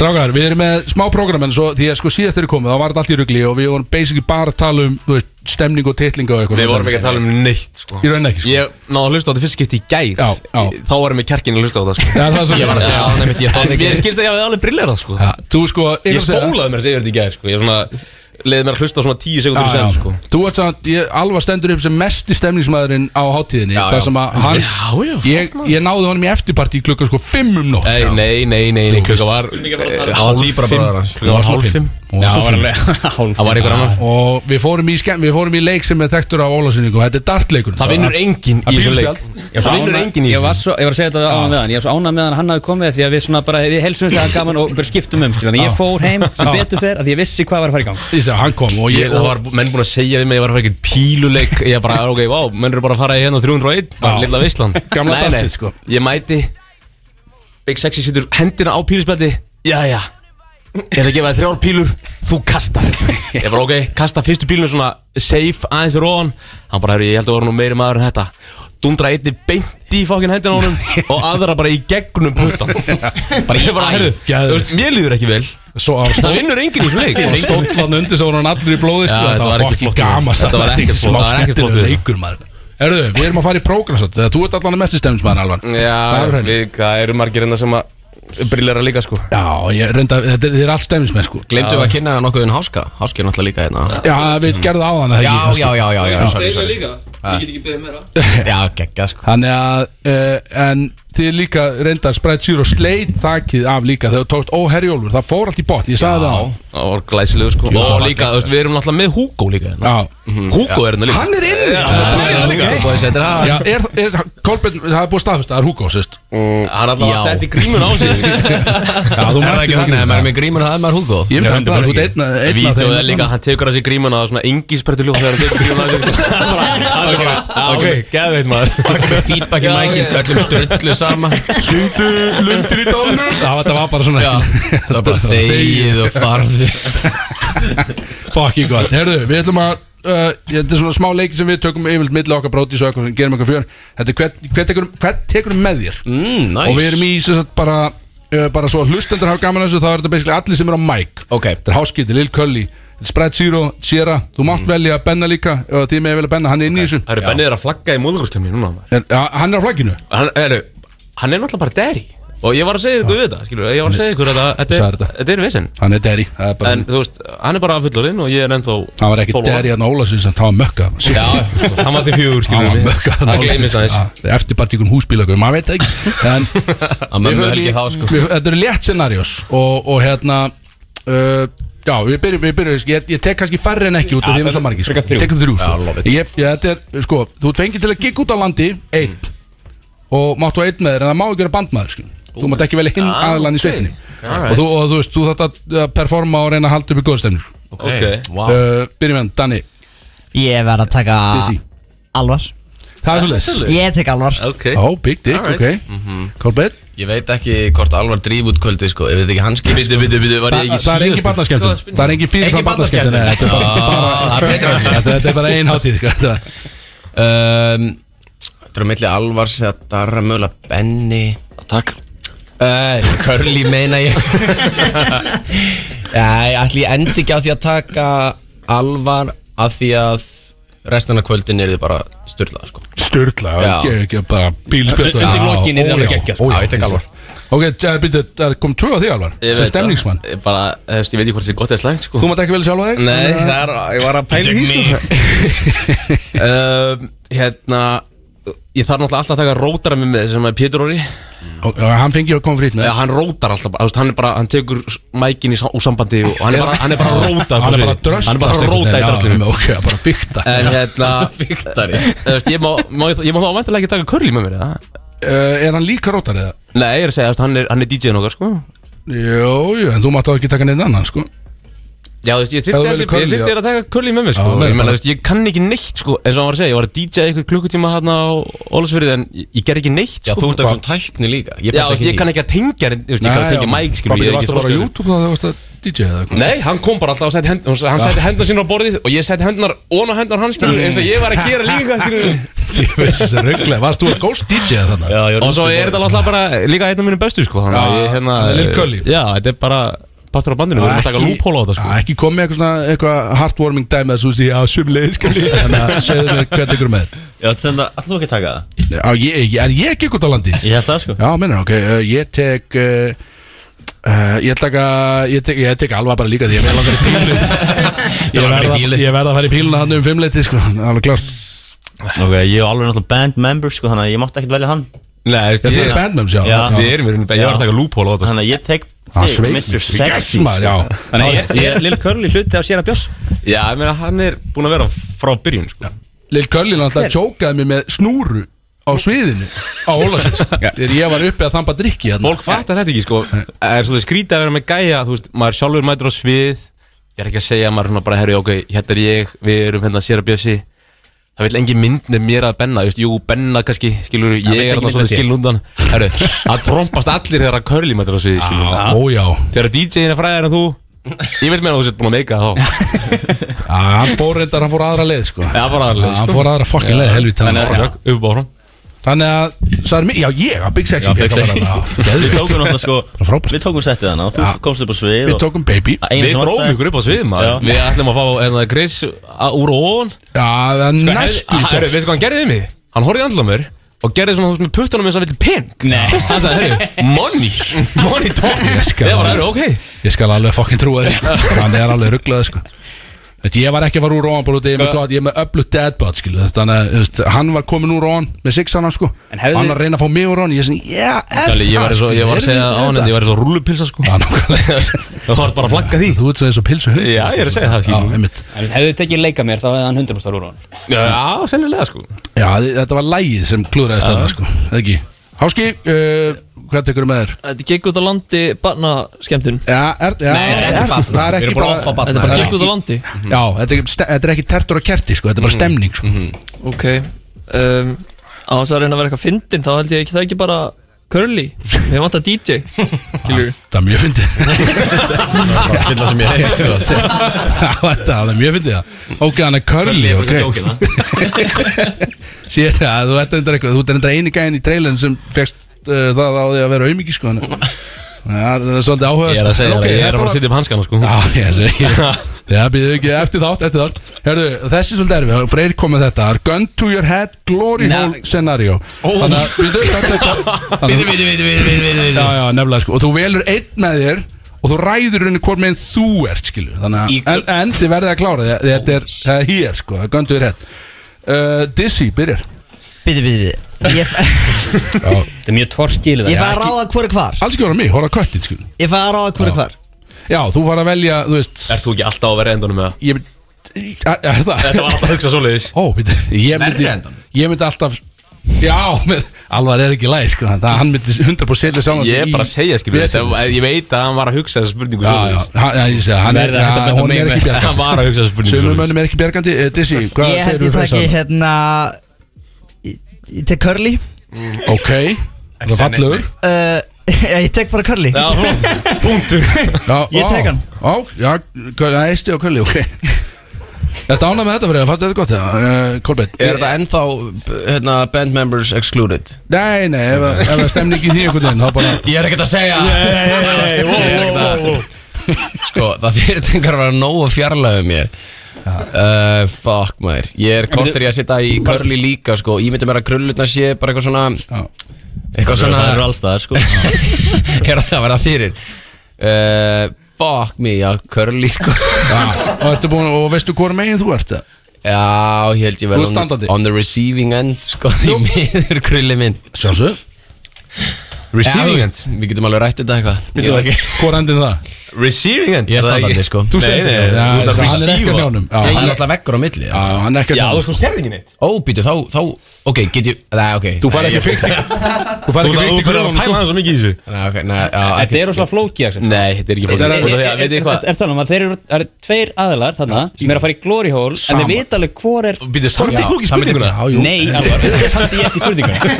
S2: Strákar, við erum með smá program en svo því að sko síðast eru komið þá var þetta allt í rugli og við vorum basically bara að tala um þú veist, stemning og titlinga og eitthvað
S15: Við vorum ekki að tala um neitt sko.
S2: Ég raun ekki sko.
S15: Ég náðu að hlusta á þetta fyrst skipti í gær
S2: Já, já.
S15: Þá varum við kjerkin að hlusta á þetta sko.
S2: Já, það er svo
S15: Ég var að segja
S2: Já.
S15: á nefnt ég
S2: En
S15: fann ekki
S2: mér
S15: skilst að ég hafði alveg brillir það sko.
S2: ja, Þú sko
S15: Ég
S2: að segja-
S15: spólaði mér þessi yfir þetta í gær sko. Ég svona, leiði mér að hlusta á svona tíu
S2: Já,
S15: sekundur
S2: já.
S15: sem sko.
S2: Þú ert samt, ég alvar stendur upp sem mesti stemningsmaðurinn á hátíðinni
S15: Já,
S2: Það
S15: já.
S2: sem að hann,
S15: Já, já,
S2: ég, ég náði honum í eftirparti í klukka sko 5 um nótt
S15: Nei, nei, nei, nei, nei klukka var eh, hálf fimm. Klukka var hálf fimm Já, það var alveg hálf Það var einhver annar
S2: Og við fórum í, skemm, við fórum í leik sem er þekktur af Ólasinningu Þetta er dartleikun
S15: Það vinnur enginn í þessum leik.
S3: Ég var, ána, ég, var svo, ég var að segja þetta ánað með hann Ég var svo ánað með hann að hann hafi komið Því að við svona bara, við helsumst að hann gaman og bara skiptum um skilur. Þannig að ég
S2: Já.
S3: fór heim sem
S2: Já.
S3: betur fer Að ég vissi hvað var að fara í gang
S2: Ég segi, hann kom og
S15: Ég,
S2: ég
S15: það var menn búin að segja við mig að ég var að fara í eitthvað píluleik Ég bara, ok, vá, menn eru bara að fara í hérna 301 Bara
S2: Já.
S15: lilla Visslan
S2: Gamla dartið, sko.
S15: Ég mæti Big Sexy situr hendina á píluspjaldi Jæja Ég ætla að gefa þér þrjár pílur Þú kastar Ég bara, ok, kasta fyrstu pílunum svona Safe aðeins fyrir ofan Hann bara, "Herru, ég held að voru nú meiri maður en þetta Dundra einni beint í fokkin hendina á honum Og aðra bara í gegnum puttan Bara ég bara, herru,
S2: Geðveikt.
S15: þú veist, mér líður ekki vel
S2: Svo á
S15: Það vinnur enginn í þessum leik.
S2: Og stóðlan undir svo voru hann allir í blóði sko.
S15: Já,
S2: Þetta
S15: þetta var
S2: var
S15: ekki
S2: fokkin
S15: flott
S2: gama
S15: við. Þetta var ekki flott-
S2: Smá
S15: það var ekki flott
S2: skemmtilegur
S15: við.
S2: leikur maður Erðu, við erum að fara í prógram svo Þú ert allan að mesti stemnismæðan alvan
S15: Já,
S2: Það er
S15: við, það eru margir enda sem að brillera líka sko
S2: Já, ég reynda, þetta er, þetta er allt stemnismæð sko
S15: Glemdu við að kynna nokkuð um Háska Háski er náttúrulega líka hérna
S2: Já, við gerðum á þann
S15: Já, já, já, já, já, sorry,
S10: Þeir eru líka
S15: Ah. sorry Já.
S10: Ég get ekki beðið meira
S15: Já, geggja sko
S2: Þannig að, uh, en þið líka reynda Sprite Zero sleit þakið af líka Þegar þú tókst óherjólfur, það fór allt í botn Ég sagði það á
S15: Það var glæsilegur sko
S2: Jú, það
S15: Og
S2: var
S15: líka, þú veist, við erum náttúrulega með Hugo líka hérna
S2: Já,
S15: Hugo er hérna líka
S2: Hann er inni.
S15: Já, Hann er hérna líka Búið að setja það
S2: já er, er, Kolbeinn, það er búið staðfest Það er Hugo, sérst
S15: Hann er alltaf að
S2: Já.
S15: setja grímun á sig
S2: Já, þú
S15: Er það
S2: mættir
S15: ekki
S2: með grímuna.
S15: þannig, ef maður er með grímun, það er maður Hugo
S2: Ég myndi að það, þú ert einn- einn af
S15: Vító
S2: þeim.
S15: er líka, hann tekur að sig grímun að svona engi sprettur ljúf þegar hann tekur grímun að sig Það er bara, "Ah, ok, geðveit maður Bara ekki með feedback í mækin, öllum drullu sama
S2: Sýndu lundir í dálnum Já, þetta var bara svona
S15: Já, það var bara þegið og farði
S2: Fokki gott, heyrðu, við ætlum að Uh, ég- þetta er svona smá leiki sem við tökum yfirlt milli okkar brótis og eitthvað sem gerum eitthvað fjör Þetta er hvert hver tekur, hver tekur um með þér
S15: mm, nice.
S2: Og við erum í sem sagt bara uh, bara svo að hlustendur hafa gaman af þessu þá er þetta basically allir sem eru á mic
S15: okay.
S2: Þetta er Háskiti, Lil Cully, þetta er Sprite Zero, Sierra Þú
S15: Mm.
S2: mátt velja Benna líka og því með velja Benna, hann er inn í þessu
S15: Það eru
S2: Já.
S15: bennið að flagga í múðugurskjöfni núna maður.
S2: En, ja, Hann er á flagginu
S15: hann, heru, hann er náttúrulega bara deri Og ég var að segja ykkur við þetta skilur, Ég var að segja ykkur að þetta- þetta
S2: Sagði
S15: er-
S2: þetta.
S15: þetta er vissinn
S2: Hann er Derry, það er bara
S15: En þú veist, hann er bara fullorinn og ég er ennþá
S2: Það var ekki hérna. Derry hann Ólasins en það var mökka
S15: Já, það var til fjögur
S2: Það
S15: skilur
S2: var
S15: við
S2: mökka
S15: Það gleymis aðeins
S2: Ah, Eftirpartíkun húsbílöku, maður veit það ekki En Við
S15: Að mömmu
S2: förum
S15: helgi
S2: í-
S15: þá sko
S2: við- Þetta eru létt scenarios og, og hérna uh, Já, við byrjum, við byrjum ég, ég tek kannski færri en ekki út af því við erum svo margir sko. Ég Tekum þrjú sko. ég, ég, Þetta er, sko, þú ert fengið til að gigg út á landi Einn
S15: Mm.
S2: Og máttu á einn með þér, en það má ekki vera bandmaður sko. Þú mátt ekki velja hinn
S15: Ah,
S2: aðlan
S15: ok.
S2: í sveitinni
S15: Alright.
S2: og, þú, og þú veist, þú þátt að uh, performa og reyna að halda upp í góðstemnir
S15: Ok,
S2: uh, Byrjum við hann, Danni
S11: Ég verð að taka
S2: Dizzy.
S11: Alvar
S2: Það er svolítið
S11: Ég tek alvar
S2: Ok Ó, big dick, ok
S15: Mhm.
S2: Kolbett
S15: Ég veit ekki hvort Alvar drýf út kvöldi sko Ég veit ekki hans skil Bitu, bitu, bitu, var ég ekki
S2: Það- það er engin
S15: síðastur?
S2: barnaskemmtun. Það er engin fyrir
S15: Engin
S2: fram barnaskemmtun, nei, þetta er bara-
S15: Já,
S2: bara-
S15: það er betra en ég.
S2: Þetta- þetta er bara ein hátíð, sko, þetta
S15: um, Þetta er á milli Alvars eða Darra mögulega Benny Takk Uh, Curly meina ég Æ, ætli ég endi ekki á því að taka Alvar af því að restan af kvöldin er þið bara styrlað sko.
S2: Sturla,
S15: Já.
S2: ekki, ekki bara bílspjöld
S15: Undir lokin er það alveg geggjað, sko. Já, ég tek Alvar.
S2: Ok, eh, byrju, það kom tvö á því alvar Sem
S15: Ég veit það.
S2: stemningsmann
S15: Ég bara, þú veist, ég veit ekki hvort það er gott eða slæmt sko.
S2: Þú mátt ekki velja sjálfa þig?
S15: Nei,
S2: Þannig að-
S15: það er, ég var að pæla í því sko. um, Hérna Ég þarf náttúrulega alltaf að taka rótara með með sem er Pétur Óri
S2: Og- og Hann fengi að koma frýtt með
S15: Já, hann rótar alltaf, bara, þú veist, hann er bara, hann tekur mækin í, sá- úr sambandi og hann er bara, hann er bara að róta
S2: Hann er bara að dröslast
S15: Hann er bara að
S2: einhvern
S15: róta í
S2: veginn, já,
S15: dröslinu
S2: ok, bara að bykta
S15: En hérna Fiktari Ég má, má, ég má þá vantilega ekki taka curly með mér, eða?
S2: Eh, Er hann líka rótar eða?
S15: Nei, ég er að segja, þú veist, hann er, hann er DJ-n okkar, sko
S2: Jó, jú, en þú mátt þá ekki taka neitt annan, sko
S15: Já, þú veist, ég
S2: Ef þú velur
S15: þyrfti
S2: curly,
S15: að,
S2: já.
S15: að, að taka curly með mér, sko
S2: Já, nei,
S15: Ég
S2: bara-
S15: meina, þú veist, ég kann ekki neitt, sko eins og hann var að segja, ég var að DJ ykkur klukkutíma hérna á Ólasfyrði en ég, ég ger ekki neitt, sko
S2: Já, þú ert eitthvað svona
S15: tækni líka
S2: Ég
S15: Já,
S2: passa
S15: þú veist,
S2: ekki
S15: ég
S2: í.
S15: kann ekki að tengja, þú veist, ég kann að tengja mæk, skilur
S2: Pabbi, þú
S15: ég
S2: varst
S15: er ekki
S2: að fara á
S15: þroskaður.
S2: YouTube þá þegar þú varst að DJ eða eitthvað
S15: Nei, hann kom bara alltaf og setti hend, hún- hann
S2: Já.
S15: setti hendur sína á borðið og ég setti hendunar ón á hendunar hans skilur eins og ég var að gera líka skilur
S2: Ég veist þessi rugglega, varst þú að ghost DJ eða þannig?
S15: Já, Og svo er þetta alltaf bara líka einn af mínum bestu sko Þannig að
S2: Já,
S15: ég hérna
S2: hann er Lil Curly.
S15: Já, þetta er bara partur á bandinu, við erum að taka lúphóla á þetta sko
S2: Ekki komið eitthvað svona eitthvað heartwarming dæmi að þú sé að sumleiðis Þannig að segðu mér hvernig ykkur er með þér.
S14: Ég ætla að senda, ætla þú ekki að taka það?
S2: Já, ég, ég, er ég gekk út á landi?
S14: Ég held það sko
S2: Já, mennur, ok, uh, ég tek uh, uh, Ég taka Ég tek, ég tek alvað bara líka því ég verð langar í pílu Ég verð að- ég verð að fara í píluna hann um fimmleiti sko, alveg klart
S14: Ok, ég er alveg náttúrulega band member sko, þannig að ég mátti ekkert velja hann
S15: Nei,
S2: þið eru band members, já. Við erum í rauninni band- ég var að taka
S14: lúphól á þetta Þannig að ég tek
S2: Ah,
S14: þig,
S2: sveit
S14: Mr.
S2: mig.
S14: Sexy
S2: Yes, maður, já.
S14: sko. Þannig að ég- ég er
S3: Lill Curly hluti á sér að bjós
S15: Já, ég meina hann er búin að vera frá byrjun sko
S2: Lil Curly náttúrulega tjókaði mér með snúru á sviðinu á Ólasins þegar ég var uppi að þamba drikki hérna.
S15: Fólk fattar þetta ekki sko Er svolítið skrítið að vera með gæja Þú veist, maður sjálfur mætur á svið Ég er ekki að segja, maður er svona bara Herri, ok, hérna er ég, við erum hérna sér að bjössi Það vil engin mynd með mér að benna þú veist, Jú, benna kannski, skilur
S14: Það
S15: Ég
S14: vill
S15: er
S14: engin mynd
S15: þarna
S14: með
S15: svolítið skilin undan Herru, það trompast allir þegar að curly mætur á svið skilur
S2: Á, ó, já.
S15: Þegar DJ-in er fræðar en þú Ég vil meina að þú sett búin að meika það þá
S2: Já, hann fór reyndar, hann fór aðra leið sko
S15: Já, hann fór aðra leið,
S2: Hann
S15: sko.
S2: fór aðra fucking
S15: Já.
S2: leið, helvítið
S15: Þannig að- upp á hann
S2: Þannig að, sagði mér, já ég, að Big Sexy
S14: Já, Big
S2: fékk að
S14: Sexy.
S2: vera- já,
S14: Við
S2: geðveikt.
S14: tókum náttúrulega sko Við tókum settið hana og þú komst upp á svið
S2: Við
S14: og-
S2: tókum baby
S14: Að einu
S15: Við
S14: sem
S15: dróum
S14: vantaði-
S15: ykkur upp á svið maður
S14: Já.
S15: Við ætlum að fá hérna, Chris a- úr og ofan
S2: Já, það er næstu
S15: Sko, herru, veistu hvað hann gerði við mig? Hann horfði í andla á mér og gerði svona þú veist, með puttunum eins og hann vildi peng Nei Hann sagði, herru, money Money talk
S2: Ég skal
S15: Ég var,
S2: alveg-
S15: herru, ok
S2: Ég skal alveg fucking trúa þér sko. Hann er alveg rugglaði sko Þetta, ég var ekki að fara úr róan bara út af því Ég er með gott- ég er með öllu deadbot skilu þetta, Þannig að þú veist, hann var komin úr róan Með sixana sko
S3: hefði-
S2: Hann var að reyna að fá mig úr róan Ég er sem, já, er
S15: Kalli, ég
S2: það,
S15: var, svo,
S2: sko,
S15: ég var að
S2: erum
S15: segja
S2: við
S15: á hann
S2: þetta?
S15: en ég var svo rúllupilsa sko
S2: Já, nákvæmlega
S15: Það var bara að flagga því
S2: Þú ert svo eins og pilsu hund
S15: Já, ég er að segja það,
S2: Já,
S15: skilur.
S2: einmitt
S3: Hefðu þið tekið leika mér þá hefði hann 100% úr hún
S15: Já, sennilega sko
S2: Já, þi- þetta var lægið sem klúðraðist þarna sko Eða ekki Háski, uh, hvað tekur með þér?
S12: Þetta gekk út á landi barnaskemtun
S2: Já, er, já, Nei,
S12: þetta er ekki barna.
S2: Það er
S12: Við
S2: ekki
S12: erum bara off á barna. Þetta er bara gekk út á landi.
S2: Já, þetta er, ekki- ste- þetta er ekki tertur og kerti sko Þetta er bara stemning sko
S12: Ok um, Á þess að reyna að vera eitthvað fyndin Þá held ég ekki það ekki bara Curly Við vantar DJ Skilur
S2: Það er mjög fyndið
S12: bara að fylla sem ég heyrt, sko.
S2: Já, Þetta er alveg mjög fyndið það Ok, hann er
S12: Curly
S2: curly,
S12: er bara
S2: ok Sér það, þú ert reyndar eitthvað Þú ert reyndar eini gæðin í trailin sem fegst uh, það á því að vera aumingi sko þannig að- Það er svolítið sko. áhugað
S15: Ég er að segja, okay, ég er bara að sitja upp hanskana sko
S2: Já, ég er að segja Já, býðu ekki, eftir þátt, eftir þátt Herðu, þessi er svolítið erfið, Freyr kom með þetta Gun to your head, glory hole scenario Þannig að, býðu, þetta
S15: Viti, viti, viti, viti, viti
S2: Já, já, nefnilega sko Og þú velur einn með þér Og þú ræður henni hvort meginn þú ert skilu Þannig að En, en þið verðið að klára því að Þetta er það er hér sko Það göndu þér hett uh, Dizzy byrjar
S11: Bíti, bíti, bíti Ég
S3: Þetta er mjög torskilið
S11: Ég fæ að ráða hverju hvar
S2: Alls ekki voru mig, horfa á sko. köttin skilu
S11: Ég fæ að ráða hverju hvar
S2: Já, þú fara að velja, þú veist
S15: Ert þú ekki alltaf að vera endunum með það?
S2: Ég Er er það?
S15: Þetta var alltaf að hugsa svoleiðis
S2: Ó, býttu, ég myndi
S15: Verri endan.
S2: Ég myndi alltaf Já, men, alvar er ekki læg sko Það hann myndi 100% selja saman
S15: Ég er bara að segja skilur þetta, Ég veit að hann var að hugsa þessa spurningu
S2: Já, já, hann, já, ég segja, hann er,
S15: Verði að þetta
S2: ja,
S15: benda
S2: hún
S15: mig
S2: er
S15: með.
S2: ekki bjargandi
S15: Hann var að hugsa spurningu
S2: Sumum
S15: svoleiðis.
S2: mönnum er ekki bjargandi Eh, Dizzy, hvað
S11: Ég held
S2: segir þú
S11: ég
S2: fyrir
S11: takki
S2: þess
S11: hérna í- Ég tek Curly
S2: Ok, er það fallegur?
S11: uh, Ég tek bara Curly
S2: Já, punktur
S11: Ég tek hann.
S2: Á, já, það er sti og kölli, ok Þetta ánað með þetta fyrir, fannst þetta gott það, uh, Kolbett
S10: Er þetta ennþá hérna, band members excluded?
S2: Nei, nei, ef, ef það stemni ekki í því einhvern veginn, þá bara
S10: Ég er ekkert að segja Ég er ekkert að- Sko, það fyrirtengar að vera nógu fjarlæðu mér Uh, fuck maður Ég er kortur í að sitja í körli líka sko. Ég myndi mér að krullutna sé bara eitthvað svona Eitthvað svona
S14: Það eru allstaðar sko
S10: Er það að vera fyrir uh, Fuck me, já, körli sko.
S2: Og, ertu búin, og veistu hvora megin þú ert?
S10: Já, ég held ég
S2: Þú
S10: vel
S2: ert
S10: on,
S2: standandi.
S10: on the receiving end sko, Því miður krulli minn
S2: Sjálfsög Já,
S10: Receiving
S2: þú
S10: end Við getum alveg rætt þetta eitthvað Ég
S2: Býttu,
S10: ætla ekki-
S2: Hvor endin það?
S10: Receiving end Ég er
S2: Það er
S10: standandi
S2: ekki-
S10: sko
S2: Þú stendur
S10: Nei,
S2: hjá honum. Já, þess að hann er
S10: nei, þú ert receive
S2: ekki
S10: á-
S2: með honum. Já,
S10: Já,
S2: hann
S10: Hann
S2: er-
S10: er alltaf veggur á milli
S2: Já, hann er ekki
S10: Já, þú veist, þú sérði ekki neitt Ó, býtu, þá, þá Ok, get ég Nei, ok
S2: Þú færð ekki fyrst í- þú færð ekki fyrst í krullanum, sko.
S10: svo mikið í þessu Nei, ok, nei Þetta er rosalega flóki Nei, þetta er ekki flóki Út af því að, veit ég hvað
S3: Er það að þeir eru það eru tveir aðilar þarna sem eru að fara í glory hole en
S10: Saman.
S3: þeir vita alveg hvor er
S10: Býtu, samdi
S3: Já,
S10: þú ekki
S3: samdi-
S10: spurninguna? Já, jú.
S3: Nei, alveg, auðvitað samdi ég ekki spurninguna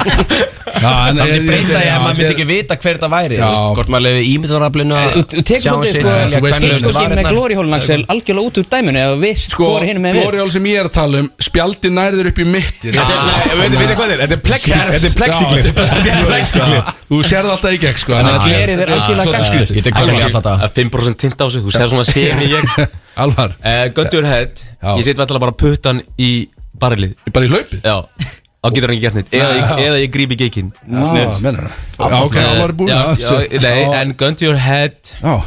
S10: Það myndi breyta ég
S3: já,
S10: að maður myndi
S3: þetta-
S10: ekki vita hver það væri
S3: Já.
S10: þú veist, Hvort maður lefi ímyndunaraflinu
S3: Þú þú tekur
S10: eh,
S3: svolítið sko
S10: Þú
S3: Þú tekur
S10: veist,
S3: svolítið með glory hole Axel algjörlega út úr dæminu eða veist
S2: Sko,
S3: hvor er hinum með
S2: Gloriál sem ég er að tala um, spjaldi nærður upp í mittir Ah.
S10: Þetta er- nei, veitir- veitir hvað þetta er? Þetta er plexigl- þetta er plexigl.
S2: Þetta er plexigli Þú sérð alltaf í gegn, sko þannig að þetta er- svolítið skrítið.
S15: Ég tek Curly alltaf þetta 5% tint á sig, þú sér svona séum í ég
S2: Alvar
S15: Göndur head, ég set vettala bara puttan í barrelið
S2: Bara í hlaupið?
S15: Já, þá getur hann ekki gert neitt Eða ég- Eða ég grípi geikinn
S2: Já, meinar það Já, ok, það var búin
S15: Já,
S2: að-
S15: já, Nei,
S2: Já.
S15: en gun to your head
S2: Já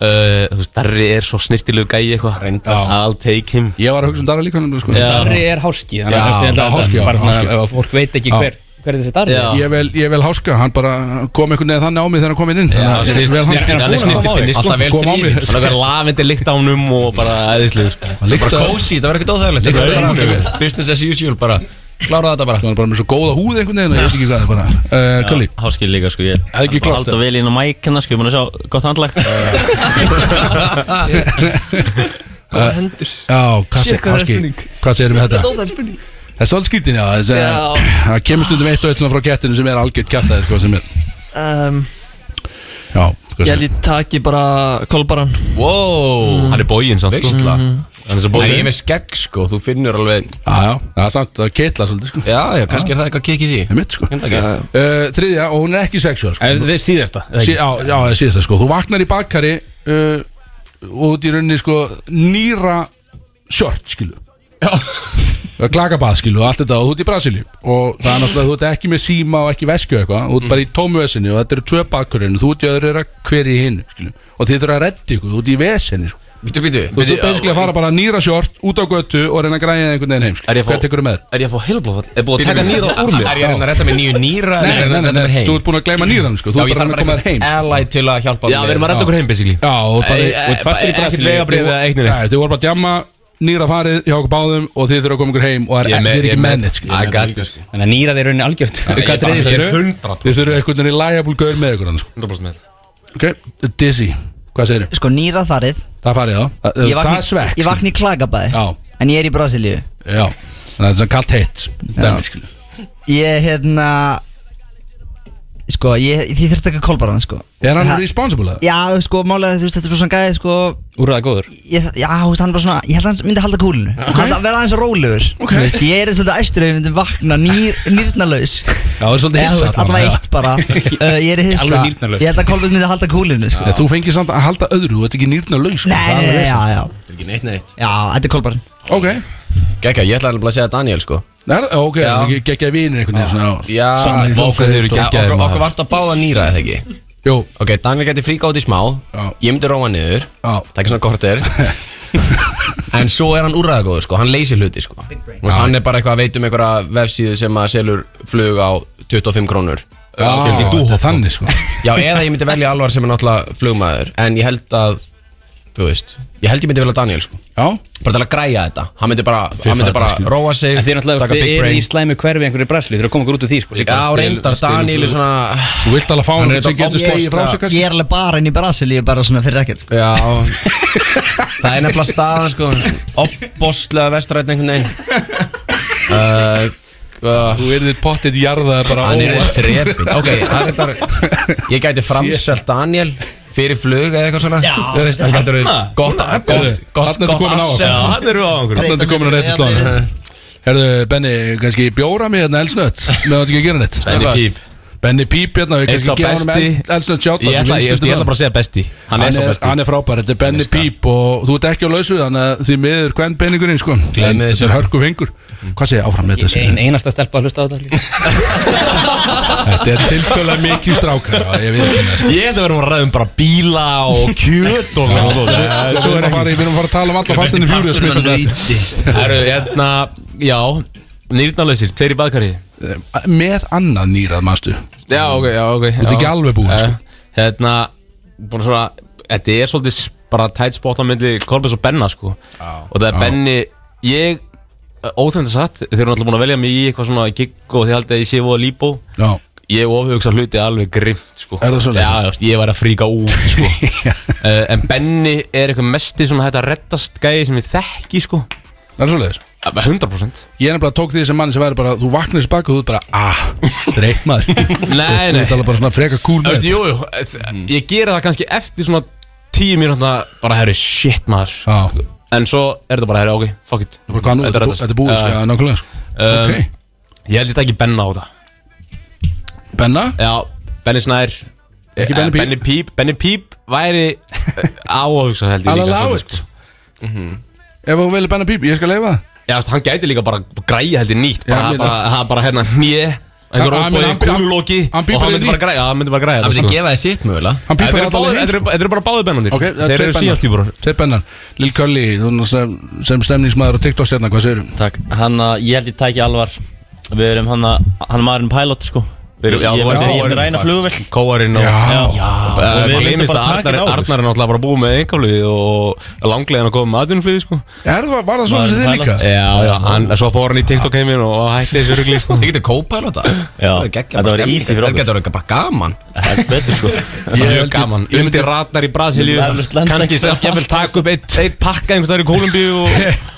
S15: Eh, Þú veist, Darri er svo snirtilegu gæi eitthvað I'll take him
S2: Ég var að hugsa um Darri líka sko.
S3: Darri er háski þannig
S15: Já,
S3: að kannski þetta er
S2: háski, já,
S3: bara svona
S2: háski.
S3: ef fólk veit ekki
S2: Já.
S3: hver hver er þessi Darri
S2: Já. Ég vil, ég vil háska, hann bara kom einhvern veginn þannig á mig þegar hann kom inn Þannig
S15: Já,
S2: að ég
S15: snirti-
S2: vil
S15: snirti-
S2: háska.
S15: alveg snirtinn, sko. Alltaf vel
S2: Kom á mig.
S15: þrývinn Svona eitthvað lavindi lykt á honum og bara æðislegur
S2: lyktar-
S15: Bara kósi, það var ekkert óþægilegt
S2: Lyktar-
S15: Þetta var
S2: Lyktar-
S15: bara Business as usual bara Klára þetta bara
S2: Hann var bara með svo góða húð einhvern veginn og ég veit ekki hvað það bara uh, Kulli
S14: Háskil líka sko Ég
S2: Hefði
S14: bara
S2: ekki klárt
S14: halda
S2: það.
S14: vel inn á mæk hérna sko Ég er búin að sjá gott handlag
S2: Góða hendur Já, hvað
S14: Sér
S2: segir
S14: hvað er
S2: Háski?
S14: spurning.
S2: Hvað segir um þetta?
S14: Þetta er óþægileg
S2: spurning Það er svolítið skrýtin, já þessi-
S12: Já.
S2: Það kemur stundum eitt og eitt svona frá kettinu sem er algjörn kettaði sko, sem er
S12: um,
S2: Já, sko,
S12: Ég
S2: hvað
S12: held ég taki bara Kolbaran
S10: Wow, hann er bógin samt sko
S12: Veistla.
S10: Hann er svo
S12: bóginn.
S10: bógin Eh, Ég er með skegg sko, þú finnur alveg
S2: Mhm. Já, já, það er samt að kitla svolítið sko
S10: Já, já, kannski er það eitthvað að kikið því Hérna
S2: Ég mitt sko uh, Þriðja og hún er ekki sexuál sko.
S10: Er þetta síðasta, eða
S2: Sí,
S10: ekki?
S2: já, já, það er síðasta sko Þú vaknar í bakkari uh, og út í rauninni sko nýra sjört skilu Já Klakabað skilu og allt þetta og þú ert í Brasilíu og það er náttúrulega þú ert ekki með síma og ekki vesku eitthvað þú
S15: Mm.
S2: ert bara í tómu vesinni og þetta eru tvö bakkurinn þú ert í öðru er að hverja í hinn skilu og þið þurfa að redda ykkur þú ert í vesinni sko
S10: Býtu, býtu
S2: Þú ert basically að fara bara nýra sjört út á götu og reyna að græja einhvern veginn heim skilu.
S10: Er ég að fá-
S2: Hvað tekur þú með þér?
S15: Er ég að fá heilblóðfall? Er búið að taka nýra úr mér?
S10: Er ég að reyna að redda með nýju nýra?
S2: Nei, nei, nei, nei, þú ert búin að gleyma nýran sko. Þú
S10: Já,
S2: ert
S10: ég
S2: bara
S10: þarf
S2: að
S10: bara
S2: koma þér heim
S10: eitthvað ally til að hjálpa
S2: Já, við erum að redda okkur
S10: heim basically
S2: Já, og bara
S10: Eh, eh, bara ekkert vegabréf eða eitt neitt.
S2: Nei, Þið voru bara að djamma Nýra farið hjá okkur báðum Og þið þurfa að koma ykkur heim Og það
S10: Ég
S2: er-
S10: er með-
S2: þið er
S10: ég
S2: ekki
S10: er með-
S2: menn
S10: I got this.
S2: Þannig að nýra þeir raunin algjört
S10: Ég er bara- ég er 100%.
S2: Þið þurfa einhvern veginn í liable gaur með ykkur hann, sko.
S10: 100% með
S2: Ok, Dizzy, hvað segir
S11: Sko nýrað farið
S2: Það farið, já Það-
S11: Ég vakna
S2: Það er svekk
S11: Ég vakna í klagabæði
S2: Já.
S11: En ég er í Brasilíu
S2: skilur. Já, þannig að það er svona kallt heitt Dæmi, skilur
S11: Ég hérna Sko ég Því þurfti ekki að kolbara hann sko
S2: Er hann
S11: Ha-
S2: responsible, eða?
S11: Já sko málega þú veist Þetta er bara svona gæði sko
S2: Úrraða góður
S11: ég, Já þú veist hann er bara svona Ég held að hann myndi halda kúlinu Hann að vera aðeins rólegur
S2: Ok.
S11: Þú veist, Ég er eins og þetta æstur Ég myndi vakna nýr, nýrnalaus
S2: Já, það er svolítið hissa
S11: Það var eitt bara uh, Ég er hissa
S2: Alveg nýrnalaus.
S11: Ég held að kolbara myndi halda kúlinu sko.
S2: Ég, Þú fengir samt að halda öðru Þú ert ekki nýrna laus sko.
S11: Nei,
S2: Það er
S11: nei,
S2: alveg
S11: nei,
S2: vesen,
S11: já,
S2: sko.
S11: já.
S10: Þetta er ekki neitt neitt
S11: Já, þetta er kolbarn
S2: Ok
S10: Gekka, ég ætlaði alveg að segja Daniel sko
S2: Nei, ok,
S10: Já.
S2: ekki geggjaði vinir einhvern veginn svona,
S10: Já,
S2: samlegir
S10: vá, hvað þið eru
S2: hljómsveit og-
S10: geggjaðir, maður. Okkur vant að báða nýra eða ekki
S2: Jú
S10: Ok, Daniel geti fríka út í smá Ég myndi róa niður Takk svona kortir En svo er hann úrraðagóður sko, hann leysir hluti sko Þú veist, Hann er bara eitthvað að veit um einhverja vefsíðu sem að selur flug á 25 krónur
S2: Já,
S10: Svo fylgdi
S2: þetta er
S10: dúhopp,
S2: þannig, sko.
S10: Já, eða ég myndi velja Alvar sem er náttúrulega flugmaður En ég held að, þú veist Ég held ég myndi velja Daniel sko
S2: Já
S10: Bara til að græja þetta Hann myndi bara,
S3: Fyrir
S10: hann myndi bara
S3: fæðið, sko.
S10: róa sig
S3: En þið eru náttúrulega
S10: taka
S3: Þið
S10: big
S3: eru
S10: brain.
S3: í slæmu hverfi einhverju bræslu Þið eru að koma okkur út úr því sko
S10: Já, reyndar, Daniel er svona
S2: Þú vilt alveg fá
S10: Hann
S2: hann
S10: er
S2: sem
S10: þetta
S2: getur slegið frá sig kannski
S11: Ég er alveg bara inn í Brasilíu Bara svona fyrir ekkert sko.
S10: Já Það er nefnilega staðan sko Oppboslega vestræðin einhvern veginn uh,
S2: Þú yrðir pottitt jarðaði bara
S10: Hann er
S2: óvart.
S10: drepin Ok, hann er bara Ég gæti framselt Daniel Fyrir flug eða eitthvað svona Já Þú veist, hann gæti verið Gott, gott, gott,
S2: Þarna ertu komin á okkur. Þarna ertu komin á réttu slóðan Herðu, Benni, kannski bjóra mig hérna elsnött Með þetta ekki að gera neitt
S15: Benni Píp.
S2: Benni Píp hérna, við
S15: Einn sá
S2: kannski gefa honum
S15: besti.
S2: el- elsnött sjátt
S15: Ég ætla- ég- ég ætla bara að segja besti. Hann
S2: Hann
S15: er
S2: er
S15: sá besti.
S2: hann er frábær, þetta er Benni Píp Og þú ert ekki á lausu, þannig að því miður hvern benningurinn, sko
S10: Gleymið
S2: Þetta
S10: þessu.
S2: er hörku fengur Hvað segja áfram með þessu?
S3: Ein einasta stelpa að hlusta á þetta líka
S2: Þetta er tiltölulega mikið strákar já, um Ég veit ekki
S10: Ég held að við erum að ræða um bara bíla og kjöt og og svo.
S2: Svo erum við að fara í- við erum að fara að tala um alla fastinni fjúri
S15: Það eru, hérna, já Nýrnalausir, tveir í baðkari
S2: Með annað nýrað, manstu
S15: Já, ok, já, ok Þú
S2: ert ekki alveg búinn, sko.
S15: Hérna, búin svona Þetta er svolítið s- bara tætt spott á myndi Kolbis og Benna, sko Og það er
S2: Já.
S15: Benni, ég Óþæmnt satt, þeir eru alltaf búin að velja mig í eitthvað svona gig og þið haldið að ég sé voða líbó
S2: Já.
S15: Ég ofhugsa hluti alveg grimt sko.
S2: Er það svoleiðis?
S15: Já, þú veist, ég var að fríka út sko. uh, En Benni er eitthvað mesti svona þetta reddast gæði sem ég þekki sko.
S2: Er það svoleiðis?
S15: 100%
S2: Ég nefnilega tók því sem mann sem væri bara Þú vaknar þessi baka og þú ert bara Ah, dreikt maður
S15: Nei, nei.
S2: Þú ert alveg bara svona freka kúl
S15: Þú veist, jú, jú, eh, ég gera það kannski eftir svona tíu mínútna bara, herru, shit maður
S2: Já.
S15: En svo er þetta bara, herru, ok, fuck it
S2: bara, hvað nú? Þetta er bú-
S15: reddast.
S2: þetta er búið, sko,
S15: Já.
S2: já, nákvæmlega, sko.
S15: Um,
S2: Ok.
S15: Ég held ég takk Benna á það
S2: Benna?
S15: Já, Benni Snær
S2: Ekki Benni
S15: Eh,
S2: Píp?
S15: Benni Píp Benni Píp væri eh, á að hugsa held ég
S2: Alveg
S15: líka,
S2: á
S15: svolítið, sko.
S2: it. Mhm. Ef þú velur benna píp, ég skal leifa það
S15: Já, veist, hann gæti líka bara græja heldur nýtt
S2: Já,
S15: bara,
S2: ég meina-
S15: bara, hann bara hérna hnið
S2: Hann-
S15: einhver
S2: hann-
S15: óbúið,
S2: hann-
S15: kúluloki
S2: hann
S15: og
S2: pípar
S15: hann
S2: í
S15: myndi bara
S2: nýtt.
S15: græja hann myndi bara græja
S2: Hann
S15: það,
S2: myndi
S15: sko.
S2: gefa þér sitt mögulega. Hann pípar
S15: Þetta eru
S2: alla
S15: báðir-
S2: leið,
S15: Þetta eru- þetta eru bara báðir bennandir
S2: Ok, það er
S15: Þeir
S2: tveir
S15: eru
S2: Bennar.
S15: síðan stýpur
S2: Tveir bennar Lil Curly, þú náttúrulega sem, sem stemningsmaður og TikTok stjarnar, hvað segirum?
S14: Takk, hann að ég held ég tæki alvar Við erum hann að, hann er maðurinn pilot sko Við erum,
S15: Já,
S14: ég
S15: þú
S14: myndi,
S15: ert-
S14: ég myndi
S15: já,
S14: ræna
S15: já.
S14: flugvel
S15: Kóarinn og
S14: Já,
S15: Það
S14: Og við
S15: er bara
S14: myndum
S15: gleymist
S14: bara
S15: að
S14: taka
S15: Arnar,
S14: þetta á okkur.
S15: Arnar er náttúrulega bara búið með engaflugið og langlegin að koma með atvinnflugið sko
S2: Er það, var það svona sem þið líka?
S14: Eh,
S15: Já, já, hann, svo fór hann í TikTok heiminn og hætti þessu rugli sko Þið getur co-pilota
S14: Já, þetta var easy fyrir okkur
S10: Þetta verður bara gaman
S14: Þetta er betur sko
S15: Ég er gaman, ég myndi ratnar í Brasilíu
S14: Ég myndi landa
S15: Kanski
S14: einhvers
S15: sem ég vil taka upp eitt, eitt pakka einhvers þar í Kolumbíu og...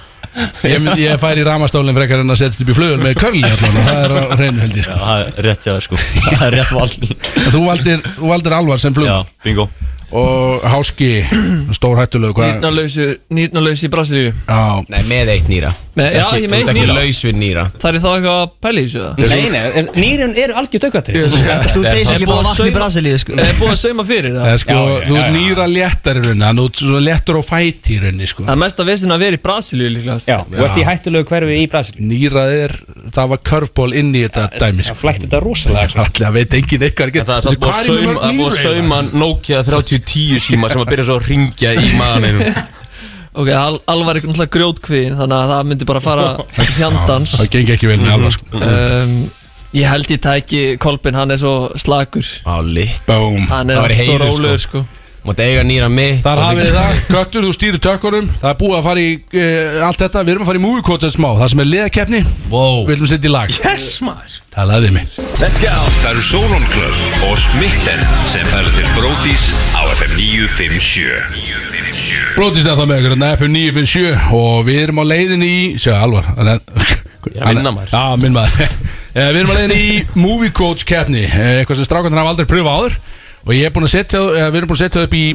S2: Ég, mynd, ég fær í ramastólinn frekar en að setjast upp í flugun með Curly allan og það er á reynu held ég sko.
S14: Það er rétt hjá þér sko Það er rétt val
S2: En þú valdir, þú valdir alvar sem flug
S14: Já, bingo
S2: Og háski, stór hættulegu hvað?
S12: Nýrnalausu, nýrnalausu í Brasilíu
S2: Já
S10: Nei, með eitt nýra
S12: Með- já, ég með eitt
S10: Þú ert
S12: nýra.
S10: ekki laus við nýra
S12: Það er þá eitthvað að pæla í þessu það?
S3: Nei, nei, er- nýrin eru algjör dökvættir
S2: Yes, yes.
S11: Þú ert basically bara að vakna í Brasilíu sko
S12: Er búið að sauma fyrir
S2: Það
S12: það?
S2: er sko, þú ert nýra léttar í rauninni, þannig að þú ert svo léttur á fæti í rauninni sko.
S12: Það er mest að vesin að vera í Brasilíu líklegast
S3: Já, og ert í hættulegu hverfi í Brasil
S2: Nýrað er, það var körfból inn í þetta dæmi sko.
S3: Flækt þetta rosalega sko.
S2: Alltaf veit enginn eitthvað
S15: Það er samt búið að sauma- það er búið að sauma Nokia 3010 síma sem að byrja svo að ringja í maðaninu
S12: Ok, Al Alvar er náttúrulega grjótkvíðin þannig að það myndi bara fara hjandans
S2: Það gengi ekki vel með alvar sko.
S12: um, Ég held ég tæki Kolbin, hann er svo slakur
S10: Á litt
S2: Bóm
S12: Hann er
S10: Það
S12: allt
S10: væri
S12: og
S10: heiður, sko.
S12: rólegur sko
S10: Mátt eiga nýra mitt
S2: Þar hafið þið það, köttur, þú stýrir tökkunum Það er búið að fara í uh, allt þetta Við erum að fara í movie quote smá, það sem er liðakeppni
S10: Wow.
S2: Við viljum setja í lag
S15: Yes maður
S2: Talaði við mig
S5: Let's go Það eru Sauron Club og Smitten sem færa til Brótis á FM 957
S2: Brótist er það með ykkur, hérna, FM 957 Og við erum á leiðin í, sjá alvar Ég er
S15: að vinna, maður.
S2: Já, minn maður Eh, Við erum á leiðin í movie quotes keppni eh, Eitthvað sem strákarnir hafa aldrei pröfað áður Og ég er búin að setja, eh, við erum búin að setja upp í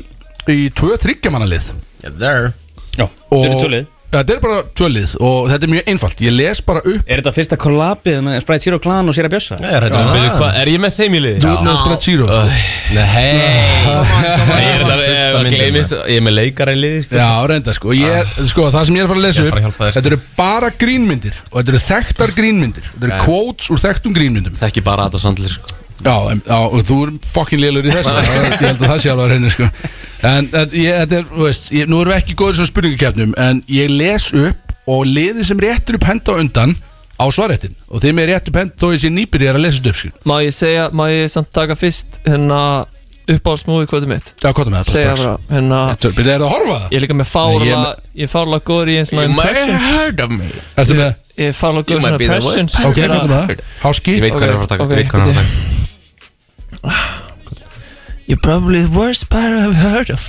S2: Í tvö þryggjamannalið
S10: Yeah, there
S3: Já, þetta eru tölvið
S2: Þetta er bara tvölið og þetta er mjög einfalt Ég les bara upp
S3: Er þetta fyrsta kollabið með Sprite Zero Clan og Sera Bjössa?
S10: Ég er hættur að byrja hvað
S15: Er ég með þeim í liði?
S2: Þú ert með Sprite Zero sko.
S10: Nei, hei
S15: Ég er það-
S10: Fyrsta
S15: ég-
S10: myndin,
S15: gleymist- ég er með leikara í liði sko. Ah.
S2: Já, reynda sko, ég, sko Það sem ég er að fara að lesa
S15: Ég er bara að
S2: upp
S15: hjálpa þér, sko. Ah.
S2: Þetta eru bara grínmyndir Og þetta eru þekktar grínmyndir Þetta eru
S15: Já.
S2: quotes úr þekktum grínmyndum
S15: Þekki bara Adam Sandler sko.
S2: Já, em, já og þú er fucking lélur í þessu Ég held að það sé alveg að reyna sko En en ég, þetta er, þú veist ég, Nú erum við ekki góður svo spurningakefnum En ég les upp og liði sem réttur upp henda á undan Á svarettin Og þeim er réttur upp henda Þó ég sé nýpir ég er að lesa þetta upp sko
S12: Má ég segja, má ég samt taka fyrst hérna uppáhaldsmóði kvöldum mitt
S2: Já, hvað með
S12: Segja bara,
S2: þetta strax
S12: hérna
S2: Þetta er- byrju, Er það að horfa það?
S12: Ég er líka með
S2: Nei,
S12: fárlega, ég er
S2: ég er með-
S12: fárlega góður í einn svona
S15: You might
S12: impressions
S15: have heard of me
S2: Ertu með?
S12: Ég er fárlega
S15: You
S12: góður í
S15: might
S12: svona
S15: be the worst
S12: impressions
S2: Ok,
S12: Ég er
S2: hvað
S12: að-
S2: með það? Háski
S15: Ég veit hvað hann er að fara að taka
S12: Ok,
S15: Ég veit hvað
S12: bíddu.
S15: hann er að fara að
S12: You're probably the worst pirate I've heard of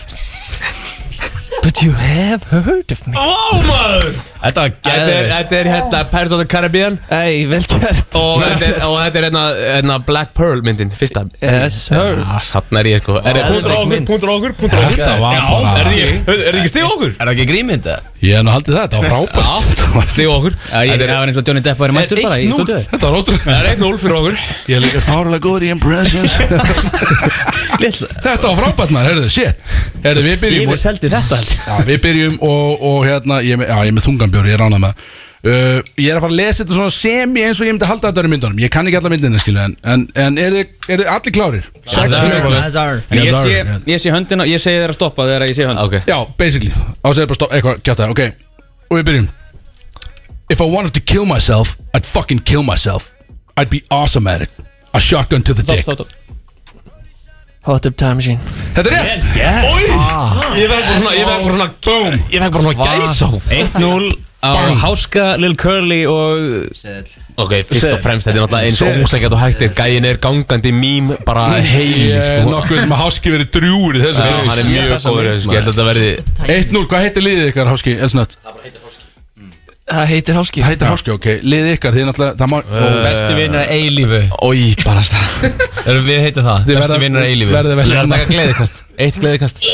S12: But you have heard of me
S15: taka Ó maður Þetta var
S10: Þetta er-
S15: Þetta er hérna Pirates of the Caribbean
S12: Ei, vel gert
S15: Og þetta er, og þetta er hérna, hérna Black Pearl myndin, fyrsta
S12: Yes, sir
S15: Sann er ég sko Er þetta
S2: Punktur á okkur, punktur á okkur, punktur á okkur
S15: Þetta var bara-
S2: Já, er
S15: ekki- er þetta ekki stig okkur?
S10: Er það ekki grímynd það?
S2: Ég hef nú haldið það, þetta var frábært Það var
S15: stig okkur
S3: Það var eins og Johnny Depp væri mættur bara í stúdíu
S2: Þetta var ótrúlega
S15: Það er 1-0 fyrir okkur
S2: Ég er líka fárlega góður í impressions Þetta var frábært maður, heyrðu, shit Heyrðu, við byrjum
S3: Yfir seldi þetta held
S2: Já, við byrjum og, og hérna Ég er með, já, ég er með þunganbjörn, ég er ránað með það. uh, Ég er að fara að lesa þetta svona semi eins og ég myndi halda þetta er í myndunum Ég kann ekki alla myndina, skilu En, en, en eru er allir klárir? Sex
S3: Yes, sir. En ég sé, ég sé höndina og ég segi þér að stoppa þegar ég sé höndina
S15: okay.
S2: Já, basically Á segir bara stopp, eitthvað, kjátt það, ok Og við byrjum If I wanted to kill myself, I'd fucking kill myself I'd be awesome at it A shotgun to the dick
S12: Hot Tub Time Machine
S2: Þetta er rétt
S12: Oj!
S15: Ég verð bara svona Ég verð bara svona Boom Ég verð bara svona gæsó
S14: 1-0 á
S15: Bang.
S14: Háska, Lil Curly og Seðl
S15: Ok, fyrst og fremst Þetta er náttúrulega eins og
S14: Shit.
S15: ósækjað og hægt er Gæin er gangandi mím Bara heil
S2: Mm. Ég er
S15: sko
S2: nokkuð sem að Háski verið drjúur í þessu
S15: Já, hann er mjög góður í þessu, sko. Ég held að þetta verði
S2: 1-0, hvað heitir liðið ykkar Háski? Elsnött
S12: Það heitir Háski
S2: Það heitir Háski, ok Liðið ykkar, þið náttúrulega það má, Eh,
S14: Og bestu vinnar að eilífu
S15: Í bara stað
S14: Erum við heitir það?
S2: Þið
S14: Bestu
S2: verða-
S14: vinnar að eilífu
S2: verðið vel-
S14: Ég er að
S10: hérna.
S14: taka gleðikast Eitt gleiðikast
S15: Eh,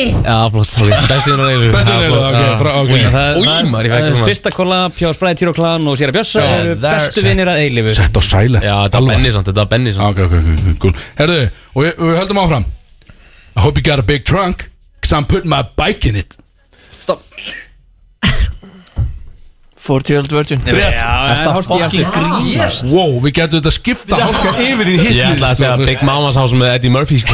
S14: Já, flott ok. Bestu vinnar að eilífu
S2: Bestu vinnar að eilífu, ok, frá- ok.
S14: Það
S2: Új,
S14: það-
S2: maður,
S14: það
S2: ég fæ
S14: er
S2: ekki núna.
S14: fyrsta kollab hjá Spræði Týr og Klan og Sýra Bjössa
S2: Já,
S14: eru
S2: there-
S14: Bestu vinnir að eilífu
S2: Sett á sælet
S15: Já, þetta var Benny samt, þetta var Benny
S2: Ah,
S15: samt
S2: Ok, ok, ok, cool Herðu, og við- við höldum áfram I hope you got a big trunk Cause I'm putting my bike in it
S12: 40 Year Old Virgin
S2: Rétt
S12: Þetta
S3: Háski
S12: aftur.
S2: grínast Wow, við getum þetta skipta Háska yfir í hitt
S15: Ég ætla að segja Big Mama's House með Eddie Murphy sko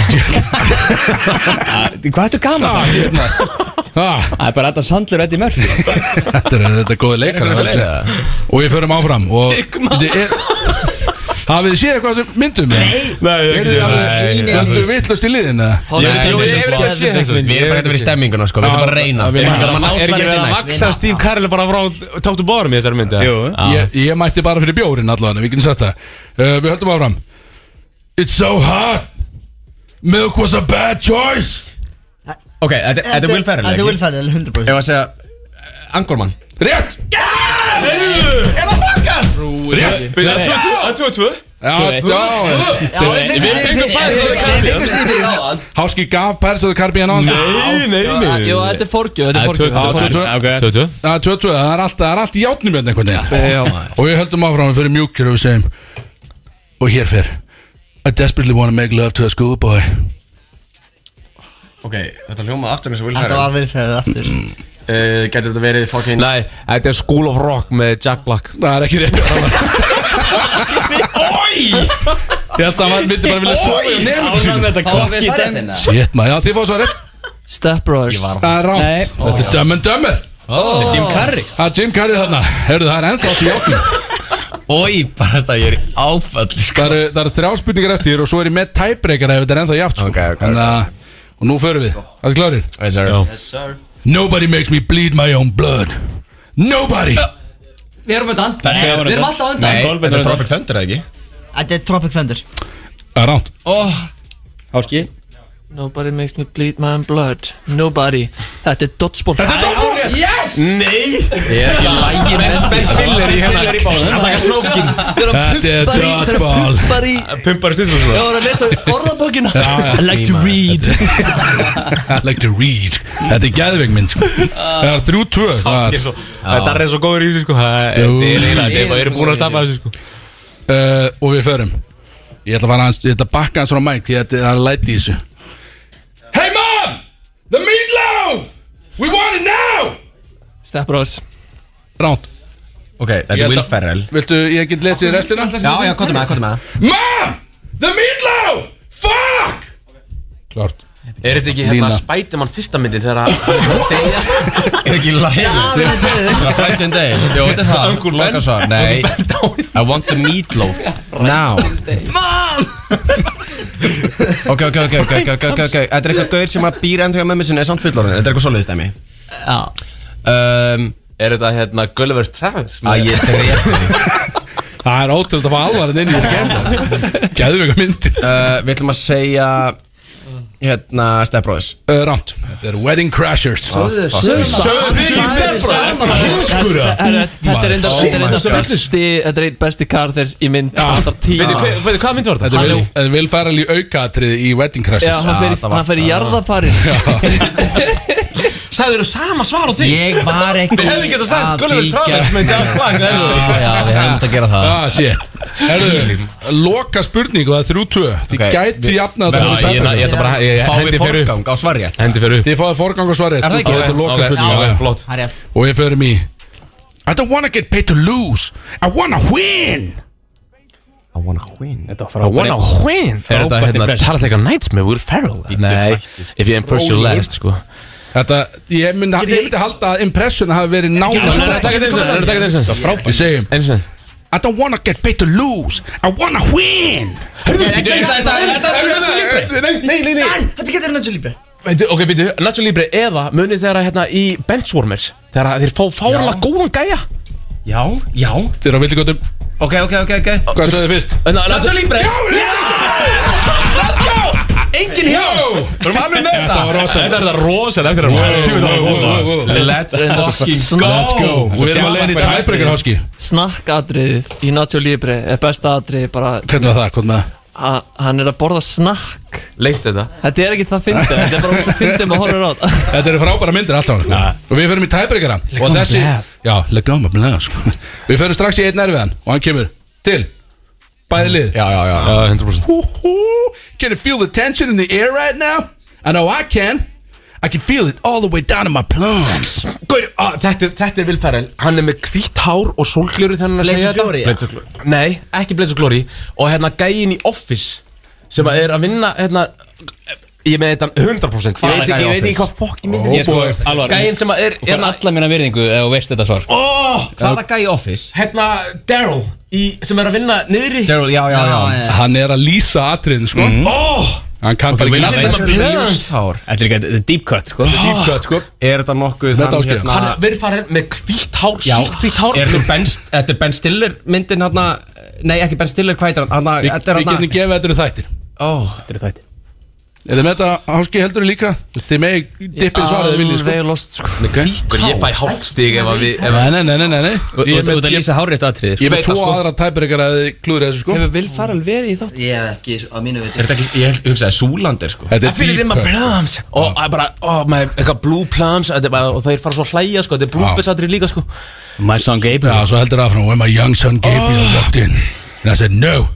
S14: Hvað ertu gaman
S2: Ah, shit, maður. Ah,
S14: Það er bara Adam Sandler og Eddie Murphy
S2: Þetta er þetta er góði leikar
S14: Þetta er góðir leikarar.
S2: Og við förum áfram og þetta er- Hafið þið séð eitthvað sem myndum? Nei
S15: Nei,
S2: Eru þið alveg
S15: nei,
S2: Völdu vittlust í liðin? eða?
S15: Ég hef ekki að sé þessu Við erum bara hérna verið í stemminguna sko Við erum bara að reyna
S2: Við
S15: Er
S2: erum bara að
S15: ekki verið að-
S2: ná
S15: er ekki
S2: sverðið
S15: verið að
S2: næst.
S15: maksa Steve Carell bara frá Tóttu bórum í þessari myndi
S14: Jú
S2: ég, ég mætti bara fyrir bjórin allavega Við getum sagt það uh, Við höldum áfram It's so hot Milk was a bad choice
S10: Ok, þetta þetta er Will
S11: Þetta
S10: Ferrell, ekki?
S11: er Will Ferrell, 100%
S10: Ég var að segja Angorman
S2: Rétt
S10: Er það flaggast? Rétt
S15: Byrju, Það er 2-2
S2: Já, já
S15: Já, við fengum-
S2: fengum Pirates of the Caribbean. hérna. Háski gaf Pirates of the Caribbean á hann
S15: Nei, nei, nei
S12: Jú, þetta er forgjöf Þetta er forgjöf
S2: Já, 22.
S15: Tvö-tvö
S2: Það er 22, það er allt, það er allt í játnum hérna einhvern
S12: oh
S2: veginn Og við höldum áfram, við fyrir mjúkir og við segjum Og hér fer I desperately wanna make love to a schoolboy
S10: Ok, þetta hljóma aftur eins og Will
S11: Þetta
S10: Ferrell
S11: var eh, Will Ferrell aftur
S10: uh, Getur þetta verið fucking
S15: Nei, þetta er School of Rock með Jack Black
S2: Það er ekki rétt Ég held að hann myndi bara vilja sofa hérna. í nefnum sínum
S14: Þetta kokki den
S2: Shit maður, já þið fóðu svo rétt
S12: Step Brothers
S2: Það er
S12: Nei.
S2: rátt, þetta er Dumb and Dumber
S10: Þetta er Jim Carrey
S2: Það er Jim Carrey þarna, heyrðu það er ennþá til játnum
S10: Ói, bara þetta ég er í áfall sko.
S2: Það eru- það eru þrjá spurningar eftir og svo er ég með tæbreykar ef þetta er ennþá játt sko.
S10: Ok, ok,
S2: Þannig að, og nú förum við, það er klárir
S10: Yes sir
S2: Nobody makes me bleed my own blood Nobody
S16: Við erum undan Við erum alltaf undan
S10: Nei,
S14: Kolbeinn er
S10: þetta er Tropic Thunder eða ekki?
S11: Þetta er Tropic Thunder
S2: Það er rátt
S14: Háski
S12: Oh. Nobody makes me bleed my own blood Nobody Þetta er dodgeball
S2: Þetta er dodgeball
S12: Yes
S15: Nei Ég er ekki lægin Ben Stiller í hérna Hann taka snókin
S2: Þetta er dodgeball
S12: Bari
S15: Pumpar í stundum
S12: Ég var að lesa orðabókina
S2: Já, já.
S12: I like to read
S2: I like to read Þetta er gæðveik minn sko. Það er þrjú tvö það
S15: Háskir
S2: er-
S15: svo Þetta er svo góður í þessu sko Það er
S2: Jú.
S15: eiginlega Við erum búin að tapa þessu sko
S2: uh, Og við förum Ég ætla að fara aðeins, ég ætla að bakka aðeins frá Mike Því að þetta- það er læti í þessu Hey mom, the meatloaf We want it now
S12: Step Brothers
S2: Ránt
S10: Ok, þetta
S2: Ég
S10: er
S2: held
S10: Will
S2: að-
S10: Ferrell
S2: Viltu, ég get lesið restina?
S10: Já, já, kottu með, kottu með
S2: Mom, the meatloaf Fuck Klart
S15: Er þetta ekki
S2: hérna
S15: hérna Spiderman fyrsta myndin þegar
S10: Er ekki lægin? Það er flættin dag Jó, þetta er það
S15: Uncle Ben.
S10: Loka svar. Nei I want the meatloaf Now Ok, ok, ok, ok, ok, ok, ok Þetta er eitthvað gaur sem að býr ennþá hjá mömmu sinni er samt fullorðin Þetta er eitthvað svoleiðist dæmi
S11: Já
S10: um,
S15: Er þetta hérna Gulliver's Travels
S10: Æ, ég dref
S2: Það er ótrúld að fá alvarinn inn í þetta gæðveik Gæðveika myndir
S10: uh, Við ætlum að segja Hérna,
S2: Eh,
S10: Step Brothers
S2: uh, Ránt, þetta er Wedding Crashers
S10: Söðursæðis
S12: Þetta er- þetta er enda- þetta er enda besti Þetta er einn besti karðir í mynd alltaf tíma
S2: Veitu, hvað myndi var
S12: þetta?
S2: Þetta
S12: Hann
S2: er Will- Will Ferrell í aukaatriði í Wedding Crashes
S12: Já, hann fer í- hann fer í jarðafarir
S15: Sæður þú sama svar á því?
S17: Ég var ekki
S15: Við hefðum getað sagt
S17: að
S15: Gulliver
S17: þykja-
S15: Travis með Jack Black
S17: Já, já, við hefðum átt að gera það.
S2: Ah, shit Herðu, loka spurning og það er 3-2 Þið
S15: Ok,
S2: gæti
S15: við-
S2: jafna
S15: Já, ég- ég- ég ætla bara- ég- Fáum við hendi fyrir upp.
S2: á svarjætt Hendi fyrir upp Þið fáið forgang á svarjætt
S15: Er það ekki?
S2: Þetta er loka
S15: Ok,
S2: spurning
S15: já,
S2: já, já.
S15: flott.
S16: Það er rétt.
S2: Og við förum í I don't wanna get paid to lose I wanna win
S15: I wanna win
S10: Þetta var
S15: I wanna win Er þetta hérna Tarð like a night með Will Ferrell? Nei If you impress your
S2: Ólíkur.
S15: last sko
S2: Þetta, ég myndi, ég myndi halda að impression hafi verið nánast
S15: Nei, nei, taka þetta einu sinni, taka þetta einu sinni.
S2: Það er frábært Við segjum
S15: Einu sinni
S2: I don't wanna get paid to lose I wanna win
S15: Nei, nei, nei
S16: Þetta getur Nacho Libre
S15: Veitu, ok, veitu, Nacho Libre eða munið þegar að, hérna í Benchwarmers Þegar að þeir fá fárlega góðan gæja
S17: Já, já
S2: Þeir eru á villigötum
S17: Ok, ok, ok, ok
S2: Hvað sagði fyrst?
S17: Nacho Libre Já, já Let's go Engin hjá Við erum alveg með þetta
S15: var rosa Þetta er þetta rosa Þetta er þetta
S17: Let's
S15: fucking go
S2: Let's go Og við erum að leiðin í tiebreaker háski
S12: Snakkatriðið í Nacho Libre er besta atriði bara
S2: Hvernig var það, hvernig með það?
S12: Ha- Hann er að borða snakk
S15: Leikt þetta
S12: Þetta er ekki það fyndið Þetta er bara úr það fyndið maður horfir á þetta.
S2: Þetta eru frábæra myndir alltaf sko. Og við förum í tiebreakera
S12: Let
S2: Og
S12: go my
S2: þessi
S12: blast.
S2: Já, let go my blast sko. Við förum strax í einn erfiðan Og hann kemur til Bæði lið
S15: Já, já, já, já 100%
S2: Hú, hú. Can you feel the tension in the air right now? I know I can I can feel it all the way down in my plums
S15: Gaur,
S14: Ah,
S15: á, þetta, er- þetta er Will Ferrell Hann er með hvitt hár og sólgleru þegar hann er að
S16: Blades
S15: segja
S16: of Glory, já.
S15: Blades of Glory Nei, ekki Blades of Glory Og hérna gæin í Office Sem að er að vinna, hérna Ég með þetta 100% Ég veit, ekki- ég veit ekki hvað fokkin myndin
S14: Ég sko, alvar
S15: Gæin sem að er
S14: Þú fær alla mína virðingu ef þú veist þetta svar sko.
S15: oh,
S14: Hvaða
S17: gæi í Office?
S15: Hérna, Daryl í- Sem er að vinna niðri Ah.
S17: Daryl, já, já,
S15: já.
S2: Hann er að lýsa atriðin sko
S15: Oh,
S2: Hann kann bara
S15: Will Ferrell
S2: ekki
S15: með blöðt hár
S14: Þetta er líka, þetta er deep cut sko
S15: Þetta er deep cut,
S2: sko
S17: Er þetta nokkuð
S15: Þetta
S17: hann,
S15: áskilja
S17: hérna-
S15: Ah. Hann er Will Ferrell með hvitt hár, sítt hvitt hár
S17: Er þetta Ben, þetta er ben Stiller myndin hann Nei, ekki Ben Stiller, hvað heitir hann?
S2: Við við getum gefið að þetta eru þættir
S17: Þetta
S14: eru þættir
S2: Eða með þetta háski heldur þú líka Þið megi dippið svarið þið viljið sko
S12: Alveg lost sko
S15: Hvítt Ég fæ hálfstig ef að við ef
S2: Nei, nei, nei, nei, nei, nei. Ég er
S14: Þú
S2: með-
S14: ert að lýsa hárétt atriði
S2: Ég er með
S14: Veit það,
S2: tvo
S14: sko.
S2: aðra tæpurikar að þið klúður þessu sko
S12: Hefur Will Ferrell verið í þátt?
S16: Ég hef ekki, á mínu viti
S17: Er þetta ekki, ég hugsaði Súlandir sko
S2: Þetta
S15: I feel it in my plums Og það er bara, ó, með eitthvað blue plums þetta er bara- Og þeir fara svo að hlæja, sko Þetta er blue bits atrið líka, sko
S14: My son Gabriel
S2: Já, svo heldur áfram When my young son
S12: Ah.
S2: Gabriel walked in And I said no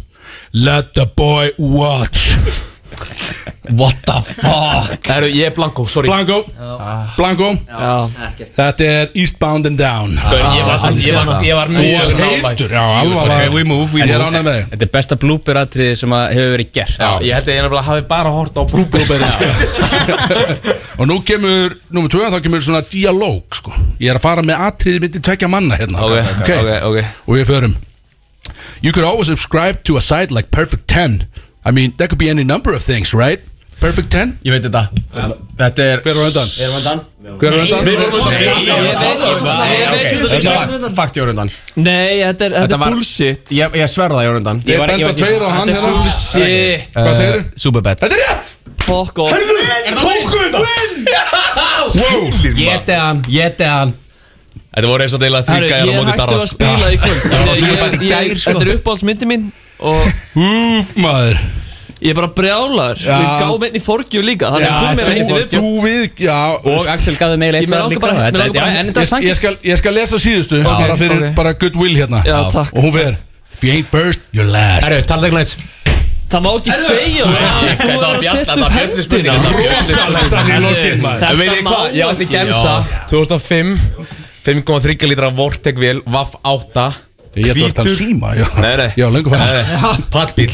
S2: Let the boy watch
S17: What the fuck
S15: Það eru, ég er Blanko, sorry
S2: Blanco Blanco
S16: Ekkert
S2: Þetta er Eastbound and Down Ah,
S15: Gaur, ég var samt- ég var- ég var
S2: Þú
S15: mjög
S2: var
S15: nálægt.
S2: heitur Já, alveg
S17: we move,
S2: Ég er ánægð með þig
S14: Þetta er besta blooper atriði sem að hefur verið gert
S15: Já, ég held að ég nefnilega hafi bara hort á blue bits
S2: Og nú kemur Númer 2 Þá kemur svona dialóg sko Ég er að fara með atriði mitt í tvekja manna hérna
S15: Ok, ok, ok, ok
S2: Og við förum You could always subscribe to a site like Perfect 10 I mean, that could be any number of things, right? Perfect 10
S17: Ég veit þetta Þetta er
S2: Hver er á undan?
S16: Erum við dan?
S2: Hver er á undan?
S17: Fakt ég var undan
S12: Nei, þetta er, þetta
S17: Þetta
S12: er
S17: var-
S12: bullshit
S17: Ég, ég sverða ég var undan
S2: Ég er benda tveir og hann
S12: Þetta er
S2: hérna
S12: bullshit
S2: Hvað segirðu?
S17: Eh, Superbad
S2: Þetta er rétt!
S12: Fuck off
S17: Tóku undan Geti hann, geti hann
S15: Þetta voru eins og deila
S12: Herru, Ég
S15: þrýka
S12: hætti að spila í kvöld Ég- ég- Þetta er uppáhaldsmyndi mín Og
S2: Úf, sko. maður
S12: ég er bara brjálar
S2: Já.
S12: Við gáum einn í forgju líka Þannig að hún er einn í
S2: þú, þú
S12: viðbútt
S2: við, já
S14: Og Axel gafði meil eitt
S12: Ég mig
S14: svar
S12: langar
S14: líka
S12: bara- mig
S14: Þetta-
S12: langar bara-
S14: já, En þetta
S2: ég,
S14: er
S2: ég,
S14: sangist
S2: skal, ég skal lesa síðustu Bara fyrir
S12: ok.
S2: bara goodwill hérna
S12: Já, takk.
S2: Og hún fer If you ain't first, you're last
S15: Herru, talaðu ekki nætt
S12: Það má ekki segja það. Þú er
S15: Þetta var
S12: að
S15: bjart,
S12: setja
S15: þetta
S12: upp
S15: var bjartri spurning Þetta var bjartri spurning
S2: Þannig í lokin, maður.
S12: Þetta
S15: En veit ég
S12: má
S15: hvað, ég átti
S12: ekki.
S15: gemsa 2005 5,3 litra Vortec vél Vaff 8
S2: Ég ætla að tala um síma já.
S15: Nei, nei
S2: Já, löngu fann
S15: Nei, nei. Pallbíl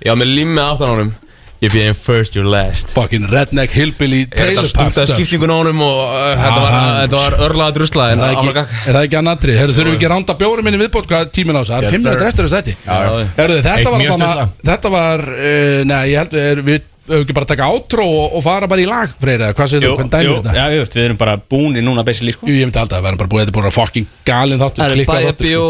S15: Ég var með limmið aftan á honum If you ain't first, you're last
S2: Fucking redneck hillbilly
S15: Ég þetta
S2: trailer park
S15: stútaði
S2: stuff.
S15: skiptingun á honum og uh, þetta var,
S2: Ah, hann-
S15: þetta var örlaða drusla en
S2: Er það
S15: alveg
S2: ekki, er það ekki annað atrið? Herru, þurfum við ekki að ránda bjóri minni viðbót hvað tíminn á þessu? Það er
S15: Yes,
S2: 5
S15: sir.
S2: minútur eftir þessu þetta
S15: Já, já.
S2: Herru,
S15: Eitt
S2: þetta var
S15: mjög
S2: þannig
S15: stutt lag.
S2: Þetta var, uh, nei, ég held við er, Við höfum ekki bara að taka átró og, og fara bara í lag Freyra, hvað segir þú, hvernig dæmir þetta?
S14: Já, jú, veist, við erum bara búinir núna basically sko
S2: Jú, ég myndi alltaf að vera bara búið Þetta er búin að fucking galin þáttu
S12: Það er bæja bjó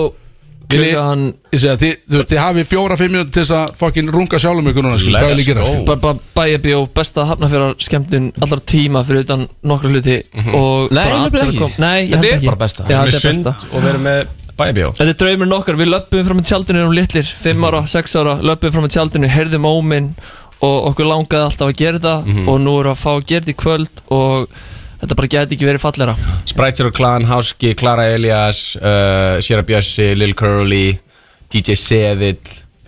S2: Klukkan sko. Ég segi að þið, þú veist, þið hafið fjóra-fimm mínútur til þess að fokkin runga sjálfum ykkur núna, skil, hvað vil ég gera? skilur?
S12: sko. Bara bæjabíó, besta hafnafjörðar skemmtun allra tíma fyrir utan nokkra hluti og
S2: Mhm. Nei,
S12: bara
S2: nefnilega
S12: allir að
S2: ekki.
S12: koma- Nei, ég
S2: Þetta
S12: held
S2: er
S12: ekki
S2: bara besta.
S12: Já,
S2: Með
S12: þetta er
S2: sund
S12: besta
S14: og verið með bæjabíó
S12: Þetta er draumurinn okkar, við löppum fram með tjaldinu erum litlir, 5 ára, 6 ára löppum fram með tjaldinu, heyrðum óminn og okkur langaði alltaf að gera það
S14: Mhm.
S12: og nú erum við að fá að gera þetta í kvöld og þetta bara geti ekki verið fallera
S10: Sprites eru Klan, Háski, Klara Elias uh, Sierra Bjössi, Lil Curly DJ Seðill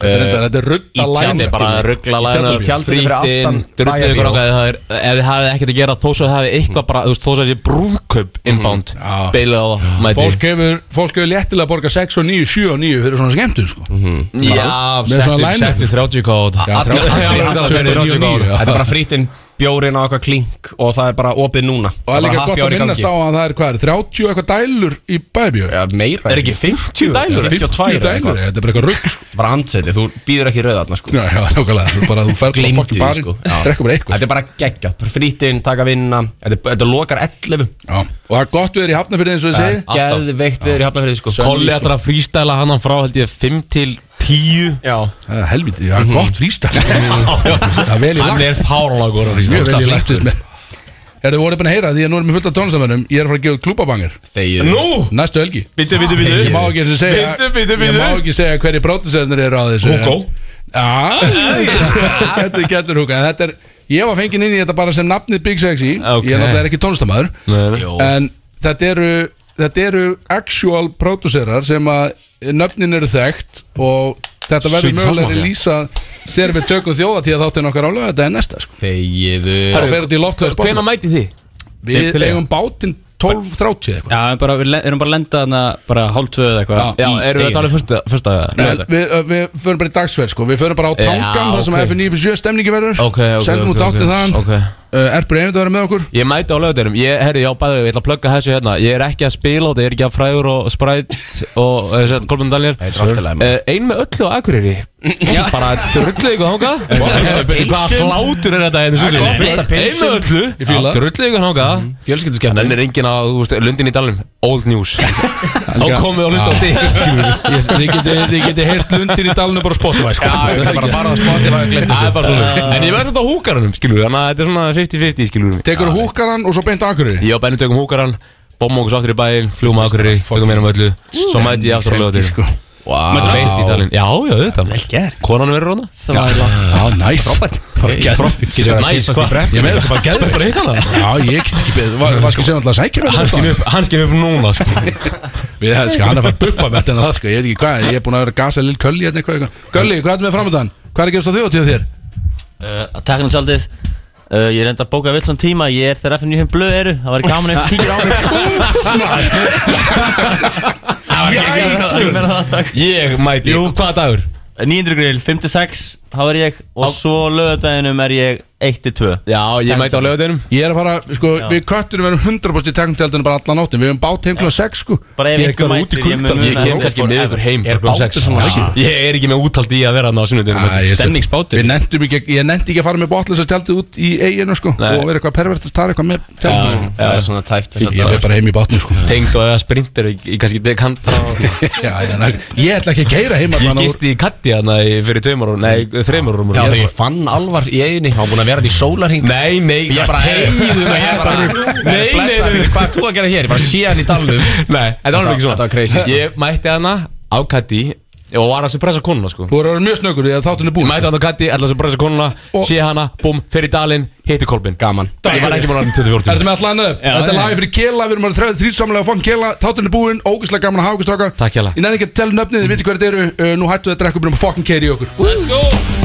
S14: Eh,
S2: Þetta
S10: uh,
S2: er- þetta er ruggla line-up. E
S10: Þetta E er bara ruggla
S15: Í
S10: læna
S15: tjaldinu. Frítin, drullið ykkur okkar ef það er- ef þið hafið ekkert að gera þó svo þið hafið eitthvað bara, þú veist, þó svo þessi brúðkaup inbound, beilað á það, mæti
S2: Fólk hefur, fólk hefur léttilega að borga 6 og 9, 7 og 9 fyrir svona skemmtun sko.
S15: Mhm.
S14: Mhm.
S10: Já,
S2: Með svona
S10: settu-
S2: line-up.
S10: settu 30 kóð
S2: Já, 30
S10: kóð
S2: 30 já.
S10: Þetta er bara frítin, bjórin á okkar klink og það er bara opið núna
S2: Og það er líka gott að minnast á að það er hvað er 30 eitthvað dælur í bæbjö
S10: Já, meira
S2: Er ekki 50
S10: dælur,
S2: 52
S10: 52
S2: dælur,
S10: eitthvað.
S2: þetta er bara eitthvað rugg
S10: Bara andsetið, þú býður ekki rauða þarna sko
S2: Já, já, nákvæmlega, þú bara, þú ferð bara
S10: Gleymdu
S2: fokkin
S10: því,
S2: barinn,
S10: sko. Já.
S2: drekkur bara eitthvað
S10: Þetta er bara geggja, frítinn, taka vinna Þetta, þetta lokar 11
S2: Já. Og það er gott við erum í hafnafyrir eins og þið segið
S10: Geðveikt við erum í hafnafyrir sko
S15: Kolli ætlar að frístæla hann frá held ég 5 til Mhm. 10
S10: Já
S2: Helviti, já, gott frístæl Það er vel í lagt
S15: Hann er fáralagur að frístæla
S2: Mjög vel í lagt, veist mér Er þið voruð búin að heyra því að nú erum við fullt af tónlistamönnum Ég er að fara að gefa út klúbabangir
S10: Þegið
S2: Nú? Næstu helgi
S10: Bíddu, bíddu, bíddu.
S2: Ég má ekki eins og segja
S10: Bíddu, bíddu,
S2: Ég
S10: bíddu.
S2: má ekki segja hverju brótisernir eru á þessu
S10: Hugo.
S2: Já Þetta getur húka Þetta er Ég var fenginn inn í þetta bara sem nafnið Big Sexy Ég er náttúrulega ekki tónlistamöður
S15: Jó.
S2: En þetta eru Þetta eru actual producerar sem að nöfnin eru þekkt og þetta verður
S15: Sweet
S2: mögulega að
S15: Salmon,
S2: lýsa þegar við tökum þjóðatíða þáttinn okkar álega þetta er næsta sko.
S10: Þegiðu
S2: Það fer þetta í loftið
S15: Hvenær mætið þið?
S2: Við
S3: Til-
S2: eigum bátinn 12.30 eitthvað
S3: Já, við bara, við le- erum bara að lenda þarna bara hálf tvöð eða eitthvað
S2: Já, já, erum við að tala um
S15: fyrsta
S2: Nei, Við, uh, við förum bara í dagsverð sko. Við förum bara á
S15: Já,
S2: tangan þar sem
S15: ok.
S2: F947 stemningi verður
S15: Ok, ok,
S2: Sendum út
S15: ok,
S2: þáttinn
S15: ok,
S2: þaðan
S15: ok.
S2: uh, Erpur einmitt að vera með okkur
S15: Ég mæti á lögadeinum, ég, herri, já, bæði, ég ætla að plugga þessu hérna Ég er ekki að spila á þetta, ég er ekki að fræður og spræt og uh, Kolbjörn Dalir
S10: er allt í lagi,
S15: uh, Ein með öllu á Akureyri Bara drullið ykkur þangað
S10: pilsin.
S15: Hvaða hlátur er þetta hérna
S10: Það er
S15: svolítið?
S10: gott, fyrsta
S15: Ein með
S10: pilsin.
S15: öllu,
S10: Ég fíla Mhm. það.
S15: drullið ykkur þangað Fjölskylduskeptin Þannig er enginn á, þú veist, lundin í Dalinum, old news Þá komið og
S10: Ah.
S15: hlusta á þig skilur við.
S2: Ég- Þið getið- þið getið heyrt lundir í dalnum bara á Spotify sko.
S15: Já, ég
S2: Það er
S15: ætla
S2: ekki-
S15: bara að fara á Spotify og gleymdu
S2: Það er bara svona.
S15: þessu. En ég verði þetta á húkaranum, skilur við, þannig að þetta er svona 50-50, skilur við.
S2: Tekur húkaran og svo beint akkurir
S15: Ég og Benni tökum húkaran Bóma okkur svo aftur í bæinn, fljúum að akkurir Tökum einum öllu, svo mæti ég aftur á lögatir
S2: Sko.
S15: Vá,
S2: Mætir
S15: beint
S2: aftur?
S15: í dalinn Já, já, þetta Vel gert Konan verður hana
S2: Já, já, næs Frábært
S15: Getur verið næs, hvað?
S2: Ég með þetta bara geðveikt.
S15: Bara hitt hana.
S2: Já, ég get ekki beðið Var var ekki um sem alltaf að sækja með
S15: Hanskin upp, hanskin upp núna sko.
S2: Við hefum sko, hann er bara buffa með þetta en það sko Ég veit ekki hvað, ég er búin að vera að gasa lill Kölli hérna eitthvað eitthvað Kölli, hvað er með framöndan? Hvað er að gerast á þjóðtíð þér?
S14: Uh, að tekna tjaldið uh, Ég reyndi að bóka vill svona tíma Ég er þegar FNU hinn blöð eru Það væri gaman ef kíkir á mig Það væri ekki að vera meira það takk
S15: Ég mæti, Jú, hvaða dagur?
S14: 900 grill, 56 Þá er ég Og svo lögadaginum er ég 1-2
S15: Já, ég mæti á lögadeinum
S2: Ég er að fara, sko,
S14: Já.
S2: við kötturum verðum 100% í tekntjaldinu bara allan áttin Við hefum bát heim klukkan 6 sko
S14: Bara ef
S2: Ég er
S14: einhver
S2: bara
S14: mætir,
S2: út í
S14: ég mun
S2: kuldanum.
S14: muna
S15: Ég kem kannski með ykkur heim
S2: Er
S15: klukkan
S2: bátur
S15: sex.
S2: svona
S15: Já.
S2: mikið?
S15: Ég er ekki með úthald í að vera hann á
S2: Æ,
S15: sunnudunum
S2: ég sé- Við
S15: Stemningsbátur
S2: nenntum ekki, ég nennti ekki að fara með botlösa tjaldið út í eiginu sko
S15: Nei.
S2: Og vera eitthvað pervert að tara eitthvað með tjaldið sko
S10: Það er svona tæft
S2: Ég- Ég fer bara heim í bátnum sko
S15: Tengd og eða sprinter Ég ég kannski deg hann
S2: Já, já, ná- Ég ætla ekki að keira heim
S15: Ég
S2: allan úr-
S15: gisti í katti hann fyrir tveimur árum Nei, þreimur árum
S10: Já, þegar ég fann alvar í eiginni Há búin að vera þetta í sólarhing
S15: Nei, nei,
S10: Ég bara heiðu það Ég bara
S15: Nei,
S10: blessaður,
S15: nei, nei.
S10: Hvað er þú að gera hér? Ég bara sé hann í dalnum
S15: Nei, þetta var alveg ekki svona
S10: Þetta var crazy
S15: Ég mætti hana á Katti og var að suppressa konuna sko
S2: Þú voru að vera mjög snöggur því að þáttunni búið
S15: Mætti hana á Katti, ætla að suppressa konuna Sé hana, búm, fer í dalinn, hitti Kolbin
S10: Gaman
S15: Ég var ekki múin að hann 24
S2: Ertu með allan upp?
S15: Já,
S2: Þetta er
S15: já.
S2: lagið fyrir Kela, við erum að þrjáðið þrýtsamlega að fann Kela Þáttunni búinn, ógæslega gaman að hafa ykkur strákar
S15: Takk hjá
S2: Ég nefn ekki að tella nöfnið, þið viti hvað þetta eru uh, Nú hættu þetta ekki að byrja að fokkin keiri í okkur
S15: Let's go